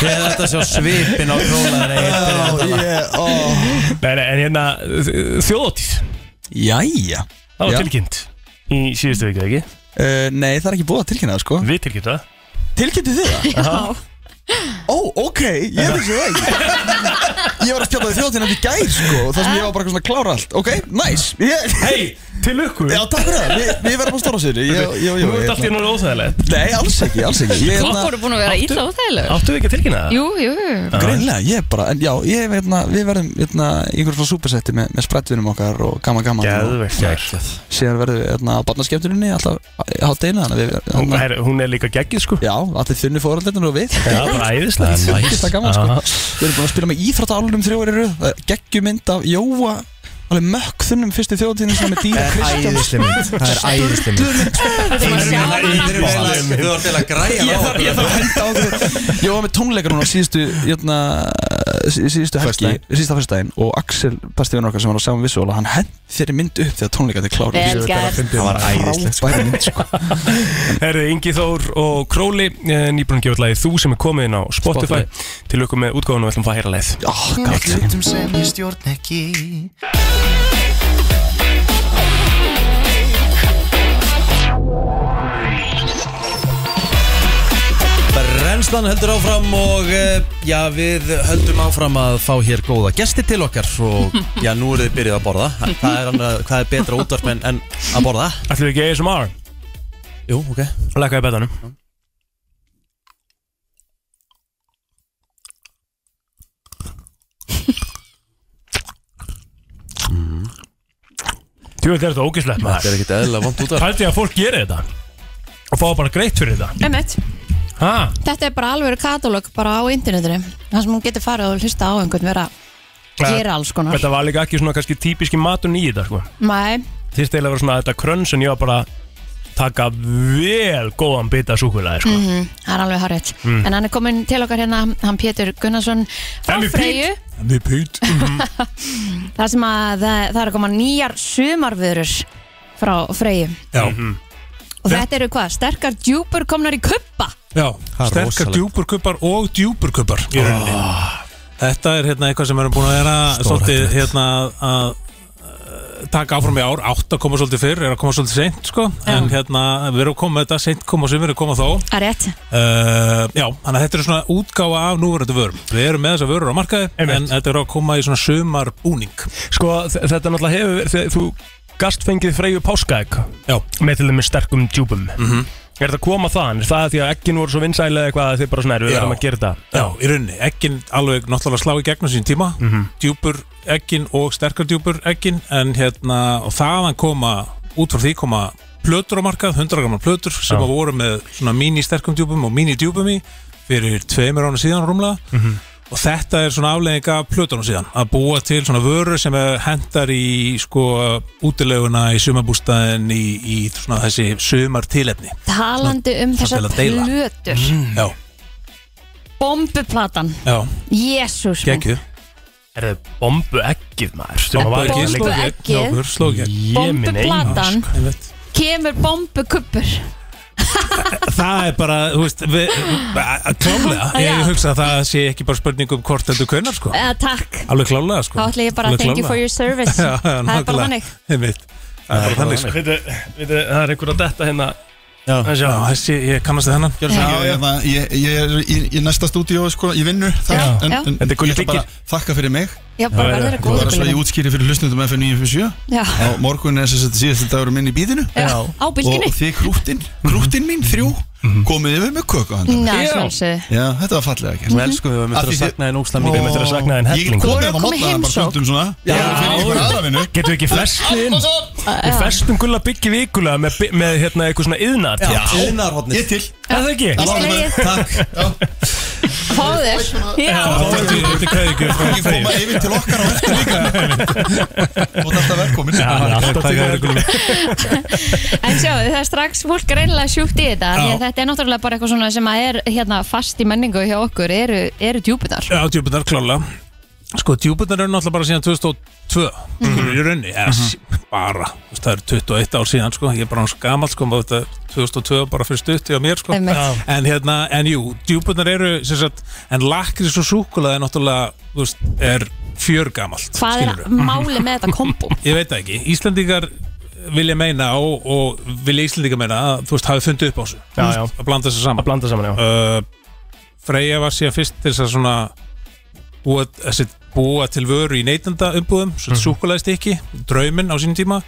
[SPEAKER 3] Sér þetta sjá svipin á królæðan
[SPEAKER 5] Nei, nei, en hérna, þjóðóttíð
[SPEAKER 9] Jæja
[SPEAKER 5] Það var
[SPEAKER 9] Já.
[SPEAKER 5] tilkynnt í síðustu viku, ekki?
[SPEAKER 9] Uh, nei, það er ekki búið að tilkynna það sko
[SPEAKER 5] Við tilkynnt það
[SPEAKER 9] Tilkynntu þið það? Ó, ok, ég vissi það ekki Ég var að spjalla við þjóðtina í gær sko Það sem ég var bara eitthvað svona að klára allt Ok, nice ég,
[SPEAKER 5] Hei, til lukku
[SPEAKER 9] Já,
[SPEAKER 5] Nú
[SPEAKER 9] takk fyrir það, við, við verðum á stóra sýri
[SPEAKER 5] ert allt í nú óþægilegt
[SPEAKER 9] Nei, alls ekki, alls ekki Ég, hérna-
[SPEAKER 4] Klokk voru búin að vera ítla óþægilegur
[SPEAKER 5] Áttu við ekki að tilkynna það?
[SPEAKER 4] Jú, jú, jú.
[SPEAKER 9] Greinlega, ég er bara, en já, ég, hérna, við verðum hérna, einhver svona supersetti með, með sprettvinum okkar og gaman gaman og
[SPEAKER 5] Geðvegt maður.
[SPEAKER 9] síðan verðum við hérna, á barnaskemmtuninni alltaf á deina þannig að við verðum
[SPEAKER 5] Hún-
[SPEAKER 9] hérna,
[SPEAKER 5] herri, Hún er líka geggið, sko
[SPEAKER 9] Já, allir þunni fóröldinu og við
[SPEAKER 5] Já, bara æðislega
[SPEAKER 9] Þetta er gaman sko
[SPEAKER 5] Aha.
[SPEAKER 9] Við erum búin að spila með íþróttálunum þrjóri röð Það er Geggjumynd af Jóa Alveg mökk þunnum fyrstu þjóðtíðin sem er dýra Kristján
[SPEAKER 10] Æðisli mynd, það er æðisli mynd
[SPEAKER 3] Þú var til að græja á okkur.
[SPEAKER 9] Henda á því. Jóa með tónleikar núna síðustu hérna, sí- síðustu helgi
[SPEAKER 10] Föstudaginn.
[SPEAKER 9] síðusta fyrstdægin og Axel besti vinnur okkar sem var á saman vissóla hann hend þeirri mynd upp þegar tónleikarnir kláru
[SPEAKER 4] Vel gert
[SPEAKER 10] Það var æðisli
[SPEAKER 9] Bæri mynd sko
[SPEAKER 5] Herði Ingi Þór og Króli eh, Nýbrunum gefur lagið Þú sem er komið inn á Spotify, Til lukku með útgáðunum við ætlum að fá að heyra leið
[SPEAKER 9] Já, gott
[SPEAKER 2] Hlutum sem ég stjórn ekki
[SPEAKER 3] Brennslan heldur áfram og eh, já, við höldum áfram að fá hér góða gesti til okkar og já, nú eru þið byrjuð að borða hvað er, annað, hvað er betra útvarp en, en að borða?
[SPEAKER 5] Ætlum við ekki ASMR?
[SPEAKER 3] Jú, ok
[SPEAKER 5] Lækkaði betanum Þú veit, er þetta ógislegt maður
[SPEAKER 3] ekkert eðla vant útvarp
[SPEAKER 5] Pældi að fólk gerir þetta Og fá bara greitt fyrir þetta
[SPEAKER 4] Einmitt.
[SPEAKER 5] Ha?
[SPEAKER 4] Þetta er bara alveg katalóg bara á internetinu Það sem hún getur farið og hlusta á einhvern vera að gera alls konar
[SPEAKER 5] Þetta var líka ekki svona kannski típiski matun í þetta sko.
[SPEAKER 4] Mæ,
[SPEAKER 5] Fyrst eiginlega var svona þetta krönn sem ég var bara að taka vel góðan bita súkulæði sko.
[SPEAKER 4] mhm, það er alveg harrið En hann er komin til okkar hérna, hann Pétur Gunnarsson frá
[SPEAKER 5] Hann er
[SPEAKER 4] Freyju Það sem að það, það er að koma nýjar sumarvörur frá Freyju
[SPEAKER 11] Já.
[SPEAKER 5] Mhm.
[SPEAKER 4] Og þetta eru hvað, sterkar djúpur komnar í kuppa
[SPEAKER 11] Já, sterkar djúpurkubbar og djúpurkubbar í rauninni Þetta er hérna eitthvað sem við erum búin að vera svolítið hérna að eh, taka áfram í ár, átt að koma svolítið fyrr er að koma svolítið seint sko en hérna við erum að koma með þetta, seint koma sem við erum að koma þá
[SPEAKER 4] Það er rétt
[SPEAKER 11] uh, Já, þannig að þetta er svona útgáfa af núverandi vörum Við erum með þessar vörur á markaði
[SPEAKER 5] Einmitt.
[SPEAKER 11] en þetta er að koma í svona sumar búning
[SPEAKER 5] Sko þ- þetta náttúrulega hefur verið þegar Þú gast fengið freyju páskaegg
[SPEAKER 11] Já,
[SPEAKER 5] sko. Með til þeim sterkum djúpum Er þetta að koma þaðan? Er það því að eggin voru svo vinsælega eitthvað að þið bara svona er við
[SPEAKER 11] Já.
[SPEAKER 5] erum að gera þetta
[SPEAKER 11] Já, í rauninni, ekkin alveg náttúrulega slá í gegnum sín tíma
[SPEAKER 5] Mhm.
[SPEAKER 11] djúpur ekkin og sterkar djúpur ekkin en hérna, og þaðan koma út frá því koma plötur á markað 100 gramar plötur sem
[SPEAKER 5] Já.
[SPEAKER 11] að voru með svona mini sterkum djúpum og mini djúpum í fyrir tveimur ána síðan rúmlega
[SPEAKER 5] Mhm.
[SPEAKER 11] og þetta er svona aflegging af plötunum síðan að búa til svona vörur sem er hendar í sko útileguna í sumarbústaðin í, í svona þessi sumartilefni
[SPEAKER 4] Talandi um þessar
[SPEAKER 11] til að deila. Mm.
[SPEAKER 4] plötur
[SPEAKER 11] Já,
[SPEAKER 4] Bombuplatan,
[SPEAKER 11] já,
[SPEAKER 4] jésús
[SPEAKER 11] geggju
[SPEAKER 5] Er þetta bombu eggið maður?
[SPEAKER 4] Bombu- Bombueggið.
[SPEAKER 11] sló í gegn
[SPEAKER 4] sko Bombuplatan
[SPEAKER 11] Einmitt.
[SPEAKER 4] kemur bombukuppur
[SPEAKER 11] Það er bara, þú veist við, að- Klálega,
[SPEAKER 4] Já.
[SPEAKER 11] ég hugsa að það sé ekki bara spurning um hvort heldur kunnar sko.
[SPEAKER 4] Eða takk,
[SPEAKER 11] Alveg klálega sko.
[SPEAKER 4] þá ætla ég bara
[SPEAKER 11] Alveg
[SPEAKER 4] að thank you for
[SPEAKER 11] klálega.
[SPEAKER 4] your service
[SPEAKER 11] Já, já,
[SPEAKER 4] Það er bara
[SPEAKER 11] nákvæmlega.
[SPEAKER 4] þannig
[SPEAKER 11] Einmitt. Það er bara þannig sko.
[SPEAKER 5] Veitu, veitu, það er einhver að detta hérna
[SPEAKER 10] Já.
[SPEAKER 5] Það
[SPEAKER 11] Já,
[SPEAKER 5] sjá.
[SPEAKER 11] þessi, ég kannast þið hennan
[SPEAKER 2] Já,
[SPEAKER 10] Já, já.
[SPEAKER 2] ég, ég, ég er í, í næsta stúdíó sko, í vinnu þar
[SPEAKER 5] Já.
[SPEAKER 2] en,
[SPEAKER 4] Já.
[SPEAKER 2] en
[SPEAKER 5] Þetta er
[SPEAKER 2] ég
[SPEAKER 5] Gulli
[SPEAKER 2] ætla bara
[SPEAKER 5] Byggir.
[SPEAKER 2] að þakka fyrir mig
[SPEAKER 4] Já, bara
[SPEAKER 5] Já,
[SPEAKER 4] verður
[SPEAKER 5] já,
[SPEAKER 4] að
[SPEAKER 2] og bara svo
[SPEAKER 4] góða
[SPEAKER 2] ég útskýri fyrir hlustnundum FN 957
[SPEAKER 4] Já,
[SPEAKER 2] á morgun er þess að síðast þetta eru minn í bíðinu
[SPEAKER 4] Já, á
[SPEAKER 2] og
[SPEAKER 4] bylginni Mhm.
[SPEAKER 2] þið krúttinn, krúttinn mín þrjú Mhm. komið yfir með köku á hendan
[SPEAKER 4] Næ, sjálfsög
[SPEAKER 2] Já, þetta var fallega ekki
[SPEAKER 5] Mhm.
[SPEAKER 3] Við elskum við, við
[SPEAKER 2] Af því
[SPEAKER 3] möttum að
[SPEAKER 2] þið-
[SPEAKER 3] sakna þér núkslega
[SPEAKER 5] Við
[SPEAKER 3] mikið
[SPEAKER 5] möttum að sakna
[SPEAKER 2] Ég
[SPEAKER 5] þinn helling
[SPEAKER 2] kom
[SPEAKER 4] Voru að
[SPEAKER 2] hérna
[SPEAKER 4] koma í
[SPEAKER 2] mótna bara
[SPEAKER 4] heimsókn?
[SPEAKER 2] stundum svona Já, ég finn ykkur Hérna, aðravinu
[SPEAKER 5] Getum við ekki festið inn?
[SPEAKER 2] hérna.
[SPEAKER 4] Ah,
[SPEAKER 5] Við festum gulla byggi vikulega með, bi- með hérna eitthvað svona yðnar
[SPEAKER 3] Iðnarhornið
[SPEAKER 2] Ég til
[SPEAKER 5] Er það ekki?
[SPEAKER 4] Allt í lagi.
[SPEAKER 3] Takk
[SPEAKER 4] Fáðu þér Já.
[SPEAKER 11] Þetta er kveðingur frá
[SPEAKER 2] Ekki koma yfir til okkar á eftir líka Þú ert alltaf velkomin
[SPEAKER 11] Alltaf til verðlunum
[SPEAKER 4] En sjáðu, það er strax fólk reynilega sjúkt í þetta
[SPEAKER 11] Já.
[SPEAKER 4] því að Þetta er náttúrulega bara eitthvað svona sem að er hérna, fast í menningu hjá okkur eru, eru djúpunar
[SPEAKER 11] Já, djúbunar klála Sko, djúbunar eru náttúrulega bara síðan 2002
[SPEAKER 4] Mhm.
[SPEAKER 11] mm -hmm. í raunni, eða sí- bara þú veist, það eru 21 ár síðan, sko ég er bara hans gamall, sko, maður þetta 2002 bara fyrir stutt hjá mér, sko
[SPEAKER 4] Einmitt. Já.
[SPEAKER 11] en hérna, en jú, djúbunar eru sem sagt, en lakrís og súkulaði náttúrulega, þú veist, er fjörgamalt
[SPEAKER 4] Hvað er
[SPEAKER 11] Mhm.
[SPEAKER 4] máli með þetta kombo?
[SPEAKER 11] Ég veit það ekki, Íslandingar vilja meina og, og vilja Íslandingar meina að þú veist hafi fundið upp á þessu
[SPEAKER 5] Já,
[SPEAKER 11] Þú
[SPEAKER 5] já.
[SPEAKER 11] veist, að blanda þessu saman
[SPEAKER 5] Að blanda saman, já.
[SPEAKER 11] uh, Freyja var síðan fyrst til þess að svona búa, þessi, búa til vöru í neytenda umbúðum svo
[SPEAKER 5] Mhm.
[SPEAKER 11] mm. súkulæðist ekki, draumin á sínum tíma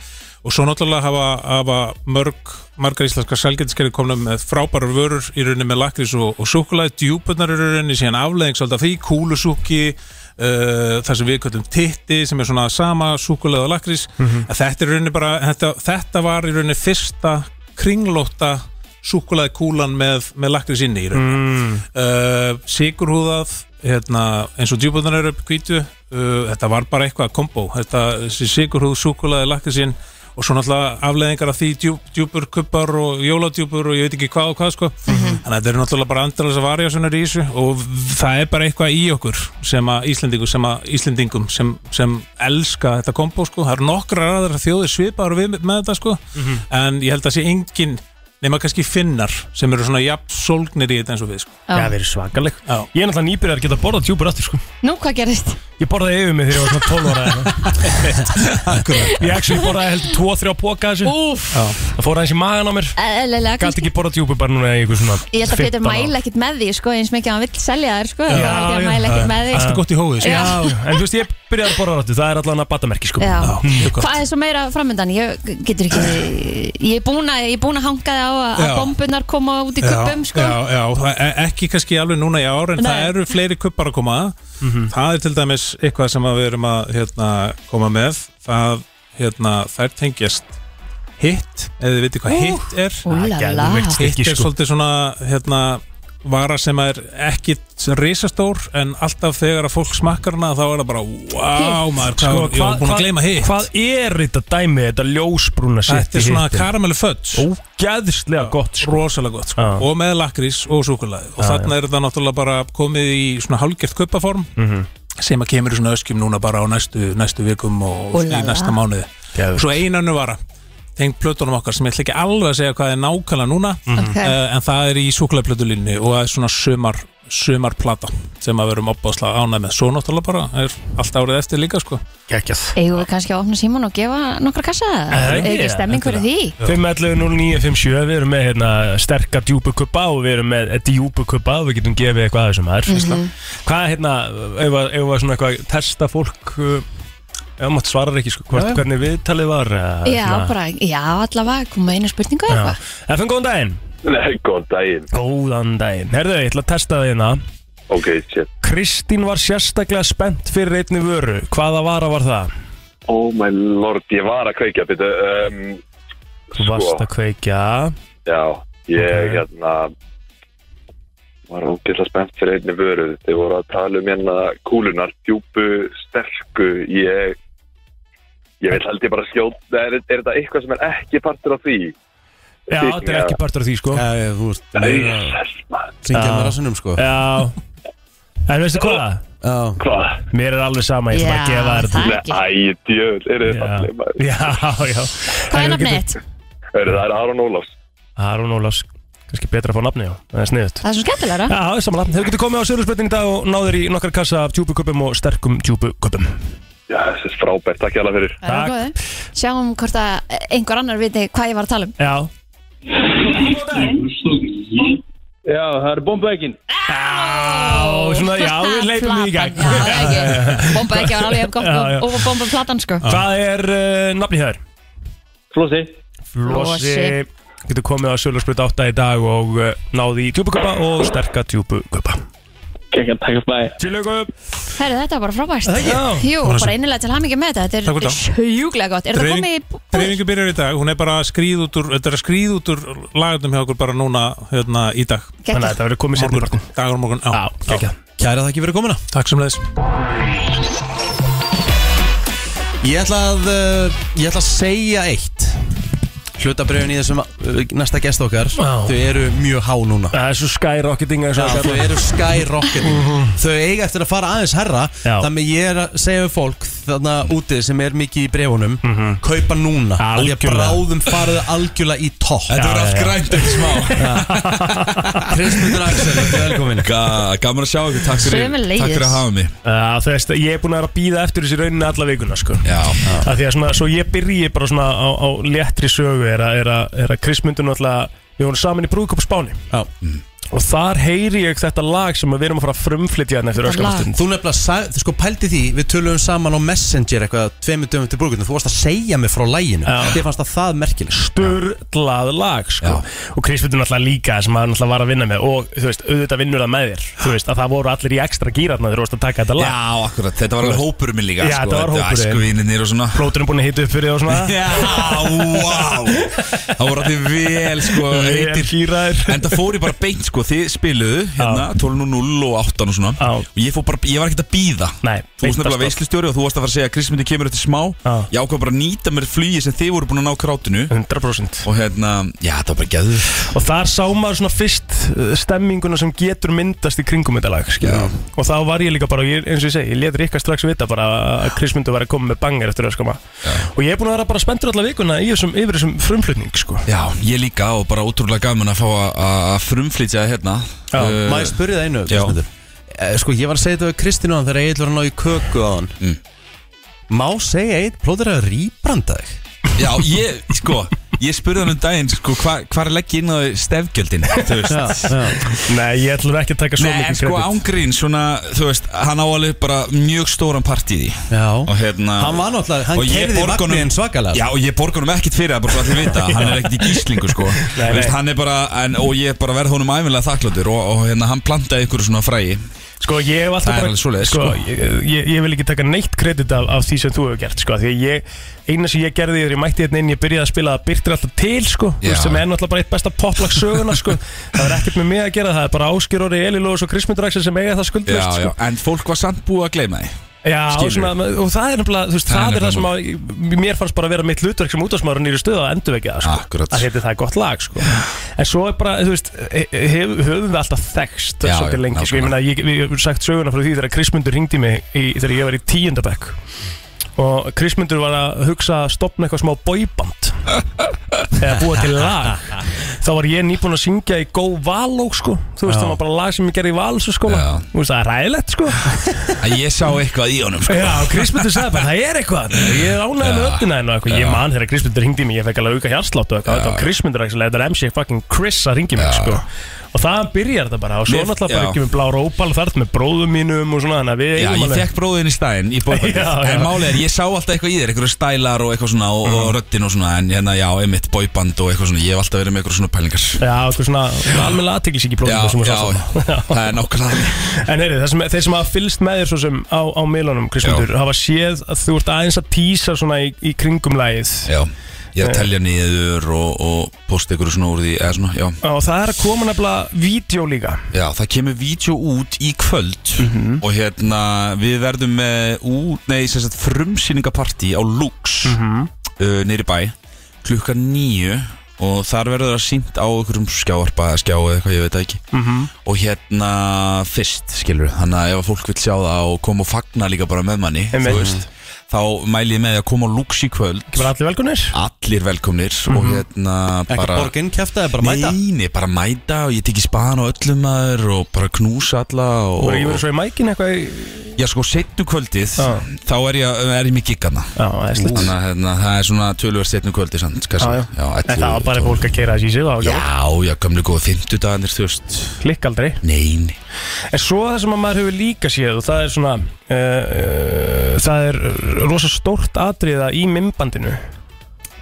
[SPEAKER 11] og svo náttúrulega hafa, hafa mörg, margar íslenskar sælgætiskerði komna með frábærar vörur í rauninni með lakrís og, og súkulæði, djúpunar í rauninni síðan afleðings alltaf því, kúlusúki uh, það sem við köttum titti sem er svona sama súkulæði og lakrís en þetta er í rauninni bara þetta, þetta var í rauninni fyrsta kringlótta súkulæði kúlan með, með lakrís inni í rauninni
[SPEAKER 5] mm.
[SPEAKER 11] uh, sigurhúðað hérna, eins og djúbundan eru upp kvítu uh, þetta var bara eitthvað kombo þetta, þessi sigurhúð, súkulaði, lakkasinn og svo náttúrulega afleðingar af því djúp, djúpur kuppar og jóladjúpur og ég veit ekki hvað og hvað sko þannig að þetta eru náttúrulega bara andralis að varja svona í þessu og það er bara eitthvað í okkur sem að Íslendingum sem, að Íslendingum sem, sem elska þetta kombo sko, það eru nokkrar aðra þjóðir svipaður við með þetta sko
[SPEAKER 5] Mhm.
[SPEAKER 11] en ég held að sé engin nema kannski finnar sem eru svona jafn sólgnir í þetta eins og við sko.
[SPEAKER 4] Já.
[SPEAKER 5] Það verður svakaleg
[SPEAKER 11] Já.
[SPEAKER 5] Ég er náttúrulega nýbyrjar að geta borðað djúpur aftur sko
[SPEAKER 4] Nú, hvað gerist?
[SPEAKER 5] Ég borðaði yfir mig þegar ég var svona 12 ára eða eitthvað. sko. Ég actually borðaði heldur 2-3 póka af þessu
[SPEAKER 4] Úf,
[SPEAKER 5] Það fór aðeins í magan á mér
[SPEAKER 4] eðlilega
[SPEAKER 5] Galt
[SPEAKER 4] kannski
[SPEAKER 5] ekki borðað djúpur bara núna í eitthvað svona
[SPEAKER 4] Ég held að Pétur
[SPEAKER 5] 15 ára.
[SPEAKER 4] mæla ekkit með því, sko, eins mikið að hann vill selja þér, sko,
[SPEAKER 5] Já,
[SPEAKER 4] þá held ég að
[SPEAKER 5] já.
[SPEAKER 4] mæla ekkit með því,
[SPEAKER 11] Allt er gott í hófið sko.
[SPEAKER 4] Já.
[SPEAKER 5] Já, en þú veist ég byrjaði að borða aftur Það er allan að batamerki sko
[SPEAKER 4] Já.
[SPEAKER 11] Já, mjög gott.
[SPEAKER 4] Hvað er svo meira framöndan? Ég getur ekki Ég er búin að, ég er búin að hanga það á að- að
[SPEAKER 11] Já.
[SPEAKER 4] bombunar koma út í kuppum sko.
[SPEAKER 11] já, já, það er ekki kannski alveg núna í ár en
[SPEAKER 4] Nei.
[SPEAKER 11] það eru fleiri kuppar að koma
[SPEAKER 5] Mhm.
[SPEAKER 11] það er til dæmis eitthvað sem að við erum að hérna, koma með það hérna, þær tengjast hitt, eða þið veitir hvað
[SPEAKER 4] Ú,
[SPEAKER 11] hitt er
[SPEAKER 4] Úlala
[SPEAKER 5] geðveikt.
[SPEAKER 11] hitt
[SPEAKER 5] Stykki,
[SPEAKER 11] er
[SPEAKER 5] sko.
[SPEAKER 11] svolítið svona hérna, vara sem er ekki risastór en alltaf þegar að fólk smakkar hana þá er það bara wow, maður, hvað, ég var búin að gleyma hitt
[SPEAKER 5] Sko, Hvað er þetta dæmi, þetta ljósbrúna sitt
[SPEAKER 11] þetta er svona karamellu född
[SPEAKER 5] Ógæðslega gott sko
[SPEAKER 11] rosalega gott sko.
[SPEAKER 5] Já.
[SPEAKER 11] og með lakrís og súkulæði og þarna er það náttúrulega bara komið í svona hálgert kuppaform
[SPEAKER 5] Mhm.
[SPEAKER 11] sem að kemur í svona öskjum núna bara á næstu, næstu vikum og
[SPEAKER 4] Ó,
[SPEAKER 11] í
[SPEAKER 4] la, la.
[SPEAKER 11] næsta mánuði
[SPEAKER 5] Geðveikt.
[SPEAKER 11] svo einannu vara tengd plötunum okkar sem ég ætla ekki alveg að segja hvað er nákvæmlega núna
[SPEAKER 4] Ok.
[SPEAKER 11] eh, en það er í súkulæðplötulínni og það er svona sumar sumarplata sem að verum opbáslega ánæð með svo náttúrulega bara er allt árið eftir líka sko
[SPEAKER 5] Gekkjað
[SPEAKER 4] Eigum við kannski að opna síman og gefa nokkra kassa
[SPEAKER 5] Er
[SPEAKER 4] Er
[SPEAKER 5] ekki?
[SPEAKER 4] ekki stemming fyrir því?
[SPEAKER 5] 5.11.09.57 Við erum með hérna, sterka djúbukuppa og við erum með djúbukuppa og við getum gefið eitthvað aðeins um það er
[SPEAKER 4] Mhm.
[SPEAKER 5] fyrsta Hvað hérna, ef að- ef að svona eitthvað testa fólk uh, ef maður svarar ekki sko, hvort, hvernig viðtalið var uh,
[SPEAKER 4] Já, bara, já, allavega koma einu spurningu eða eitthvað
[SPEAKER 5] Efum góðan daginn
[SPEAKER 8] Nei, góðan daginn
[SPEAKER 5] Góðan daginn Herðu, ég ætla að testa það hérna
[SPEAKER 8] Ok, shit
[SPEAKER 5] Kristín var sérstaklega spennt fyrir einni vöru Hvaða vara var það?
[SPEAKER 8] Oh my lord, ég var að kveikja byrju um,
[SPEAKER 5] Þú varst að kveikja
[SPEAKER 8] Já, ég
[SPEAKER 5] Ok.
[SPEAKER 8] hérna var ógeðslega spennt fyrir einni vöru þeir voru að tala um hérna kúlunar djúpu, sterku ég ég vil held ég bara skjóta er, er þetta eitthvað sem er ekki partur af því?
[SPEAKER 5] Já, þetta er ekki partur af því sko
[SPEAKER 2] Já, þú ert
[SPEAKER 8] Nei,
[SPEAKER 2] meira að
[SPEAKER 8] Jesus, maður.
[SPEAKER 2] Syngja
[SPEAKER 5] Já.
[SPEAKER 2] með rassunum sko
[SPEAKER 5] Já En veistu hvað?
[SPEAKER 2] Já
[SPEAKER 8] Hvað?
[SPEAKER 5] Mér er alveg sama, ég ætla bara að gefa þér þetta
[SPEAKER 4] það ekki
[SPEAKER 8] Æ, djöð, er þetta
[SPEAKER 5] Já,
[SPEAKER 8] allir maður?
[SPEAKER 5] já, já
[SPEAKER 4] Hvað er nafnið þitt?
[SPEAKER 8] Er það er Aron Ólafs?
[SPEAKER 5] Aron Ólafs, kannski betra að fá nafni, já Það er sniðut
[SPEAKER 4] Það er svo skemmtilegra
[SPEAKER 5] Já, það er samanlega Þeir getur komið á Sörlusbrettin í dag og náður í nokkar kassa af djúbuköpum og sterkum djúbuköpum
[SPEAKER 8] Já, þessi er frábært, takk hjá fyrir
[SPEAKER 4] Það er
[SPEAKER 5] Takk.
[SPEAKER 4] góður. Sjáum hvort að einhver annar viti hvað ég var að tala um
[SPEAKER 5] Já
[SPEAKER 8] Já, það er bombaekinn
[SPEAKER 5] Já, svona, já, við leipum því í gang
[SPEAKER 4] Já, það er ekki Bomba ekki var alveg jafn gott
[SPEAKER 5] Já,
[SPEAKER 4] og-
[SPEAKER 5] já.
[SPEAKER 4] og bomba platan sko
[SPEAKER 5] Hvað er uh, nafni hér?
[SPEAKER 8] Flósi
[SPEAKER 5] Flossi Getur komið á Sörlusbrett 8 í dag og eh, uh, náði í djúbuköpa og sterka djúbuköpa
[SPEAKER 8] Kekka, takk, bæ
[SPEAKER 5] Til lögum
[SPEAKER 4] Herru, þetta var bara frábært
[SPEAKER 11] Það ekki?
[SPEAKER 4] Jú,
[SPEAKER 11] Það var
[SPEAKER 4] bara
[SPEAKER 11] svo-
[SPEAKER 4] innilega til hamingi með þetta
[SPEAKER 11] Takk
[SPEAKER 4] Þetta
[SPEAKER 11] fyrir
[SPEAKER 4] er sjúklega gott Er þetta
[SPEAKER 11] Dreifing-
[SPEAKER 4] komið í
[SPEAKER 11] Dreifingu byrjar í dag, hún er bara skríð út úr Þetta er skríð út úr lagarnum hjá okkur bara núna hérna, í dag
[SPEAKER 4] Geggjað. Þannig að þetta
[SPEAKER 11] verður komið sérni partinn Dagur og morgun, já, já.
[SPEAKER 3] Kæra þakki fyrir komuna
[SPEAKER 11] Takk sem leiðis
[SPEAKER 3] Ég ætla að, uh, ég ætla að segja eitt Hlutabröfin í þessum uh, næsta gest okkar
[SPEAKER 5] Já.
[SPEAKER 3] Þau eru mjög há núna
[SPEAKER 5] Það er svo skyrocketing eins
[SPEAKER 3] Já,
[SPEAKER 5] og Mhm. það
[SPEAKER 3] þau
[SPEAKER 5] kallar.
[SPEAKER 3] eru skyrocketing Þau eiga eftir að fara aðeins herra
[SPEAKER 5] Já.
[SPEAKER 3] Þannig ég er að segja við fólk Þarna úti sem er mikið í brefunum Kaupa núna Af Því að
[SPEAKER 5] Mhm. Algjörlega.
[SPEAKER 3] bráðum faraðu algjörlega í topp
[SPEAKER 2] Þetta verður allt grænt eftir smá
[SPEAKER 3] Kristmundur Axel, velkomin
[SPEAKER 2] Gaman að sjá ykkur, takk fyrir,
[SPEAKER 4] Sömuleiðis.
[SPEAKER 2] takk fyrir að hafa mig
[SPEAKER 5] Já, þú veist, ég er búin að vera að býða eftir þessi rauninni alla vikuna sko.
[SPEAKER 2] Já,
[SPEAKER 5] að því að svona, svo ég byrji bara svona á, á léttri sögu er að, er að, er að Krismundur náttúrulega, við vorum saman í brúðköp á Spáni Mm.
[SPEAKER 3] Já.
[SPEAKER 5] og þar heyri ég þetta lag sem við erum að fara að frumflytja hérna eftir
[SPEAKER 4] Þetta lag.
[SPEAKER 5] öskamastund
[SPEAKER 3] Þú nefnilega, sag- þú sko pældi því Við töluðum saman á Messenger eitthvað Tveimur döfum til brúkunum, þú varst að segja mig frá læginu
[SPEAKER 5] Já.
[SPEAKER 3] Þið fannst að það merkileg
[SPEAKER 5] sturglað lag sko. og Krismundur náttúrulega líka sem hann náttúrulega var að vinna með og þú veist, auðvitað vinnur það með þér þú veist, að það voru allir í ekstra gýratna þegar þú varst að taka þetta lag
[SPEAKER 2] já akkurat, þetta var alveg hópurum minn líka
[SPEAKER 5] Já,
[SPEAKER 2] sko,
[SPEAKER 5] þetta var hópurinn.
[SPEAKER 2] Æskuvinninir og svona
[SPEAKER 5] Plóturinn búin að hita upp fyrir þig og svona
[SPEAKER 2] Já, wow Það voru allir vel sko heitir.
[SPEAKER 5] gýraðir
[SPEAKER 2] En það fór ég bara beint sko, þið spiluðu hérna 12.00 og 8 og svona
[SPEAKER 5] Já.
[SPEAKER 2] Og ég, fór bara, ég var ekkert að býða
[SPEAKER 5] Nei,
[SPEAKER 2] Þú varst
[SPEAKER 5] beint að
[SPEAKER 2] nefnilega
[SPEAKER 5] stopp.
[SPEAKER 2] veislustjóri og þú varst að fara að segja að Kristmyndi kemur eftir smá
[SPEAKER 5] Já.
[SPEAKER 2] Ég ákvað bara að nýta mér flugi sem þið voru búin að ná krátinu
[SPEAKER 5] 100%
[SPEAKER 2] Og hérna, já það var bara gæður
[SPEAKER 5] og þar sá maður svona fyrst uh, stemminguna sem getur myndast í kringum þetta lag skilurðu. og þá var ég líka bara ég, eins og ég segi, ég let Rikka strax vita bara að Krismundur var að koma með banger eftir öskama og ég er búin að vera bara spenntur alla vikuna í þessum, yfir þessum frumflutning sko.
[SPEAKER 2] Já, ég líka og bara ótrúlega gaman að fá að- að frumflytja hérna
[SPEAKER 5] Já,
[SPEAKER 2] Uh,
[SPEAKER 3] Má ég spyrja það einu,
[SPEAKER 2] já.
[SPEAKER 3] Kristmundur? Eh, Sko, ég var að segja þetta við Kristínu á hann þegar Egil var að ná í köku á hann
[SPEAKER 2] Mm.
[SPEAKER 3] Má segja Egil plóður að rýbranda þig?
[SPEAKER 2] Já, ég, sko, ég spurði hann um daginn sko, hvar, hvar legg ég inn á þau stefgjöldin Þú veist
[SPEAKER 5] nei, ég ætlum ekki að taka svo
[SPEAKER 2] Nei, en
[SPEAKER 5] mikið
[SPEAKER 2] sko
[SPEAKER 5] kredit.
[SPEAKER 2] ángrín, svona, þú veist, hann á alveg bara mjög stóran part í því
[SPEAKER 3] Já
[SPEAKER 2] Og hérna
[SPEAKER 3] Hann var náttúrulega,
[SPEAKER 2] og
[SPEAKER 3] hann
[SPEAKER 2] ég
[SPEAKER 3] kerði
[SPEAKER 2] borga honum-
[SPEAKER 3] magniðin svakalega
[SPEAKER 2] Já, og ég borga honum ekkert fyrir það, bara svo allir vita Hann er ekkert í gíslingu, sko
[SPEAKER 5] Nei,
[SPEAKER 2] Þú veist,
[SPEAKER 5] nei.
[SPEAKER 2] Hann er bara, en, og ég er bara verð honum æfinlega þakkláttur og, og hérna, hann plantaði ykkur svona fræi
[SPEAKER 5] Sko ég hef alltaf
[SPEAKER 2] Það er
[SPEAKER 5] bara
[SPEAKER 2] alveg svoleiðis,
[SPEAKER 5] sko,
[SPEAKER 2] sko.
[SPEAKER 5] Ég, ég, ég vil ekki taka neitt kredit af, af því sem þú hefur gert sko, Því að ég, eina sem ég gerði þegar ég mætti hérna inn Ég byrjaði að spila það byrtir alltaf til sko, þú
[SPEAKER 2] Já.
[SPEAKER 5] veist, Sem er náttúrulega bara eitt besta poplag söguna sko. Það er ekkert með mig að gera það er bara Áskir Orri, Eli Lóðs og Krismundur Axel sem eiga það
[SPEAKER 2] Já,
[SPEAKER 5] skuldlust
[SPEAKER 2] já,
[SPEAKER 5] sko.
[SPEAKER 2] en fólk var samt búið að gleyma því
[SPEAKER 5] já,
[SPEAKER 2] Skilur.
[SPEAKER 5] og svona, og það er nefnilega þú veist,
[SPEAKER 2] Það er
[SPEAKER 5] Það er það sem
[SPEAKER 2] nefnilega
[SPEAKER 5] að, mér fannst bara að vera mitt hlutverk sem útásmaður nýri stöð að endurvekja það sko.
[SPEAKER 2] Akkúrat.
[SPEAKER 5] Að heiti það er gott lag sko. En svo er bara, þú veist, he- hef, höfum við alltaf þekst
[SPEAKER 2] Já,
[SPEAKER 5] svolítið
[SPEAKER 2] já,
[SPEAKER 5] lengi sko. Ég
[SPEAKER 2] nákvæmlega.
[SPEAKER 5] meina, ég, ég hef sagt söguna frá því þegar Krismundur ringdi mig í, þegar ég var í tíundabæk og Krismundur var að hugsa að stopna eitthvað smá bóiband eða búa til lag þá var ég nýbúin að syngja í Go Való sko, þú veist, það var bara lag sem ég gerði í Valsu sko,
[SPEAKER 2] Já.
[SPEAKER 5] þú veist, það er ræðilegt sko
[SPEAKER 2] Að ég sá eitthvað í honum, sko
[SPEAKER 5] Já, Krismundur sagði bara, það er eitthvað Ég er ánægð með
[SPEAKER 2] Já.
[SPEAKER 5] öllina henn og eitthvað Ég
[SPEAKER 2] Já.
[SPEAKER 5] man þegar Krismundur hringdi í mig, ég fekk alveg auka hjárslátt og eitthvað Þetta var Krismundur, actually, þetta er MC fucking Chris að ringi mig, sko Og þaðan byrjar þetta bara, og svo
[SPEAKER 2] Mér-
[SPEAKER 5] náttúrulega bara
[SPEAKER 2] já.
[SPEAKER 5] ekki með blá rópal þarf með bróðum mínum og svona, þannig að við
[SPEAKER 2] Já, ég fekk bróðin í stæðin í bóðbækið
[SPEAKER 5] Já, já.
[SPEAKER 2] En málið er, ég sá alltaf eitthvað í þér Eitthvað stælar og eitthvað svona og, og röddin og svona En hérna, já, einmitt, bóiband og eitthvað svona Ég hef alltaf verið með eitthvað svona pælingar
[SPEAKER 5] Já, eitthvað svona, almenlega aðtiklisíki
[SPEAKER 2] Já,
[SPEAKER 5] blóðum sem
[SPEAKER 2] já,
[SPEAKER 5] var
[SPEAKER 2] já, það er nákvæmlega þannig.
[SPEAKER 5] En heyri, þeir sem, þeir sem hafa fylst með þér svo sem á, á miðlunum, Krismundur, hafa séð að þú ert aðeins að tísa svona í, í kringum lagið
[SPEAKER 2] Já, ég er að telja niður og, og posta ykkur svona úr því eða svona, já.
[SPEAKER 5] Eh, og það er að koma nefnilega vídeo líka
[SPEAKER 2] já, það kemur vídeo út í kvöld og hérna við verðum með út, nei, sem sagt frumsýningapartí á Lux mm uh, neyri bæ klukkan nýju og þar verður það sínt á einhverjum skjáarpa eða skjá eða eitthvað, ég veit það ekki -hmm. og hérna fyrst, skilur þannig að ef að fólk vil sjá það og koma og fagna líka bara með manni,
[SPEAKER 5] Einmitt.
[SPEAKER 2] þú veist þá mæli ég með því að koma á Lux í kvöld
[SPEAKER 5] Ekki bara allir Mhm. velkunir?
[SPEAKER 2] allir velkomnir og hérna
[SPEAKER 3] Ekki
[SPEAKER 2] bara
[SPEAKER 3] borga inn kjæfta, bara mæta
[SPEAKER 2] Nei, nei, bara mæta og ég tekið spaðan á öllum maður og bara knúsa alla og,
[SPEAKER 5] Og ég verið svo í mækin eitthvað í...
[SPEAKER 2] Já, sko, setnu kvöldið
[SPEAKER 5] Já.
[SPEAKER 2] þá er ég, er ég með giggana
[SPEAKER 5] Já, það er slutt
[SPEAKER 2] Þannig að hérna, það er svona tölverð setnu kvöldið samt,
[SPEAKER 5] Já,
[SPEAKER 2] kannski
[SPEAKER 5] já. En
[SPEAKER 2] 11,
[SPEAKER 5] það var bara
[SPEAKER 2] 12.
[SPEAKER 5] fólk að keira þessi í sig, það var gaman.
[SPEAKER 2] Já, já, gamlu góða fimmtudagarnir, þú veist
[SPEAKER 5] Klikk aldrei
[SPEAKER 2] Nei, nei
[SPEAKER 5] En svo það sem að maður hefur líka séð og það er svona eh, uh, uh, Það er rosa stórt atriða í mymbandinu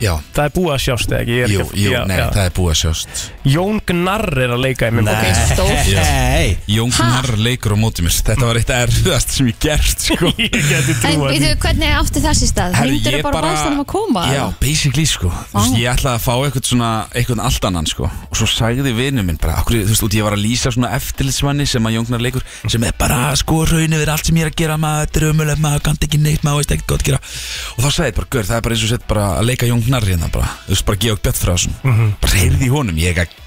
[SPEAKER 2] Já.
[SPEAKER 5] Það er búið að sjást eða ekki Ég er
[SPEAKER 2] Jú,
[SPEAKER 5] ekki að-
[SPEAKER 2] jú,
[SPEAKER 5] já,
[SPEAKER 2] nei,
[SPEAKER 5] já.
[SPEAKER 2] það er búið að sjást
[SPEAKER 5] Jón Gnarr er að leika í minn
[SPEAKER 2] Nei Jón Gnarr leikur á móti mér Þetta var eitt erfiðast sem ég gert sko. Ég geti
[SPEAKER 4] En veitu, hvernig átti þessi stað?
[SPEAKER 2] Herru,
[SPEAKER 4] Hringdur
[SPEAKER 2] ég
[SPEAKER 4] bara
[SPEAKER 2] bara-
[SPEAKER 4] báðstæðum að koma?
[SPEAKER 2] Já, basically sko Þú veist, Ég ætlaði að fá eitthvað svona eitthvað allt annan sko Og svo sagði vinur minn bara okkur, Þú veist, út, ég var að lýsa svona eftirlitsmanni sem að Jóngnar leikur Sem er bara sko raun yfir allt sem ég er að gera Maður, þetta er ömuleg, maður kann ekki neitt Maður veist ekkert hvað að gera Og þá sagði ég bara, gör, það er bara eins og sett bara að leika Jóngnar hérna bara Þú veist, bara Georg Bjartfræðarsson mm
[SPEAKER 5] Mhm.
[SPEAKER 2] Bara heyrði í honum, ég er ekki að-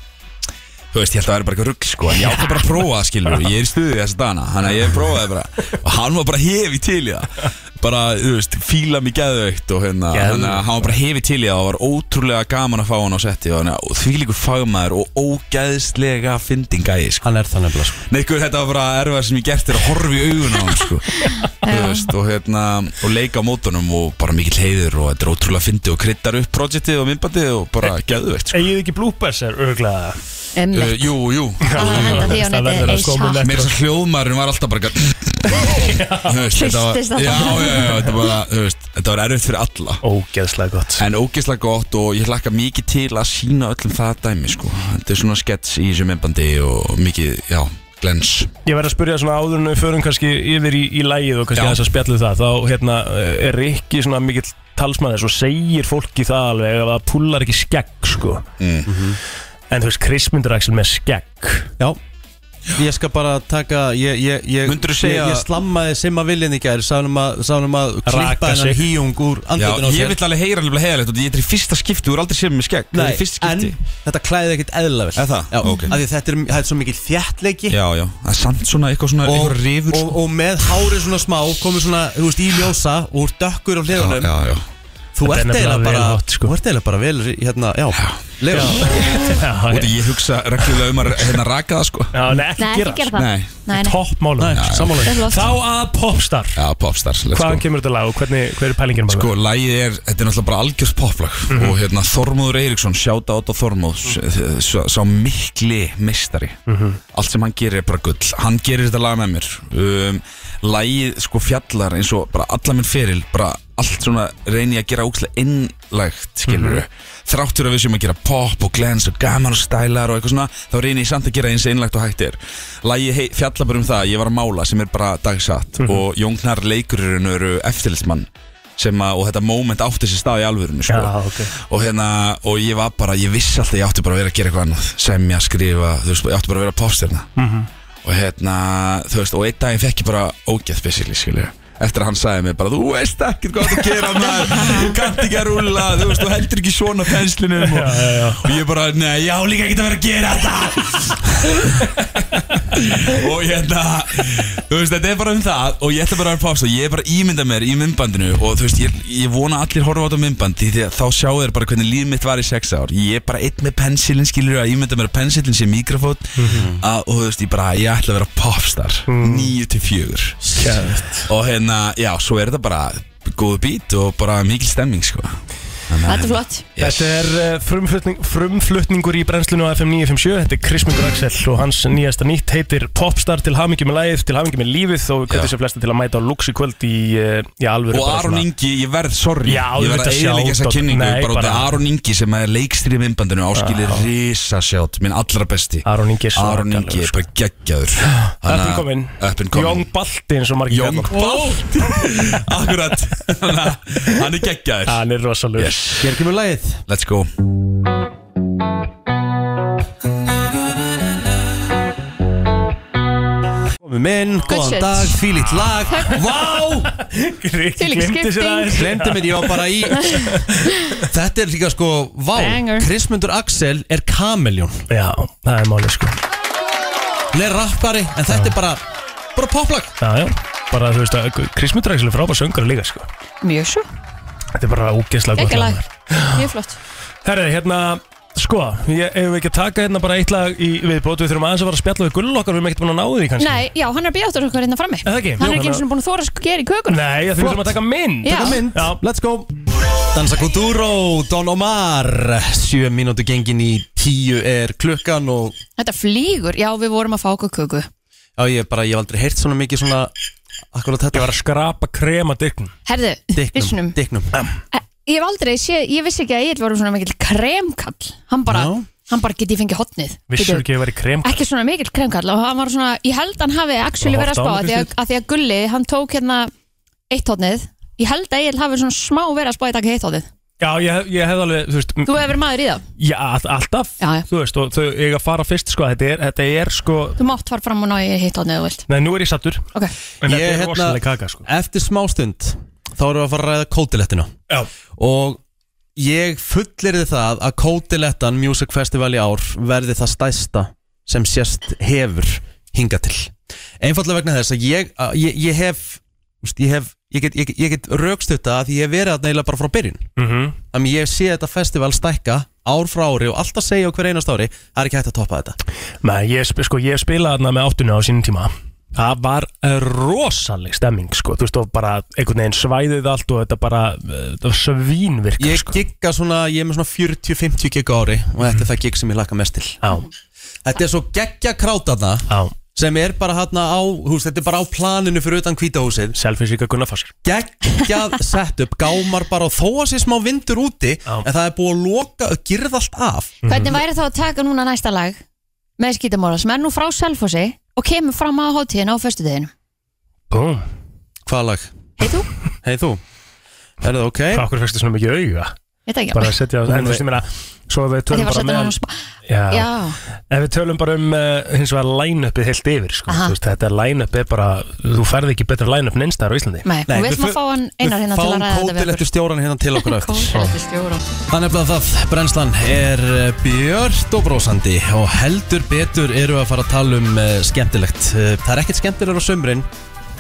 [SPEAKER 2] Þú veist, ég held að það væri bara eitthvað rugg sko En ég átti bara að prófa það skilur Ég er í stuði þess að dana Þannig að ég prófaði bara Og hann var bara hefi til í það Bara, þú veist, fíla mig geðveikt Og hérna
[SPEAKER 5] Geðveikt.
[SPEAKER 2] Þannig að hann var bara hefi til í það Og var ótrúlega gaman að fá hann á setti Og þannig að því líkur fagmaður Og ógeðslega fyndingæði sko.
[SPEAKER 3] Hann er það nefnilega sko
[SPEAKER 2] Nei, guð, þetta var bara erfað sem ég gert er að horfa í augun á hann sko. Þú veist, og, hérna, og leika á mótunum Og bara mikill heiður Og þetta er ótrúlega fyndi Og kryddar upp projektið og myndbandið Og bara geðveikt sko.
[SPEAKER 5] Egið ekki bloopers er örglega
[SPEAKER 2] Uh,
[SPEAKER 4] Emmett.
[SPEAKER 2] jú, jú
[SPEAKER 4] Það var þetta því á
[SPEAKER 5] Það
[SPEAKER 4] netið
[SPEAKER 5] verður að koma
[SPEAKER 4] eishaf.
[SPEAKER 5] með-
[SPEAKER 2] Mér þess að hljóðmaðurinn var alltaf bara eitthvað- Þú veist, þetta var-
[SPEAKER 4] Hristist alltaf.
[SPEAKER 2] Já, já, já, þetta var, þú veist, þetta var erfitt fyrir alla
[SPEAKER 5] Ógeðslega gott
[SPEAKER 2] En ógeðslega gott og ég hlakka mikið til að sína öllum það dæmi sko Þetta er svona skets í þessu myndbandi og mikið, já, glens
[SPEAKER 5] Ég verð að spyrja svona áður en við förum kannski yfir í, í lægið og kannski
[SPEAKER 2] Já.
[SPEAKER 5] þess að spjallu það þá hérna, eh, er ekki svona mikill talsmann þess og segir fólki það alveg að það pullar ekki skegg
[SPEAKER 3] Mhm.
[SPEAKER 5] sko en þú veist Krismundur Axel með skegg
[SPEAKER 12] Já Ég skal bara taka Ég, ég, ég,
[SPEAKER 2] Myndirðu segja-
[SPEAKER 12] ég, ég slammaði Simma Viljan í gær Sánum að, sánum að klippa
[SPEAKER 5] Raka sig.
[SPEAKER 12] hennan híung úr
[SPEAKER 2] Já,
[SPEAKER 12] andlutinu á
[SPEAKER 2] ég
[SPEAKER 12] sér
[SPEAKER 2] vil alveg heyra alveg heiðalegt og ég er í fyrsta skipti, þú er aldrei séð mig með skegg Þetta er í
[SPEAKER 12] Nei,
[SPEAKER 2] fyrsta
[SPEAKER 12] en
[SPEAKER 2] skipti
[SPEAKER 12] þetta klæði ekkert eðla vel
[SPEAKER 2] Er það?
[SPEAKER 12] Já, af
[SPEAKER 2] Ok.
[SPEAKER 12] því þetta er, þetta er svo mikil þjættleiki
[SPEAKER 2] Já, já, það er samt svona eitthvað svona,
[SPEAKER 12] og,
[SPEAKER 2] eitthvað rifur
[SPEAKER 12] og, og með hárið svona smá komið svona, þú veist, í ljósa og úr dökkur á
[SPEAKER 2] Já,
[SPEAKER 12] hliðunum
[SPEAKER 2] já, já
[SPEAKER 12] Þú
[SPEAKER 5] Þetta er
[SPEAKER 12] ert eiginlega
[SPEAKER 5] nefnilega
[SPEAKER 12] bara
[SPEAKER 5] vel hátt, sko.
[SPEAKER 12] Þú ert eiginlega bara vel, hérna, já, legur
[SPEAKER 5] Já,
[SPEAKER 2] Og
[SPEAKER 5] já.
[SPEAKER 2] ég hugsa reglulega um að hérna raka það sko
[SPEAKER 5] Já, nei, ekki
[SPEAKER 4] Nei,
[SPEAKER 5] gera
[SPEAKER 4] ekki gera það.
[SPEAKER 2] Nei,
[SPEAKER 4] Nei, nei.
[SPEAKER 5] Toppmálum,
[SPEAKER 4] Það er
[SPEAKER 5] sammálaug
[SPEAKER 4] flott.
[SPEAKER 5] Þá að popstar
[SPEAKER 2] já, popstar, let's go
[SPEAKER 5] Hvaðan kemur þetta lag og hvernig, hver er pælingin
[SPEAKER 2] Sko, lægið er, þetta er náttúrulega bara algjörð poplag
[SPEAKER 5] Mhm.
[SPEAKER 2] og hérna Þormóður Eiríksson, sjáta átt á Þormóð sá, sá mikli meistari allt sem hann gerir er bara gull hann gerir þetta lag með mér um, lægið sko fjallar eins og bara allar minn feril, bara allt svona reyni ég að gera ógæslega innlægt skilur þráttur að við séum að gera pop og glens og gaman og stælar og eitthvað svona þá reyni ég samt að gera eins innlægt og hægt er lægið hei- fjallar bara um það, ég var að mála sem er bara dagsatt og Jóngnar leikurinn eru eftirlitsmann sem að, og þetta moment átti sér stað í alvörinu sko.
[SPEAKER 5] Já, ok.
[SPEAKER 2] og hérna, og ég var bara ég vissi alltaf, ég átti bara að vera að gera eitthvað annað semja, skrifa, þú veist, ég átti bara að vera pósterna
[SPEAKER 5] Mhm.
[SPEAKER 2] og hérna, þú veist, og einn daginn fekk ég bara ógeð basically, skilju eftir að hann sagði mér bara, þú veist ekkert hvað þú gera maður, þú kannt ekki að rúlla þú veist, þú heldur ekki svona penslinum og,
[SPEAKER 5] Já, já, já.
[SPEAKER 2] og ég bara, nei, ég á líka ekkert að vera að gera þetta og hérna þú veist, þetta er bara um það og ég ætla bara að vera pása, ég er bara að ímynda mér í myndbandinu og þú veist, ég, ég vona að allir horfa á þetta myndband því að þá sjá þeir bara hvernig líf mitt var í sex ár, ég er bara einn með pensilin skilur að ímynda mér að pensilin sé mikrofón að, og þú veist, ég bara, ég ætla að vera popstar,
[SPEAKER 5] Hmm.
[SPEAKER 2] 9 til 4 og hérna, já, svo er þetta bara góðu bít og bara mikil stemming sko Þannig að-
[SPEAKER 4] Þetta er flott.
[SPEAKER 2] Yes.
[SPEAKER 5] Þetta er eh, frumflutning, frumflutningur í brennslunum á FM 957 Þetta er Krismundur Axel og hans nýjasta nýtt heitir Popstar til hamingi með lægið, til hamingi með lífið og við kvöldum
[SPEAKER 2] Já.
[SPEAKER 5] sem flesta til að mæta á Lux í kvöld í, eh, í
[SPEAKER 2] Og
[SPEAKER 5] alvöru bara
[SPEAKER 2] Aron
[SPEAKER 5] svona-
[SPEAKER 2] Ingi, ég verð, sorry
[SPEAKER 5] Já,
[SPEAKER 2] Ég verð
[SPEAKER 5] auðvitað
[SPEAKER 2] að eiginlega þessa
[SPEAKER 5] sjátt,
[SPEAKER 2] kynningu
[SPEAKER 5] nei,
[SPEAKER 2] Bara út af
[SPEAKER 5] bara-
[SPEAKER 2] Aron Ingi sem er leikstýri myndbandinu Áskilir risasjátt, minn allra besti
[SPEAKER 5] Aron Ingi er
[SPEAKER 2] Aron Ingi
[SPEAKER 5] svakalegur,
[SPEAKER 2] er bara geggjaður
[SPEAKER 5] Öppin komin
[SPEAKER 2] Öppin komin
[SPEAKER 5] Jón Balti eins og margir
[SPEAKER 2] Jón
[SPEAKER 5] kallar.
[SPEAKER 2] Bátt Akkurat Þannig að Hann er geggjaður
[SPEAKER 5] Ah, Hann er rosalegur
[SPEAKER 2] Yes.
[SPEAKER 12] Hér kemur lagið
[SPEAKER 2] Let's go
[SPEAKER 12] Komum inn, góðan
[SPEAKER 4] shit.
[SPEAKER 12] dag, fílít lag Vá,
[SPEAKER 5] Rikki
[SPEAKER 4] Þvílík
[SPEAKER 5] glemdi sér
[SPEAKER 4] skipting.
[SPEAKER 5] aðeins
[SPEAKER 12] glemdi mér, ég var bara í Þetta er líka sko, vá
[SPEAKER 4] Banger.
[SPEAKER 12] Krismundur Axel er kameljón
[SPEAKER 5] Já, það er málið sko
[SPEAKER 12] Hún er rappari, en þetta er bara Bara poplag
[SPEAKER 5] Já, já Bara þú veist að Krismundur Axel er frábær söngur líka sko
[SPEAKER 4] Mjög svo.
[SPEAKER 5] Þetta er bara ógeðslega gott
[SPEAKER 4] Ekki
[SPEAKER 5] lag,
[SPEAKER 4] lag.
[SPEAKER 5] maður.
[SPEAKER 4] Mjög flott.
[SPEAKER 5] Herri, hérna, sko, ég, ef við ekki að taka hérna bara eitt lag í viðbót, við þurfum aðeins að fara að spjalla við gull okkar, við erum ekkert búin að ná því kannski.
[SPEAKER 4] Nei, já, hann er að býja áttur okkur hérna frammi.
[SPEAKER 5] Er það ekki?
[SPEAKER 4] Hann er
[SPEAKER 5] Jú,
[SPEAKER 4] ekki eins
[SPEAKER 5] hann
[SPEAKER 4] og búin að þóra að gera í kökuna.
[SPEAKER 5] Nei, því við þurfum að taka mynd.
[SPEAKER 4] Já. Taka mynd.
[SPEAKER 5] Já,
[SPEAKER 12] Let's go Dansa Kuduro, Don Omar 7 mínútu gengin í 10 er klukkan og
[SPEAKER 4] Þetta flýgur. Já, við vorum að fá okkur köku.
[SPEAKER 12] já, ég, bara, ég hef aldrei heyrt svona mikið svona Akkurat
[SPEAKER 5] ég
[SPEAKER 12] þetta
[SPEAKER 5] var að skrapa krema dyrknum.
[SPEAKER 4] Herðu,
[SPEAKER 12] Dicknum,
[SPEAKER 4] vissnum.
[SPEAKER 5] Ah.
[SPEAKER 12] dicknum.
[SPEAKER 4] ég hef aldrei séð, ég vissi ekki að Egil var svona mikill kremkall hann bara,
[SPEAKER 5] Já.
[SPEAKER 4] hann bara geti fengið hotnið
[SPEAKER 5] Vissur
[SPEAKER 4] Getur-
[SPEAKER 5] ekki að það væri krem
[SPEAKER 4] ekki svona mikill kremkall og hann var svona, ég held hann hafi actually
[SPEAKER 5] Bara
[SPEAKER 4] verið að
[SPEAKER 5] horft á
[SPEAKER 4] spá
[SPEAKER 5] hann
[SPEAKER 4] að því að,
[SPEAKER 5] fyrst.
[SPEAKER 4] að því að Gulli, hann tók hérna eitt hotnið, ég held að Egil hafi svona smá verið að spá í dag eitt hotnið
[SPEAKER 5] Já, ég, ég hef alveg, þú veist
[SPEAKER 4] þú hefur verið maður í það,
[SPEAKER 5] Já, all- alltaf,
[SPEAKER 4] Já, já.
[SPEAKER 5] þú veist, og þau eiga að fara fyrst, sko, þetta er, þetta er sko
[SPEAKER 4] þú mátt fara fram og ná í eitt hotnið ef þú vilt
[SPEAKER 5] Nei, nú er ég sattur
[SPEAKER 4] Ok.
[SPEAKER 5] En þetta er rosalega kaka, sko
[SPEAKER 3] hérna, Eftir smástund Þá erum við að fara að ræða kótilettina
[SPEAKER 5] Já
[SPEAKER 3] Og ég fullirði það að kótilettan Music Festival í ár verði það stæsta sem sérst hefur hinga til Einfallega vegna þess að ég, að ég, ég hef, úst, ég, hef ég, get, ég, get- ég get rökst þetta að ég hef verið að neila bara frá byrjun
[SPEAKER 5] Mhm.
[SPEAKER 3] Þannig ég sé þetta festival stækka ár frá ári og alltaf segja á hver einast ári Það er ekki hægt að toppa þetta
[SPEAKER 5] Nei, ég, sp- sko, ég spilaði þarna með áttunni á sínum tíma Það var eh, rosaleg stemming, sko Þú veist, og bara einhvern veginn svæðið allt og þetta bara, eh, þetta var svínvirk
[SPEAKER 3] Ég gigga svona, ég er með svona 40-50 gig á ári og þetta er það gig sem ég laka mest til
[SPEAKER 5] Já.
[SPEAKER 3] Þetta er svo geggja krátarna
[SPEAKER 5] Já.
[SPEAKER 3] sem er bara hérna á, hús, þetta er bara á planinu fyrir utan hvítahúsið
[SPEAKER 5] Selfinsíka Gunnarfassar
[SPEAKER 3] Geggjað setup, gámar bara og þó að sé smá vindur úti en það er búið að loka, að girða allt af
[SPEAKER 5] Mhm.
[SPEAKER 4] hvernig væri þá að taka núna næsta lag með skítamóla sem er nú frá Selfossi og kemur fram á hátíðin á föstudeginu
[SPEAKER 5] Búm
[SPEAKER 3] Hvað lag? Hei þú Hei þú Er það ok?
[SPEAKER 5] Hvað okkur fyrstu svona mikið auga?
[SPEAKER 4] Ég veit ekki.
[SPEAKER 5] Bara að setja á, en þú veist, ég meina Svo að við
[SPEAKER 4] Af því
[SPEAKER 5] tölum
[SPEAKER 4] að
[SPEAKER 5] bara
[SPEAKER 4] setja hann á smá-
[SPEAKER 5] Já.
[SPEAKER 4] Já.
[SPEAKER 5] Ef við tölum bara um uh, hins vegar line-upið heilt yfir sko.
[SPEAKER 4] Aha.
[SPEAKER 5] Þú veist, Þetta line-up er bara Þú færði ekki betra line-up neinstæðar á Íslandi
[SPEAKER 4] Nei, og við ætlum að fá hann einar hérna til að ræða þetta við
[SPEAKER 3] kótilettu stjóran hérna til okkur eftir
[SPEAKER 4] Kótilettustjóran.
[SPEAKER 3] Það er nefnilega það, brennslan er eh, björt og brósandi og heldur betur eru að fara að tala um eh, skemmtilegt Eh, Það er ekkert skemmtilegur á sömurinn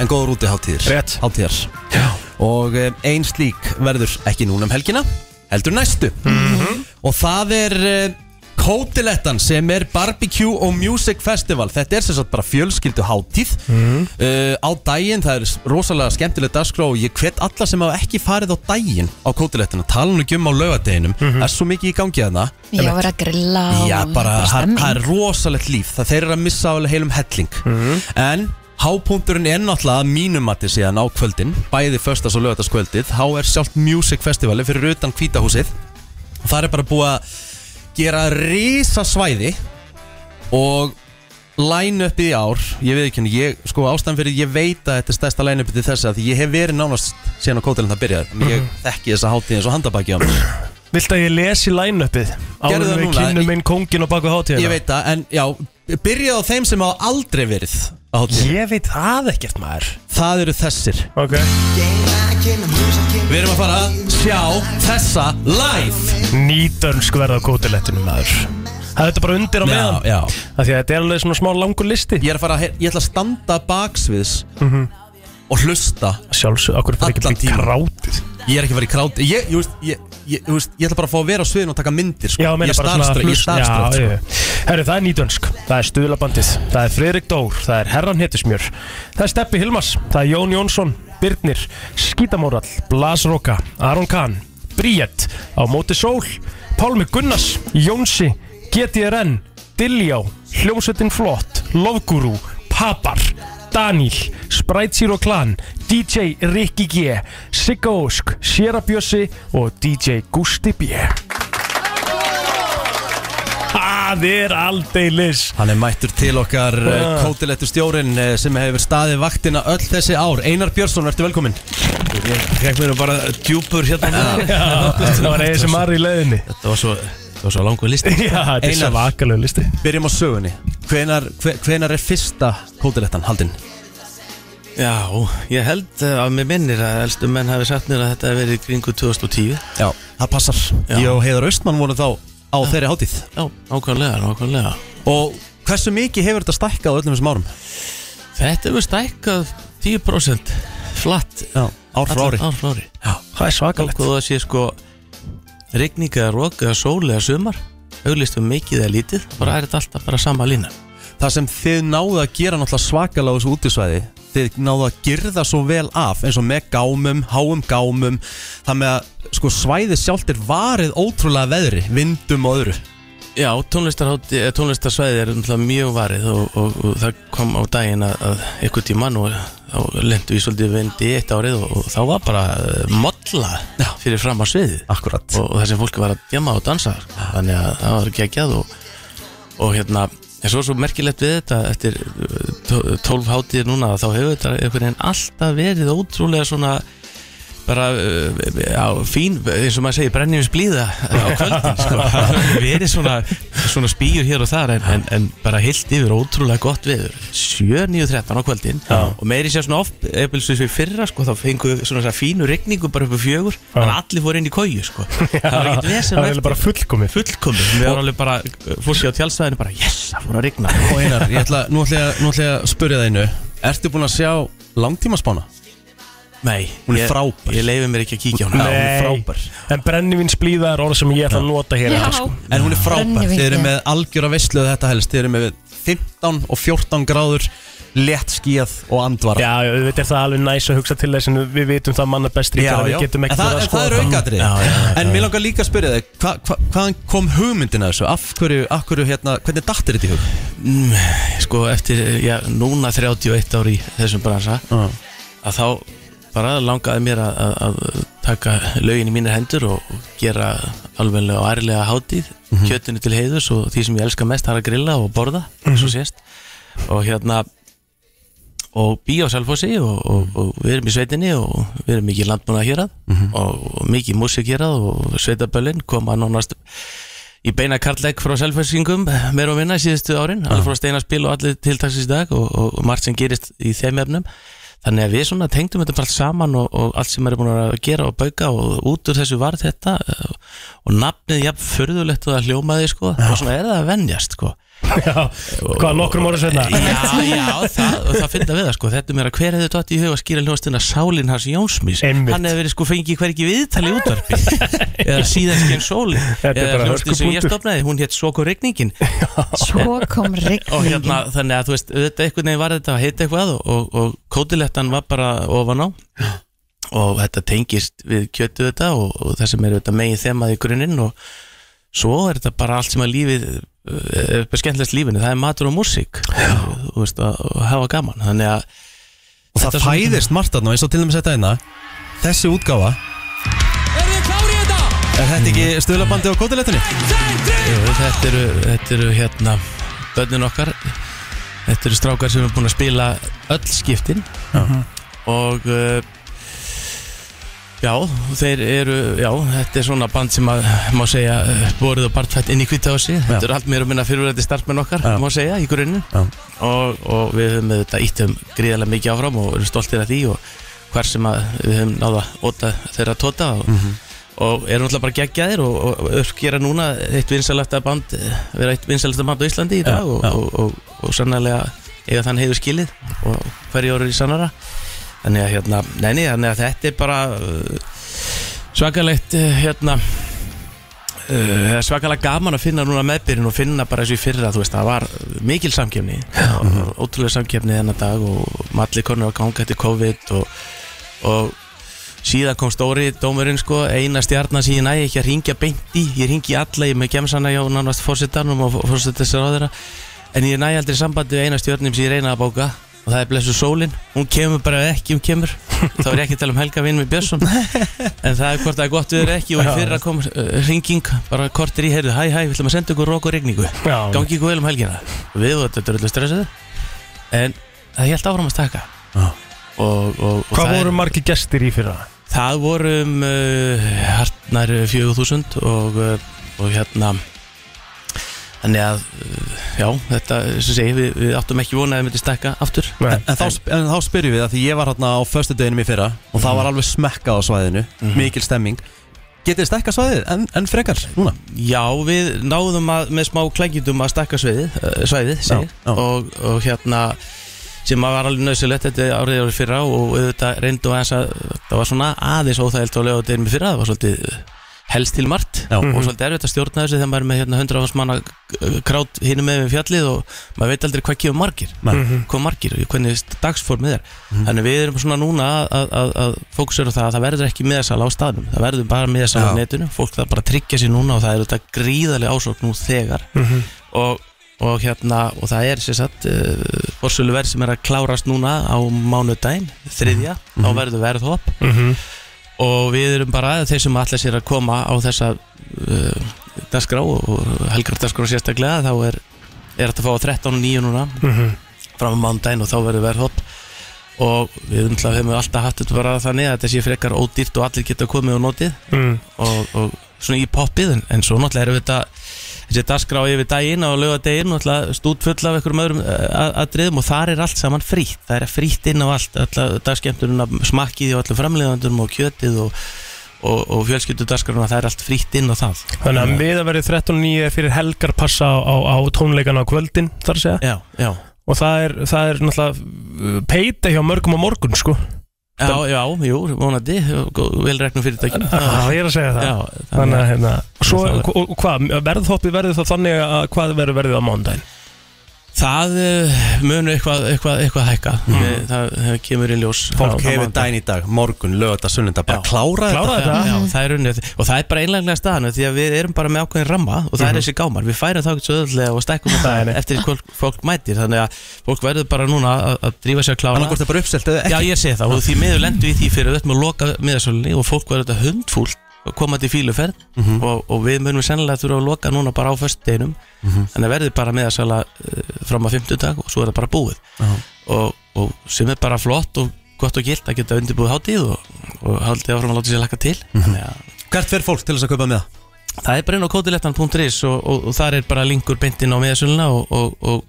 [SPEAKER 3] en góður úti hátíðir Rétt Hátíðar Já Og eh, ein slík verður ekki núna um helgina, heldur næstu -hmm. Og það er eh, Kótilettan sem er barbecue og music festival Þetta er sem sagt bara fjölskyldu hátíð
[SPEAKER 6] Mm-hmm.
[SPEAKER 3] uh, Á daginn, það er rosalega skemmtileg dagskrá Og ég hvet alla sem hafa ekki farið á daginn á kótilettina Tala nú ekki um á laugardeginum Það er svo mikið í gangi þarna
[SPEAKER 4] Já, við erum að grilla og-
[SPEAKER 3] Já, bara, það það er rosalegt líf Það þeir eru að missa alveg heilum helling En hápunkturinn er náttúrulega að mínum mati síðan á kvöldin Bæði föstas og lögataskvöldið Há er sjálft music festivali fyrir utan hvítahúsið Það er bara búið að gera risa svæði Og line-upið í ár Ég veit ekki henni, ég, sko ástæðan fyrir Ég veit að þetta er stærsta line-upið til þess að Ég hef verið nánast síðan á kótelinn það byrjaði Þannig Ég þekki þessa hátíð eins og handabaki á mér
[SPEAKER 5] Viltu að ég lesi line-upið?
[SPEAKER 3] Gerðu það
[SPEAKER 5] Áður en við
[SPEAKER 3] núna.
[SPEAKER 5] kynnum inn kóngin og baku hátíðina
[SPEAKER 3] Ég veit það, en já, byrjaði á þeim sem hafa aldrei verið á hátíðina
[SPEAKER 5] Ég veit það ekkert maður
[SPEAKER 3] Það eru þessir
[SPEAKER 5] Ok
[SPEAKER 3] Við erum að fara að sjá þessa live
[SPEAKER 5] Nýdönsk verða á kótilettinu maður Það er þetta bara undir á meðan
[SPEAKER 3] já.
[SPEAKER 5] Af Því að þetta er alveg svona smá langur listi
[SPEAKER 3] Ég er að fara að, heyr- ég ætla að standa baksviðs
[SPEAKER 5] Mhm.
[SPEAKER 3] og hlusta
[SPEAKER 5] Sjálfsög, okkur fara ekki að bli krátið
[SPEAKER 3] Ég er ekki að fara í krátið Ég, ég, veist, ég, ég, ég, veist, ég ætla bara að fá að vera á sviðinu og taka myndir sko.
[SPEAKER 5] Já, meina
[SPEAKER 3] Ég er
[SPEAKER 5] bara svona
[SPEAKER 3] starstruck- sko. Ég er
[SPEAKER 5] hlust-
[SPEAKER 3] starströnd
[SPEAKER 5] Já, já. Herru, það er nýdönsk, það er stuðlabandið, það er Friðrik Dór, það er Herran Hittusmjör, það er Steppi Hilmas, það er Jón Jónsson, Birnir, Skítamórall, Blas Roka, Aron Kahn, Bríett, Á móti sól, Pálmi Gunnars, Jónsi, GTRN, Dilljá, Hljómsveitin Flott, Lofgurú, Papar, Daníl, Sprite Zero Clan, DJ Rikki G, Sigga Ósk, Sjera Bjössi og DJ Gusti B. Það er aldeilis
[SPEAKER 3] Hann er mættur til okkar
[SPEAKER 5] Ah.
[SPEAKER 3] uh. kótilettu stjórin sem hefur staðið vaktina öll þessi ár Einar Björnsson, ertu velkominn Ég fekk mér bara djúpur hérna
[SPEAKER 5] Það var eða sem aðri í leiðinni
[SPEAKER 3] Þetta var svo, þetta var svo langur listi
[SPEAKER 5] Já, þetta er svo vakalegu listi
[SPEAKER 3] Byrjum á sögunni Hvenar, hve- hvenar er fyrsta kótilettan haldinn?
[SPEAKER 6] Já, ég held eh, að mér minnir að elstu menn hafi sagt mér að þetta hafi verið í kringu 2010
[SPEAKER 3] Já, það passar Já. Ég og Heiðar Austmann vorum þá á þeirri hátíð
[SPEAKER 6] Já, ákvæmlega, ákvæmlega
[SPEAKER 3] Og hversu mikið hefur þetta stækkað á öllum þessum árum?
[SPEAKER 6] Þetta hefur stækkað 10% flatt
[SPEAKER 3] Já, ár frá ári.
[SPEAKER 6] Ár frá ári
[SPEAKER 3] Já,
[SPEAKER 5] það er svakalegt
[SPEAKER 6] Hvað það sé sko rigning eða rók eða sól eða sumar auglist um mikið eða lítið bara er þetta alltaf bara sama lína
[SPEAKER 3] Það sem þið náðu að gera náttúrulega svakalega á þessu útisvæði Þið náðu að girða svo vel af eins og með gámum, háum gámum Það með að sko, svæði sjálft er varið ótrúlega veðri, vindum og öðru
[SPEAKER 6] Já, tónlistarhátti, eh, tónlistarsvæði er náttúrulega mjög varið og, og, og það kom á daginn að, að eitthvað tíma nú þá lendu við svolítið vind í eitt árið og, og þá var bara eh, molla fyrir fram á sviði
[SPEAKER 12] Akkurat
[SPEAKER 6] Og, og þessi fólki var að djama og dansa þannig að það var geggjað og, og hérna En svo er svo merkilegt við þetta eftir eh, tó- 12 hátíðir núna þá hefur þetta einhvern veginn alltaf verið ótrúlega svona bara uh, á fín, eins og maður segir brennjum splíða á kvöldin sko. verið svona, svona spýjur hér og þar en, en, en bara heilt yfir ótrúlega gott viður 7.9.13 á kvöldin og meiri sér svona oft, eða svo í fyrra sko, þá fengu svona, svona fínu regningu bara upp á fjögur, en allir fóru inn í kóju sko. það var ekkert vesen
[SPEAKER 5] Það var eiginlega bara fullkomið
[SPEAKER 6] Fullkomið Við varum alveg bara, fólki á tjálsvæðinu bara yes, það fór að regna
[SPEAKER 12] Og Einar, ég ætla, nú ætla ég að- nú ætla ég að spyrja það einu Ertu búin að sjá langtímaspána?
[SPEAKER 6] Nei
[SPEAKER 12] Hún er
[SPEAKER 6] ég-
[SPEAKER 12] frábær
[SPEAKER 6] Ég leifi mér ekki að kíkja á
[SPEAKER 12] Já,
[SPEAKER 6] hana
[SPEAKER 12] hún er frábær
[SPEAKER 5] En brennivín splíða er orð sem ég ætla að nota hér eftir, sko.
[SPEAKER 12] En hún er frábær, þeir eru með algjöra veistluð þetta helst Þeir eru með 15 og 14 gráður Létt skíð og andvara
[SPEAKER 5] Já, já, við veitum það alveg næs að hugsa til þess en við vitum það manna best líka að við getum
[SPEAKER 12] en
[SPEAKER 5] ekki
[SPEAKER 12] það, en
[SPEAKER 5] verið
[SPEAKER 12] það er
[SPEAKER 5] skoða
[SPEAKER 12] aukatrið En mér langar líka að spyrja þig hva, hva, Hvaðan kom hugmyndin að þessu? Af hverju, af hverju hérna, hvernig dattir þetta í hug?
[SPEAKER 6] Mm, sko eftir já, núna 31 ári í þessum bransa að þá bara langaði mér að, að, að taka lögin í mínir hendur og, og gera alveglega og ærlega hátíð
[SPEAKER 12] Mhm.
[SPEAKER 6] kjötinu til heiðus og því sem ég elska mest það er að grilla og borða eins
[SPEAKER 12] Mhm.
[SPEAKER 6] og sést og hérna og býja á Salfossi og, og, og við erum í sveitinni og við erum mikið landbúna hérað
[SPEAKER 5] Mhm.
[SPEAKER 6] og, og mikið músik hérað og sveitaböllin koma nánast í beina karlæk frá Salfossingum meir og minna síðustu árin alveg frá steinarspil og allir tiltaksins í dag og, og margt sem gerist í þeim efnum þannig að við svona tengdum þetta bara allt saman og, og allt sem er búin að gera og bauka og út úr þessu var þetta eh, og nafnið jafn förðulegt og það hljómaði sko og svona er það að venjast sko
[SPEAKER 5] Já, hvað nokkrum orðum sveitna
[SPEAKER 6] Já, já, það, og það finna við það sko Þetta er mér að hver hefði dott í huga að skýra hljóðastina Sálin hans Jónsmís Einmitt. Hann hefði verið sko fengið hvergi viðtali í útvarpi Eða síðan skinn sóli
[SPEAKER 5] er
[SPEAKER 6] Eða
[SPEAKER 5] bara
[SPEAKER 6] hljóðastin sem ég
[SPEAKER 5] hörkupunktur.
[SPEAKER 6] stopnaði Hún hétt Soko Rigningin
[SPEAKER 4] Svo kom
[SPEAKER 6] Og
[SPEAKER 4] rigningin
[SPEAKER 6] hérna, þannig að þú veist, auðvitað einhvern veginn var þetta að heita eitthvað og, og, og kótilettan var bara ofan á og þetta tengist við kjötu þetta og, og það sem er auðvitað megin þemað í grunninn og svo er þetta bara allt sem að lífið eh, er skemmtilegst lífinu, það er matur og músík þú veist, að, að hafa gaman þannig að
[SPEAKER 12] Og það fæðist margt þarna, eins og til dæmis þetta einna Þessi útgáfa Er þetta ekki stöðlabandi á kótilettinni?
[SPEAKER 6] Jú, þetta eru, þetta eru hérna börnin okkar Þetta eru strákar sem er búin að spila öll skiptin
[SPEAKER 12] Mhm.
[SPEAKER 6] og uh, já, þeir eru já, þetta er svona band sem að má segja, uh, borið og bartfætt inn í kvítahósi þetta eru allt mér og minna fyrirverðandi starfsmenn okkar má segja, í grunni og, og við höfum þetta íttum gríðarlega mikið áfram og erum stoltir af því og hvar sem að við höfum náða óta þeirra tóta og,
[SPEAKER 12] Mhm.
[SPEAKER 6] og erum alltaf bara geggjaðir og, og, og uppgera núna eitt vinsalasta band vera eitt vinsalasta band á Íslandi í dag og, og, og, og sannlega eiga þann hefur skilið og hverju orður í sannara þannig að, hérna, neini, þannig að þetta er bara uh, svakalegt uh, hérna Uh, svakalega gaman að finna núna meðbyrjun og finna bara þessu í fyrra, þú veist, það var mikil samkefni, og ótrúlega samkefni þennan dag og allir konur að ganga eftir COVID og, og síðan kom stóri dómurinn sko, eina stjarnan sem ég næ ekki að ringja beint í, ég ringi í alla, ég er með gemsana hjá nánast fórsetanum og fórsetisar á þeirra en ég næ aldrei sambandi við eina stjörnum sem ég reyna að bóka og það er blessu sólin, hún kemur bara ef ekki, hún kemur þá er ég ekki að tala um Helga vinn með Björnsson en það er hvort það er gott viður eða ekki og í fyrra kom uh, ringing bara kortir í heyrðu, hæ hæ, við ætlum að senda ykkur rók og regningu gangi ykkur vel um helgina við og þetta er öllu stressið en það held áfram að stakka og, og, og
[SPEAKER 5] Hvað
[SPEAKER 6] það er-
[SPEAKER 5] voru margir gestir í fyrra?
[SPEAKER 6] Það vorum uh, hartnar 4000 og, uh, og hérna Þannig að, uh, já, þetta, sem segi, við, við áttum ekki vona að við myndum stekka aftur
[SPEAKER 12] En, en, þá, sp- en þá spyrjum við að því ég var hérna á föstudeginum í fyrra og það var alveg smekkað á svæðinu, mikil stemming Getið þið stekka svæðið en, en frekar núna?
[SPEAKER 6] Já, við náðum að, með smá klækjum að stakka svæðið, uh, svæðið já, Og, og hérna sem að var alveg nöðsilegt þetta er árið árið fyrra og auðvitað reyndu aðeins að það var svona aðeins óþægilt á lögadeinum í fyrra það var svolítið eh, helst til margt
[SPEAKER 12] Já.
[SPEAKER 6] og
[SPEAKER 12] Mhm.
[SPEAKER 6] svolítið erfitt að stjórna þessu þegar maður er með hérna, 100 áfans manna eh, krát hinum með við fjallið og maður veit aldrei hvað kemur margir
[SPEAKER 12] Nei. Mhm.
[SPEAKER 6] hvað margir og hvernig dagsformið er þannig við erum svona núna að, að, að, að fókusera á það að það verður ekki miðasala á staðnum það verður bara miðasala á
[SPEAKER 12] Já.
[SPEAKER 6] netinu fólk það bara að tryggja sér núna og það er þetta gríðarlega ásókn nú þegar
[SPEAKER 12] Mhm.
[SPEAKER 6] og, og hérna og það er sér satt uh, forsöluverð sem er að klárast núna á mánudaginn þriðja, þá
[SPEAKER 12] Mhm.
[SPEAKER 6] verður verðhopp
[SPEAKER 12] Mhm.
[SPEAKER 6] og við erum bara þeir sem allir sér að koma á þessa uh, dagskrá og helgar dagskrá sérstaklega þá er, er þetta að fá á 13 og 9 núna
[SPEAKER 5] Mhm.
[SPEAKER 6] fram á mándaginn og þá verður verðhopp og við náttúrulega höfum alltaf haft þetta bara þannig að þetta sé frekar ódýrt og allir geta komið og notið
[SPEAKER 5] Mm.
[SPEAKER 6] og, og svona í poppið en, en svo náttúrulega erum við þetta þessi dagskrá yfir daginn og lögadeginn náttúrulega stútfull af einhverjum öðrum eh, atriðum og þar er allt saman frýtt það er frýtt inn á allt, alltaf dagskemmtununa smakkið og allum framleiðandum og kjötið og, og, og fjölskyldu það er allt frýtt inn á það
[SPEAKER 5] Þannig að miða verið 13.9 fyrir helgar passa á, á, á tónleikana á kvöldin þar að segja
[SPEAKER 6] Já, já
[SPEAKER 5] Og það er, það er náttúrulega uh, peita hjá mörgum á morgun sko
[SPEAKER 6] Já, já, jú, vonandi, velregnum fyrirtækjum
[SPEAKER 5] Já, ég er að segja það
[SPEAKER 6] Já,
[SPEAKER 5] Þannig að hérna Svo,
[SPEAKER 6] Það
[SPEAKER 5] og, og hvað, verðhoppið verður það þannig að hvað verður verðið á mándaginn?
[SPEAKER 6] Það uh, munur eitthvað, eitthvað, eitthvað hækka mm. það, það kemur í ljós
[SPEAKER 12] Fólk
[SPEAKER 6] Já,
[SPEAKER 12] hefur
[SPEAKER 6] mánudag.
[SPEAKER 12] daginn í dag, morgun, lögða, sunnunda bara klára þetta
[SPEAKER 6] Já,
[SPEAKER 3] Mm.
[SPEAKER 6] já, það er unnið Og það er bara einlæglega staðan Því að við erum bara með ákveðin ramma Og það er
[SPEAKER 12] Mhm.
[SPEAKER 6] þessi gámar Við færum þá ekki svo öðvöldlega og stækkum þetta Eftir því fólk, fólk mætir Þannig að fólk verður bara núna að, að drífa sér að klára
[SPEAKER 12] Annaðhvort er bara uppselt eða ekki.
[SPEAKER 6] Já, ég segi það Og því miður lendu í því fyrir Við ætlum að loka miðasölunni Og fólk verður þetta hundfúlt að koma til fíluferð
[SPEAKER 12] Mhm.
[SPEAKER 6] og, og við munum sennilega þurfa að loka núna bara á föstudeginum
[SPEAKER 12] Mhm.
[SPEAKER 6] þannig að verði bara miðasala uh, fram að 50 dag og svo er það bara búið
[SPEAKER 12] Já.
[SPEAKER 6] og, og sem er bara flott og gott og gilt að geta undirbúið hátíð og, og haldið áfram að láta sér lakka til Þannig að
[SPEAKER 12] Mhm. Hvert fer fólk til þess að kaupa með það?
[SPEAKER 6] Það er bara inn á kótilettan.is og, og, og þar er bara linkur beint inn á miðasöluna og, og, og,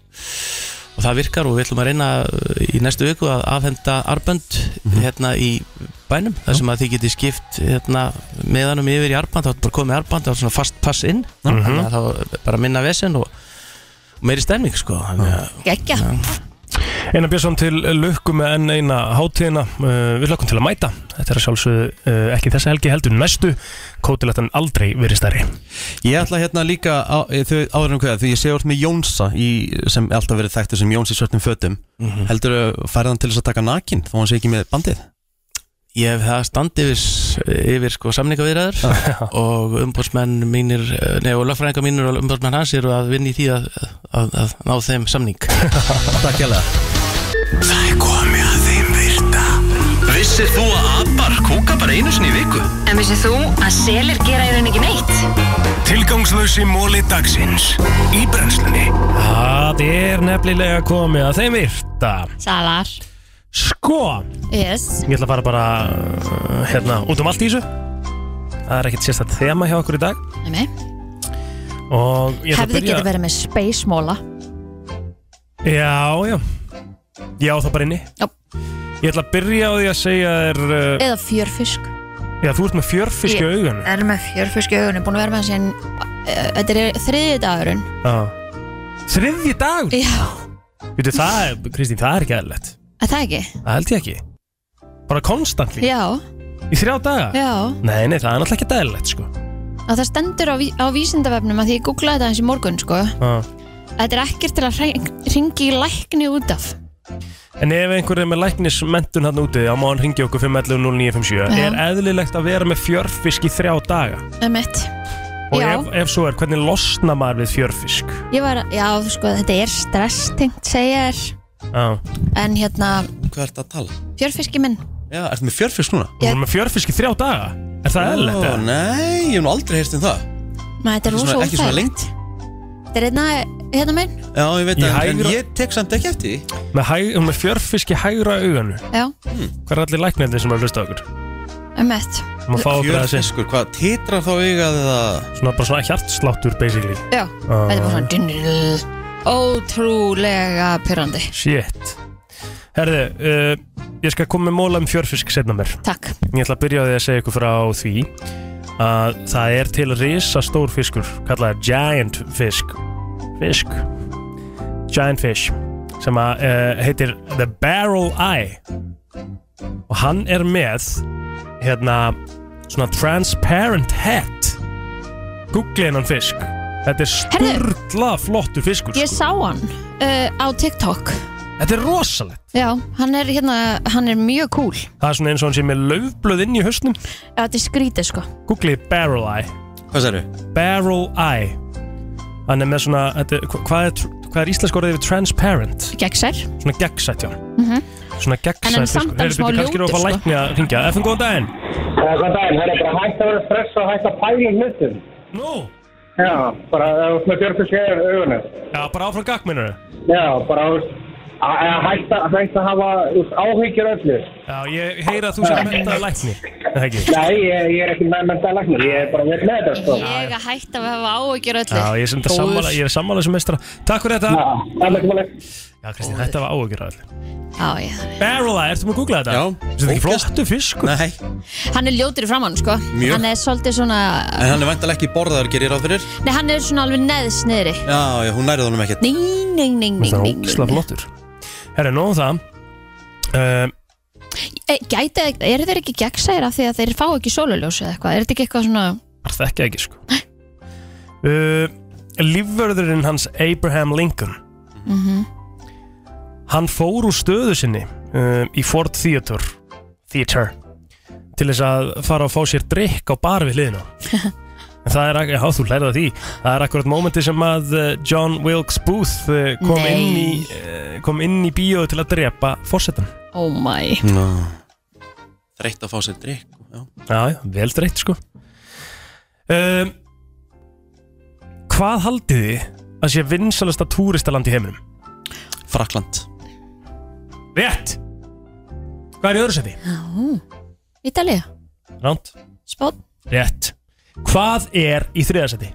[SPEAKER 6] og það virkar og við ætlum að reyna uh, í næstu viku að afhenda arbönd
[SPEAKER 12] Mhm.
[SPEAKER 6] hérna í bænum þar sem að þið getið skipt hérna, meðanum yfir í arbönd, þá er bara komið arbönd þá er svona fast pass inn þannig
[SPEAKER 12] Mhm.
[SPEAKER 6] að þá er bara minna vesen og, og meiri stemning sko þannig að
[SPEAKER 4] Gekja
[SPEAKER 5] Einar Björnsson til lukku með enn eina hátíðina uh, Við lökum til að mæta Þetta er að sjálfsögðu uh, ekki þessa helgi heldur næstu Kótilettan aldrei verið stærri
[SPEAKER 12] Ég ætla hérna líka á, eh, þau, áður en hvað, því ég sé orð með Jónsa í, sem alltaf verið þekktur sem Jóns í svörtum fötum
[SPEAKER 6] Mhm.
[SPEAKER 12] heldur að færa hann til þess að taka nakin þó hann sé ekki með bandið
[SPEAKER 6] Ég hef það standi yfir, yfir sko samningaviðræður og umbótsmenn mínir, eh, nei og lögfræðingar mínir og umbótsmenn hans eru að vinna í því að, að, að ná þeim samning.
[SPEAKER 12] Takk hjá það.
[SPEAKER 7] Það er komið að þeim virta Vissir þú að abar kúka bara einu sinni í viku?
[SPEAKER 13] En vissið þú að selir gera í rauninni ekki neitt?
[SPEAKER 5] Tilgangslösi móli dagsins Í
[SPEAKER 14] Eh,
[SPEAKER 5] brennslunni Það er nefnilega komið að þeim virta
[SPEAKER 4] Salar
[SPEAKER 5] Sko
[SPEAKER 4] Yes
[SPEAKER 5] Ég ætla að fara bara uh, hérna út um allt í þessu Það er ekkert sérstætt þema hjá okkur í dag
[SPEAKER 4] Nei,
[SPEAKER 5] Og ég ætla að
[SPEAKER 4] Hefði
[SPEAKER 5] byrja
[SPEAKER 4] getið verið með space móla
[SPEAKER 5] Já, já Já, það bara inni
[SPEAKER 4] Já
[SPEAKER 5] Ég ætla að byrja á því að segja þér uh,
[SPEAKER 4] Eða fjörfisk
[SPEAKER 5] Já, þú ert með fjörfiski
[SPEAKER 4] Ég
[SPEAKER 5] augun
[SPEAKER 4] Er með fjörfisk í augunum Búin að vera með þessi uh, Þetta er þriði dagurinn
[SPEAKER 5] Já Þriðji dag?
[SPEAKER 4] Já
[SPEAKER 5] Veitu, það er, Kristín, það er ekki aðeinlegt
[SPEAKER 4] Er það ekki?
[SPEAKER 5] Það held ég ekki Bara konstantli
[SPEAKER 4] Já
[SPEAKER 5] Í þrjá daga?
[SPEAKER 4] Já
[SPEAKER 5] Nei, nei, það er náttúrulega ekki aðeinlegt, sko
[SPEAKER 4] að það stendur á, ví á vísindavefnum að því ég googlaði þetta eins í morgun sko
[SPEAKER 5] Já.
[SPEAKER 4] að þetta er ekkert til að ringi í lækni út af
[SPEAKER 5] En ef einhver er með læknismentun hann úti á máðan ringi okkur 511-0957
[SPEAKER 4] Já.
[SPEAKER 5] er eðlilegt að vera með fjörfisk í þrjá daga
[SPEAKER 4] Emmett,
[SPEAKER 5] og
[SPEAKER 4] Já.
[SPEAKER 5] ef, ef svo er, hvernig losna maður við fjörfisk?
[SPEAKER 4] ég var, já þú sko þetta er stresstengt segja þér
[SPEAKER 5] Já.
[SPEAKER 4] en hérna,
[SPEAKER 12] Hvað ert að tala?
[SPEAKER 4] fjörfiski minn
[SPEAKER 12] Já, Ah, ertu með fjörfisk núna?
[SPEAKER 5] Þú erum með fjörfisk í þrjá daga? Er það eðlilegt, eða?
[SPEAKER 12] Nei, ég hef nú aldrei heyrst um það
[SPEAKER 4] maður þetta er
[SPEAKER 12] Ekki
[SPEAKER 4] rosa
[SPEAKER 12] svona- ekki svona
[SPEAKER 4] óþægilegt þetta er hérna, hérna minn
[SPEAKER 12] Já, ég veit
[SPEAKER 5] Í
[SPEAKER 12] að, en
[SPEAKER 5] hægra-
[SPEAKER 12] ég tek samt ekki eftir því.
[SPEAKER 5] Með, hæg, með fjörfisk í hægra auganu
[SPEAKER 4] já,
[SPEAKER 12] Hmm.
[SPEAKER 5] Hvað er allir læknirnir sem er að hlusta á okkur?
[SPEAKER 4] emmett
[SPEAKER 5] Má fá okkur að þessi
[SPEAKER 12] Fjörfiskur, hvað titrar þá augað eða
[SPEAKER 5] Svona bara svona hjartsláttur basically Ah.
[SPEAKER 4] já, þetta er bara svona dynl, ótrúlega pyrrandi
[SPEAKER 5] Shit Herðu, uh, ég skal koma með móla um fjörfisk setna mér
[SPEAKER 4] Takk
[SPEAKER 5] Ég ætla að byrja á því að segja ykkur frá því að það er til risa stór fiskur kallaðar giant fisk Fisk Giant fish sem að uh, heitir The Barrel Eye og hann er með hérna svona transparent hat Google hennan fisk Þetta er sturla flottur fiskur sko.
[SPEAKER 4] Ég sá hann uh, á TikTok
[SPEAKER 5] Þetta er rosalegt
[SPEAKER 4] Já, hann er hérna, hann er mjög cool
[SPEAKER 5] Það er svona eins og hann sé með laufblöð inn í hausnum
[SPEAKER 4] Þetta er skrítið sko
[SPEAKER 5] Google Barrel Eye
[SPEAKER 10] Hvað sérðu?
[SPEAKER 5] Barrel Eye Hann er með svona, þetta, er- hva- hvað, er, tr- hvað er íslensk orðið yfir transparent?
[SPEAKER 4] Gegnsær
[SPEAKER 5] Svona gegnsætt, já
[SPEAKER 4] mm
[SPEAKER 5] Svona gegnsætt
[SPEAKER 4] En hann samt hann smá
[SPEAKER 5] kannski erum við að fá
[SPEAKER 4] ljótur,
[SPEAKER 5] lækni að ringja FN, góðan daginn
[SPEAKER 14] Góðan daginn, það er bara hægt að vera stressa og hægt að pæla um hlutum.
[SPEAKER 5] Nú?
[SPEAKER 14] Já, bara eh, það er svona björgur sér augunum.
[SPEAKER 5] Já, bara áfram gagg, minnur
[SPEAKER 14] Já, bara þú veist, að- að hægt að, hægt að hafa þú veist, áhyggjur öllu.
[SPEAKER 5] Já, ég heyra að þú sem mentaði lækni Nei, það ekki
[SPEAKER 14] Nei, ég, ég er ekki með mentaði læknir, ég er bara verið með þetta, sko.
[SPEAKER 4] Ég að hætta að hafa áhugjur öllu
[SPEAKER 5] Já, ég, er sem þetta
[SPEAKER 4] Góður.
[SPEAKER 5] sammála, ég er sammála sem meistra Takk fyrir þetta Já, Kristín, þetta var áhugjur allir
[SPEAKER 4] Já, ég
[SPEAKER 5] Barrel Eye, ertu með að googla þetta? Já Þetta er ekki flottu fiskur?
[SPEAKER 12] Nei
[SPEAKER 4] Hann er ljótur í framann sko
[SPEAKER 12] Mjög.
[SPEAKER 4] Hann er svolítið svona
[SPEAKER 12] En hann er vantilega ekki borðaður, gerir ég ráð fyrir
[SPEAKER 4] Nei, hann er svona alveg neðst niðri
[SPEAKER 12] Já, já, hún nærið honum ekkert
[SPEAKER 4] Nei, nei, nei, nei,
[SPEAKER 5] Það er
[SPEAKER 4] nei,
[SPEAKER 5] ógislega
[SPEAKER 4] nei.
[SPEAKER 5] flottur Herra, um nóðum það um,
[SPEAKER 4] E, Gæti, er þeir ekki gegnsæra því að þeir fá ekki sóluljós eða eitthvað? Er þetta ekki eitthvað svona
[SPEAKER 5] Það þekki ég ekki, sko uh, Lífvörðurinn hans Abraham Lincoln
[SPEAKER 4] mm
[SPEAKER 5] Hann fór úr stöðu sinni um, í Ford Theater, Theater til þess að fara að fá sér drikk á bar við hliðina En það er, ak- já þú lærið að því það er akkurat mómenti sem að eh, John Wilkes Booth eh, kom
[SPEAKER 4] Nei.
[SPEAKER 5] inn, í, eh, kom inn í bíóðu til að drepa fórsetan
[SPEAKER 4] Oh my
[SPEAKER 12] no. Þreytt að fá sér drikk já.
[SPEAKER 5] Já, já, vel dreitt sko um, Hvað haldið þið að sé vinsalasta túristaland í heiminum?
[SPEAKER 12] Frakland
[SPEAKER 5] Rétt! Hvað er í öðru seti?
[SPEAKER 4] Ítalið,
[SPEAKER 5] Ránt
[SPEAKER 4] spót
[SPEAKER 5] Rétt Hvað er í þriða seti?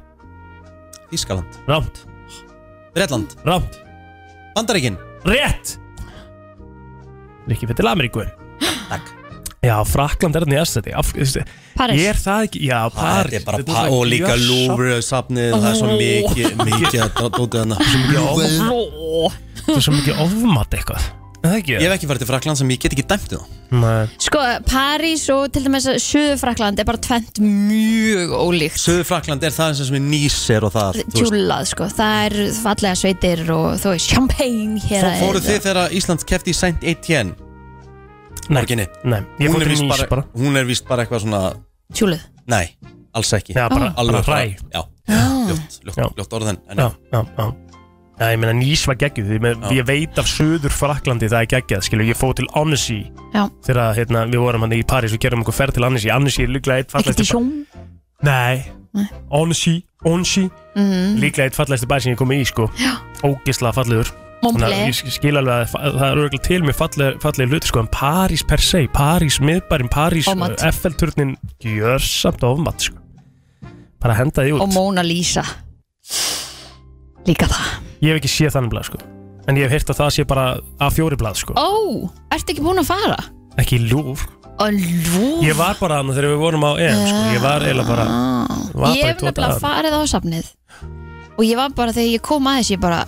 [SPEAKER 12] Ískaland
[SPEAKER 5] Ránt
[SPEAKER 12] Redland
[SPEAKER 5] Ránt
[SPEAKER 12] Bandaríkin
[SPEAKER 5] Rétt Rikki fyrir til Ameríku Takk Já, Frakland er þannig í aðstætti
[SPEAKER 12] París.
[SPEAKER 5] Ég er það ekki, já, París
[SPEAKER 12] er bara
[SPEAKER 5] Þetta
[SPEAKER 12] pa-
[SPEAKER 5] svona-
[SPEAKER 12] og líka
[SPEAKER 5] Já,
[SPEAKER 12] Louvre-safnið, það er svo
[SPEAKER 5] Ó.
[SPEAKER 12] mikið- mikið að dó- dótið þarna. Svo mikið ofmat.
[SPEAKER 5] Það er svo mikið ofmat eitthvað Það ekki
[SPEAKER 12] Ég hef ekki farið til Frakland sem ég get ekki dæmt um
[SPEAKER 5] Nei
[SPEAKER 4] Sko, París og til dæmis Suðurfrakland er bara tvent mjög ólíkt
[SPEAKER 12] Suðurfrakland er það sem er nýser og það þú veist.
[SPEAKER 4] tjúlað sko Það er fallega sveitir og þú veist champagne hér
[SPEAKER 12] Fó- Fóruð þið þegar Ísland kefti í Saint Etienne
[SPEAKER 5] Nei,
[SPEAKER 12] Morginni
[SPEAKER 5] nei, ég
[SPEAKER 12] Hún
[SPEAKER 5] fór
[SPEAKER 12] er
[SPEAKER 5] til
[SPEAKER 12] víst
[SPEAKER 5] Nice bara.
[SPEAKER 12] Hún er víst bara eitthvað svona
[SPEAKER 4] Tjúluð
[SPEAKER 12] Nei, alls ekki
[SPEAKER 5] Já, bara-
[SPEAKER 12] Alveg
[SPEAKER 5] bara hræ.
[SPEAKER 12] Já,
[SPEAKER 5] Já.
[SPEAKER 12] ljótt, ljótt,
[SPEAKER 5] Mm. Já.
[SPEAKER 12] ljótt orðin en,
[SPEAKER 5] Já, já, já Já, ég meina Nýs var geggjuð Ég, með,
[SPEAKER 12] Já.
[SPEAKER 5] ég veit af söður Fraklandi það er geggjað Skilju, ég fóð til Annecy
[SPEAKER 4] Já.
[SPEAKER 5] Þegar hérna, við vorum hann í París Við gerum okkur ferð til Annecy Annecy er líklega eitt fallegasti
[SPEAKER 4] Ekki sjón
[SPEAKER 5] bæ- Nei, Annecy, Annecy
[SPEAKER 8] Mm.
[SPEAKER 4] Mhm.
[SPEAKER 5] Líklega eitt fallegasti bæ sem ég komið í sko Ógislega fallegur
[SPEAKER 4] Montpellier.
[SPEAKER 5] að ég skil alveg að fa- það er örgulega til með falleg, falleg hlut sko En París per se, París miðbærin, París
[SPEAKER 4] Ofmat.
[SPEAKER 5] FL-turnin Gjörsamt ofmat sko Bara henda því út
[SPEAKER 4] og Mona Lisa Líka það
[SPEAKER 5] Ég hef ekki séð þannig blað sko En ég hef heyrt að það sé bara A4 blað sko
[SPEAKER 4] Ó, ertu ekki búin að fara?
[SPEAKER 5] Ekki lúf
[SPEAKER 4] Alvú
[SPEAKER 5] Ég var bara hann þegar við vorum á EM sko Ég var eiginlega bara var
[SPEAKER 4] Ah. Ég
[SPEAKER 5] bara í
[SPEAKER 4] hef
[SPEAKER 5] tvo
[SPEAKER 4] nefnilega
[SPEAKER 5] daga.
[SPEAKER 4] farið á safnið Og ég var bara þegar ég kom aðeins Ég bara,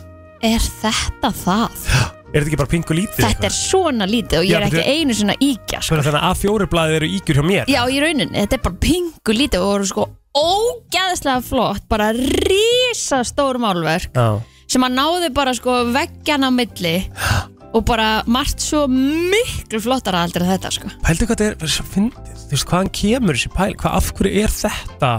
[SPEAKER 4] er þetta það?
[SPEAKER 5] Er þetta ekki bara pingu lítið?
[SPEAKER 4] Þetta er svona lítið og ég
[SPEAKER 5] Já,
[SPEAKER 4] er
[SPEAKER 5] betur-
[SPEAKER 4] ekki einu svona íkja
[SPEAKER 5] Svo er þannig að A4 blaðið eru ígjur hjá mér
[SPEAKER 4] Já, í rauninni, þetta er bara pingu lítið og voru sko ógeðslega flott bara risa stór málverk
[SPEAKER 5] Já
[SPEAKER 4] sem að náðu bara sko veggjan á milli og bara margt svo miklu flottara aldrei en þetta sko
[SPEAKER 5] Pældu hvað þetta er, bara svo fyndið Þú veist, hvaðan kemur þessi pæl Hvað af hverju er þetta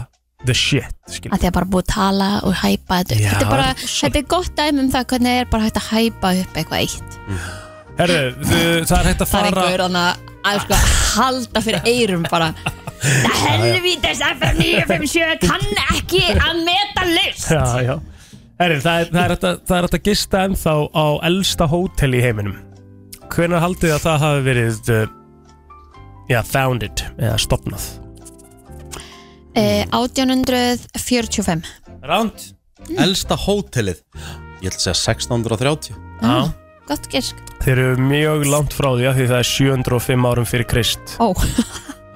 [SPEAKER 5] the shit skilur?
[SPEAKER 4] að því að bara búið að tala og hæpa þetta upp
[SPEAKER 5] Já,
[SPEAKER 4] þetta er bara,
[SPEAKER 5] það
[SPEAKER 4] þetta er gott dæmi um það hvernig er bara hægt að hæpa upp eitthvað eitt
[SPEAKER 5] Herru, þú- það er hægt að
[SPEAKER 4] það er
[SPEAKER 5] fara
[SPEAKER 4] einhver þannig að, að sko, halda fyrir eyrum bara Það helvítis FM 957 kann ekki að meta list
[SPEAKER 5] Já, já Herru, það er, það er hægt að- það er hægt að gista ennþá á elsta hótel í heiminum Hvenær haldið þið að það hafi verið uh, Já, founded Eða stopnað
[SPEAKER 4] eh, 1845
[SPEAKER 5] Ránt
[SPEAKER 12] Elsta hótelið Ég ætla að segja 1630
[SPEAKER 5] Já
[SPEAKER 4] Ah, gott gisk
[SPEAKER 5] Þeir eru mjög langt frá því að því það er 705 árum fyrir Krist
[SPEAKER 4] Ó,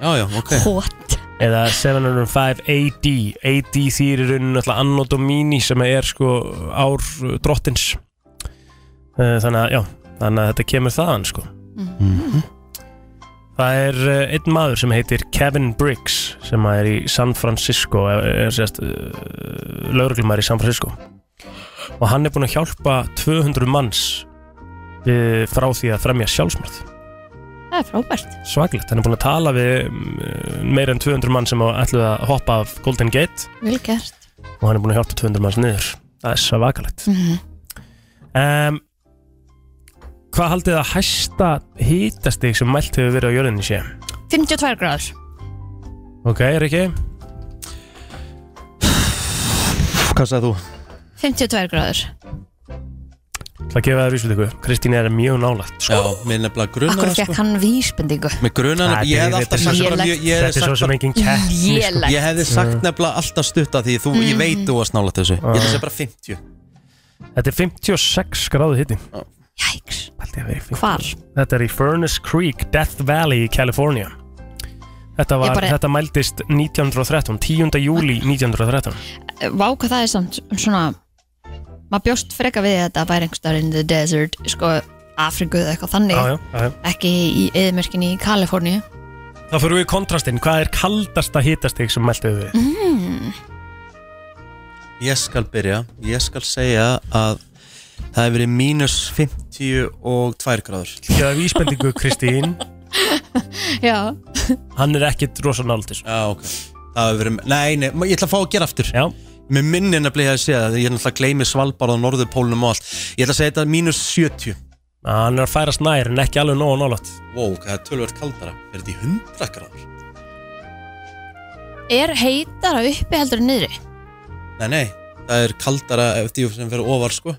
[SPEAKER 12] Já, já, ok
[SPEAKER 4] What?
[SPEAKER 5] Eða 705 AD AD þýr í rauninu alltaf Anno Domini sem er sko ár uh, drottins Eh, Þannig að, já, þannig að þetta kemur þaðan sko
[SPEAKER 4] Mhm.
[SPEAKER 5] Það er eh, einn maður sem heitir Kevin Briggs sem að er í San Francisco eh, er, er sérst lauruglumar í San Francisco og hann er búinn að hjálpa 200 manns við, frá því að fremja sjálfsmörð
[SPEAKER 4] Það er frábært
[SPEAKER 5] svaglegt, hann er búinn að tala við mm, meira en 200 mann sem ætluð að hoppa af Golden Gate
[SPEAKER 4] Vel gert
[SPEAKER 5] og hann er búinn að hjálpa 200 manns niður það er svakalegt
[SPEAKER 4] Mhm.
[SPEAKER 5] um, Hvað haldið þið að hæsta hítastig sem mælt hefur verið á jörðinni sé?
[SPEAKER 4] 52 gráður
[SPEAKER 5] Ok, Riki Hvað sagði þú?
[SPEAKER 4] 52 gráður
[SPEAKER 5] Það gefa þér vísvöld ykkur Kristín er mjög nálægt sko.
[SPEAKER 12] Já, mér nefnilega sko.
[SPEAKER 4] Akkur fekk hann vísbendingu
[SPEAKER 12] Með grunan,
[SPEAKER 5] Þetta
[SPEAKER 12] ég
[SPEAKER 5] er-
[SPEAKER 12] hefði alltaf
[SPEAKER 5] þetta er
[SPEAKER 12] sagt
[SPEAKER 5] svo
[SPEAKER 12] bara
[SPEAKER 5] sem-
[SPEAKER 12] mjög- ég hefði
[SPEAKER 5] þetta er svo
[SPEAKER 12] sagt
[SPEAKER 5] sem
[SPEAKER 12] bara-
[SPEAKER 5] engin keppni, sko. Lélegt.
[SPEAKER 12] Ég hefði sagt
[SPEAKER 5] Já. Ah.
[SPEAKER 12] nefnilega alltaf stutta því þú, ég
[SPEAKER 5] Mhm.
[SPEAKER 12] veit þú varst nála þessu Ég hefði
[SPEAKER 5] Já.
[SPEAKER 12] segja bara 50
[SPEAKER 5] Þetta er 56 gráðu hitti
[SPEAKER 4] Jæks
[SPEAKER 5] Hvar? Þetta er í Furnace Creek, Death Valley í California Þetta, var,
[SPEAKER 4] Ég bara-
[SPEAKER 5] þetta mældist 1913, 10. júli 1913
[SPEAKER 4] Eh, Vá hvað það er samt svona maður bjóst freka við þetta að væri einhvers staðar in the desert sko Afriku eða eitthvað þannig
[SPEAKER 5] Já, já, já, já.
[SPEAKER 4] ekki í eðmörkinni í Kaliforníu
[SPEAKER 5] Það fyrir við í kontrastinn, hvað er kaldasta hitastig sem mælt hefur verið?
[SPEAKER 4] mm.
[SPEAKER 12] Ég skal byrja, ég skal segja að það hefur verið mínus 52 gráður
[SPEAKER 5] Ég hafði vísbendingu Kristín
[SPEAKER 4] Já,
[SPEAKER 5] Hann er ekkit rosa nált þessu
[SPEAKER 12] Já, ok Það hefur verið, nei, nei, ég ætla að fá að gera aftur
[SPEAKER 5] Já
[SPEAKER 12] Mér minni nefnilega að segja það, ég er náttúrulega að gleymi Svalbard og Norðurpólnum og allt Ég ætla að segja þetta mínus 70
[SPEAKER 5] Ah, Hann er að færast nær en ekki alveg nógu nálægt
[SPEAKER 12] Wow, hvað er tölvöld kaldara, er þetta í 100 gráður?
[SPEAKER 4] er heitara uppi heldur en niðri
[SPEAKER 12] Nei, nei, það er kaldara eftir sem fyrir ofar, sko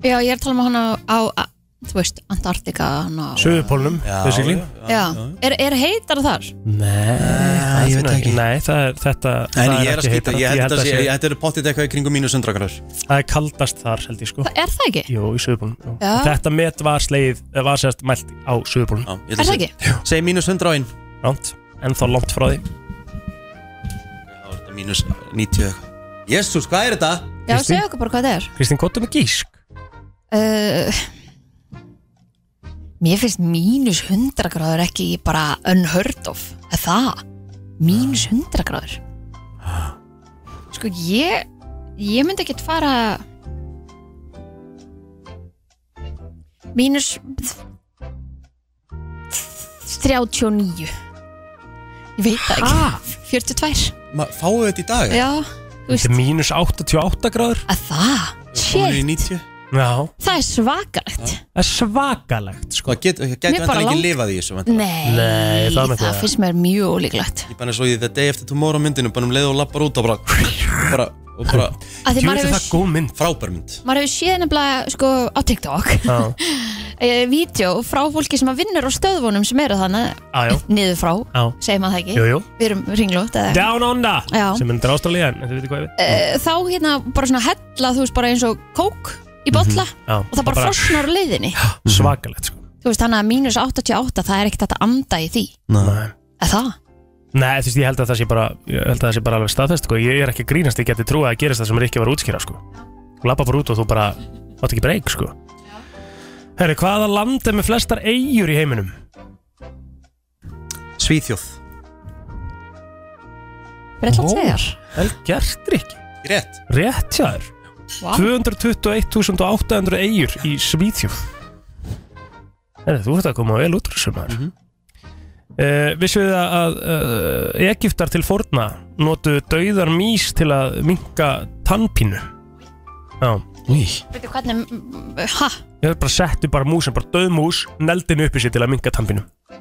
[SPEAKER 4] Já, ég er að tala um hana á, á þú veist, Antarktika hana á
[SPEAKER 5] Suðupólnum, basically
[SPEAKER 4] Já, er, er heitara þar?
[SPEAKER 5] Nei,
[SPEAKER 12] ég veit ekki
[SPEAKER 5] Nei, það er þetta
[SPEAKER 12] En ég er
[SPEAKER 5] það
[SPEAKER 12] að
[SPEAKER 5] ekki
[SPEAKER 12] skita,
[SPEAKER 5] heitara.
[SPEAKER 12] ég held að sé,
[SPEAKER 5] sé-
[SPEAKER 12] ég- þetta eru pottið eitthvað í kringum mínus 100 gráður
[SPEAKER 5] Það er kaldast þar held ég sko
[SPEAKER 4] Það er það ekki?
[SPEAKER 5] Jú, í Suðupólnum
[SPEAKER 4] Já.
[SPEAKER 5] Þetta met var sleið, eh, var sérst mælt á Suðupólnum
[SPEAKER 12] Er það
[SPEAKER 4] ekki?
[SPEAKER 12] Segð mínus 100 á inn
[SPEAKER 5] Ránt, en þá langt frá því
[SPEAKER 12] Það var þetta mínus 90 eitthvað Jésús, hvað er þetta?
[SPEAKER 4] Já, segja okkur bara hvað það er
[SPEAKER 5] Kristín, hvað er með gísk?
[SPEAKER 4] uh, Mér finnst mínus 100 gráður ekki bara unheard of Er það? Mínus 100 gráður Sko, ég ég myndi ekkert fara mínus 39 Ég veit það ekki 42
[SPEAKER 12] Ma, Fáðu þetta í dag?
[SPEAKER 4] Já, þú veist
[SPEAKER 5] Þetta er mínus 88 gráður
[SPEAKER 4] að það Shit,
[SPEAKER 12] 90
[SPEAKER 5] Já,
[SPEAKER 4] það er svakalegt
[SPEAKER 5] það er svakalegt sko
[SPEAKER 12] Það getur get,
[SPEAKER 4] Mér bara
[SPEAKER 12] ekki
[SPEAKER 4] langt-
[SPEAKER 12] lifað í þessu væntanlega.
[SPEAKER 4] Nei,
[SPEAKER 12] Nei, það
[SPEAKER 4] það,
[SPEAKER 12] með því að-
[SPEAKER 4] finnst mér mjög ólíklegt
[SPEAKER 12] Ég bara svo í The Day After Tomorrow myndinu Bara um leið og lappar út og bara Bara, og bara
[SPEAKER 4] Að því maður Djöfull er hefur- það
[SPEAKER 5] góð mynd
[SPEAKER 12] Frábær mynd
[SPEAKER 4] Maður hefur séð nefnilega sko, á TikTok
[SPEAKER 5] Já,
[SPEAKER 4] e, Vídeó frá fólki sem að vinnur á stöðvunum sem eru þannig
[SPEAKER 5] já,
[SPEAKER 4] niður frá,
[SPEAKER 5] já
[SPEAKER 4] segir maður það ekki
[SPEAKER 5] Jú, jú.
[SPEAKER 4] Við erum ringlót eða...
[SPEAKER 5] Down on
[SPEAKER 4] Já.
[SPEAKER 5] sem er undir ástralíðan, þetta veitir hvað ég
[SPEAKER 4] e, Þá hérna bara svona hella þú veist bara eins og kók í bolla
[SPEAKER 5] Já,
[SPEAKER 4] og Mhm. það bara frosnar á leiðinni
[SPEAKER 5] veit Svakalegt sko
[SPEAKER 4] Þú veist þannig að mínus 88 það er ekkert hægt að anda í því
[SPEAKER 5] Nei
[SPEAKER 4] Er það?
[SPEAKER 5] Nei, þú veist, ég held að það sé bara, ég held að það sé bara alveg staðfest, sko. Ég er ekki að grínast, ég geti trúið að gerist það sem er ekki að vera útskýra, sko. Þú lappa bara út og þú bara, átt ekki breyk, sko. Herri, hvaða land er með flestar eigur í heiminum?
[SPEAKER 12] Svíþjóð.
[SPEAKER 4] Bretland segjar
[SPEAKER 5] Vel gert, Rík.
[SPEAKER 12] Rétt.
[SPEAKER 5] Rétt, já, þér.
[SPEAKER 4] Vá.
[SPEAKER 5] 221.800 eigur í Svíþjóð. Herri, þú ert að koma vel út úr þessu maður.
[SPEAKER 12] Mhm.
[SPEAKER 5] Mm vissu þið að- að uh, Egiptar til forna notu dauðar mís til að minka tannpínu? Já. Í.
[SPEAKER 4] Veitu hvernig, ha?
[SPEAKER 5] Ég bara settu bara músin, bara döð mús Neldinu uppi sér til að minga tampinu
[SPEAKER 4] En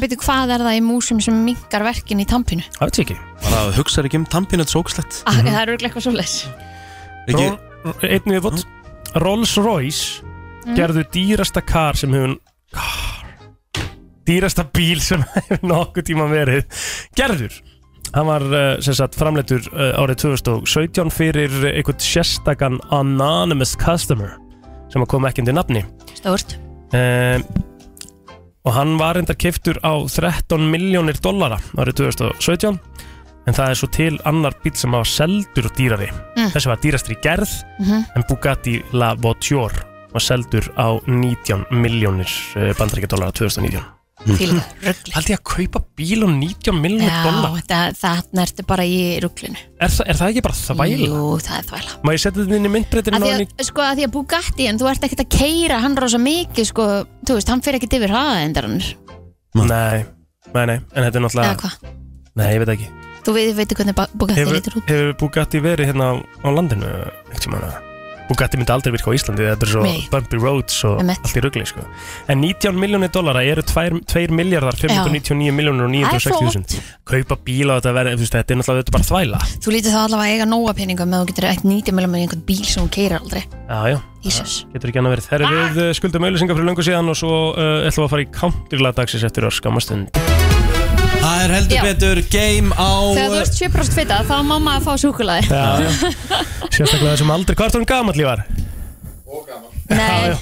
[SPEAKER 4] byrju hvað er það í músum sem minkar verkin í tampinu?
[SPEAKER 5] Það veit ég ekki
[SPEAKER 12] Bara hugsaðu ekki um tampinu, þetta er svo ógslegt
[SPEAKER 4] Mm Það eru eitthvað svo leys
[SPEAKER 12] Ekki- Mm.
[SPEAKER 5] Einnig við vott Rolls Royce
[SPEAKER 4] Mm.
[SPEAKER 5] gerðu dýrasta kar sem hefur dýrasta bíl sem hefur nokkuð tíma verið gerður Hann var eh, sem sagt framleittur eh, árið 2017 fyrir einhvern sérstakan anonymous customer sem að koma ekki undir nafni
[SPEAKER 4] Stórt
[SPEAKER 5] um, og hann var reyndar keiftur á 13 miljónir dollara árið 2017 en það er svo til annar bíl sem hafa seldur og dýrari
[SPEAKER 4] Mm.
[SPEAKER 5] þessi var dýrastri gerð
[SPEAKER 4] Mhm.
[SPEAKER 5] en Bugatti eh, La Voiture var seldur á 19 miljónir bandaríkja dollara 2019
[SPEAKER 4] Fíla
[SPEAKER 5] rugli Haldi ég að kaupa bíl um 90 miljonir
[SPEAKER 4] Já,
[SPEAKER 5] dollar
[SPEAKER 4] það, það ertu bara í ruglunu
[SPEAKER 5] er, þa- er það ekki bara þvæla?
[SPEAKER 4] Jú, það er þvæla
[SPEAKER 5] Má ég setja þetta inn í myndbreytinu
[SPEAKER 4] að því
[SPEAKER 5] og
[SPEAKER 4] að, sko, að því að Bugatti en þú ert ekkert að keira hann rosa mikið sko, þú veist, hann fyrir ekkert yfir hraðaendarann
[SPEAKER 5] Nei, nei, nei, en þetta er
[SPEAKER 4] eða
[SPEAKER 5] náttúrulega
[SPEAKER 4] hvað,
[SPEAKER 5] Nei, ég veit ekki
[SPEAKER 4] þú veit, veitir hvernig Bu- Bugatti
[SPEAKER 5] Hefur,
[SPEAKER 4] lítur út
[SPEAKER 5] hefur Bugatti verið hérna á, á landinu? Ekki sem hana Bugatti myndi aldrei virka á Íslandi Þetta er svo
[SPEAKER 4] Nei.
[SPEAKER 5] bumpy roads og
[SPEAKER 4] Einmitt.
[SPEAKER 5] allt í rugli sko. En 19 miljónir dollara eru 2, 2 miljardar 599 miljónir og 960.000 Kaupa bíla og þetta verið þú veist, Þetta er náttúrulega þetta er bara þvæla
[SPEAKER 4] þú lítið þá allavega að eiga nóga peningum eða þú getur ekkert nýtið meðlum með einhvern bíl sem hún keirar aldrei
[SPEAKER 5] Já, já,
[SPEAKER 4] Jesus. Ah.
[SPEAKER 5] getur ekki annað verið Herri, við uh, skuldum auðlýsingar fyrir löngu síðan og svo uh, ætlum við að fara í counterlag dagsins eftir örskamastund
[SPEAKER 3] Það er heldur
[SPEAKER 4] Já.
[SPEAKER 3] betur game á
[SPEAKER 4] þegar þú ert 7% fita þá má maður fá súkulaði
[SPEAKER 5] Já, já. Sérstaklega þessum aldrei, hvað er hún gamall í var?
[SPEAKER 4] Nei,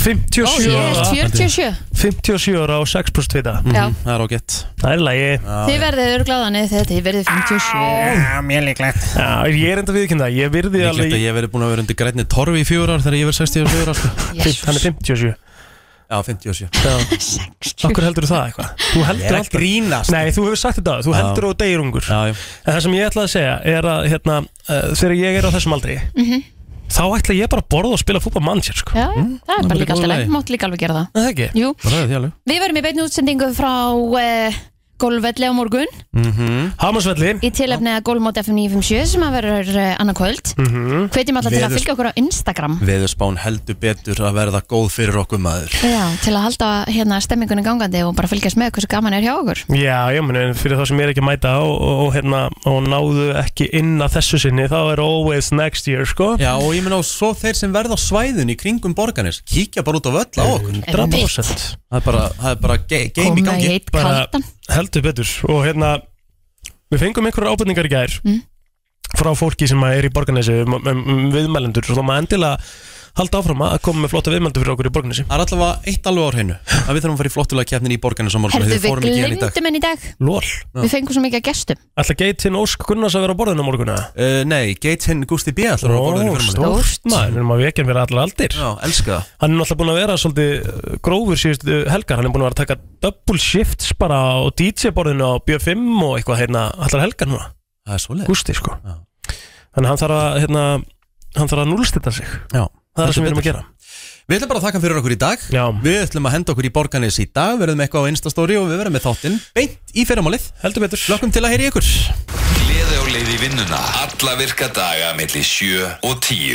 [SPEAKER 5] 57
[SPEAKER 4] Ó, ég
[SPEAKER 5] ára
[SPEAKER 4] er 47.
[SPEAKER 5] 57 ára og 6% vita
[SPEAKER 4] Já.
[SPEAKER 5] Það er ágætt Það er í lagi
[SPEAKER 4] þið verðið örgláðan eða þetta, þið verðið 57
[SPEAKER 5] Já, mér líklegt Já, ég er enda viðkynna, ég virði
[SPEAKER 3] Líklegt
[SPEAKER 5] alveg
[SPEAKER 3] að ég verið búin að vera undir grænni torfi í fjögur ár þegar ég verið 64 ár sko.
[SPEAKER 5] Jesus. Hann er 57
[SPEAKER 3] Já, 57
[SPEAKER 5] Akkur heldur það eitthvað? Þú heldur
[SPEAKER 3] Ég er að
[SPEAKER 5] alltaf-
[SPEAKER 3] grínast.
[SPEAKER 5] Nei, þú hefur sagt þetta áður, Þú
[SPEAKER 3] Já.
[SPEAKER 5] heldur og deyr ungur
[SPEAKER 3] Já, já.
[SPEAKER 5] En það sem ég ætla að segja er að hérna, uh, Þegar ég er á þessum aldri
[SPEAKER 4] Mhm.
[SPEAKER 5] Þá ætla ég bara að borða og spila fútbol manager sko.
[SPEAKER 4] Já,
[SPEAKER 3] Mm.
[SPEAKER 4] það er
[SPEAKER 5] það
[SPEAKER 4] bara
[SPEAKER 5] er
[SPEAKER 4] líka
[SPEAKER 5] góð
[SPEAKER 4] alltaf
[SPEAKER 5] lagi.
[SPEAKER 4] leið, mátt líka alveg gera það
[SPEAKER 5] Það ekki?
[SPEAKER 4] Jú. Við verðum í beinni útsendingu frá uh, golfvelli á morgun
[SPEAKER 5] Mm
[SPEAKER 3] Mhm.
[SPEAKER 5] -hmm. Hamarsvelli
[SPEAKER 4] í tilefni að golfmót FM 957 sem að verður uh, annað kvöld
[SPEAKER 3] Mhm.
[SPEAKER 4] hvetjum alla til að
[SPEAKER 3] Veðurs-
[SPEAKER 4] fylgja okkur á Instagram
[SPEAKER 3] Veðurspán heldur betur að verða góð fyrir okkur maður
[SPEAKER 4] Já, til að halda hérna stemmingunni gangandi og bara fylgjast með hversu gaman er hjá okkur
[SPEAKER 5] Já, já, meni, fyrir þá sem ég er ekki að mæta og, og, og, hérna, og náðu ekki inn að þessu sinni þá er always next year sko.
[SPEAKER 3] Já, og ég meina og svo þeir sem verða á svæðun í kringum borganis kíkja bara út á völl á okkur
[SPEAKER 5] 100%.
[SPEAKER 3] Það er bara, það er bara ge game í gangi
[SPEAKER 5] bara heldur betur og hérna við fengum einhverjar ábyrningar í gær frá fólki sem er í borgarnesi um, um, um viðmælendur svo þá maður endilega halda áfram að koma með flotta viðmælendur fyrir okkur í borgarnesi
[SPEAKER 3] Það er alltaf að eitt alveg ár hennu að við þurfum að fara í flottulega keppnin í borganis á morgun
[SPEAKER 4] Herðu,
[SPEAKER 3] þegar
[SPEAKER 4] við
[SPEAKER 3] fórum ekki í hann í dag.
[SPEAKER 4] glemdum henni í dag
[SPEAKER 5] Lól
[SPEAKER 4] Við fengum svo mikið að gestum
[SPEAKER 5] Ætla Geitin Ósk Gunnars að vera á borðinu á morgun eða?
[SPEAKER 3] Uh, nei, Gatein Gusti B. ætlar að vera á borðinu
[SPEAKER 5] Ó,
[SPEAKER 3] fyrir manni.
[SPEAKER 5] stórt maður, við erum að vekja vera allar aldir
[SPEAKER 3] Já, elska það
[SPEAKER 5] Hann er náttúrulega búin að vera svolítið uh, grófur síðust helgar Hann er búin að vera að taka double shifts bara á DJ-borðinu á B5 og eitthvað hérna allar helgar núna
[SPEAKER 3] Það er svolítið
[SPEAKER 5] Gústi sko Þannig að hann þarf að, hérna, hann þarf að núlstita sig
[SPEAKER 3] Já,
[SPEAKER 5] Það er það sem
[SPEAKER 3] heldur
[SPEAKER 5] við erum að
[SPEAKER 3] betur.
[SPEAKER 5] gera
[SPEAKER 3] Við ætlum bara að þakka fyrir okkur í dag Já. Við ætlum að henda okkur í borganis í dag Verðum eitthvað á Instastory og við verðum með þáttinn Beint í fyrramálið
[SPEAKER 5] Heldur betur
[SPEAKER 3] Lökkum til að heyri ykkur
[SPEAKER 7] Gleði á leið í vinnuna Alla virka daga melli 7 og 10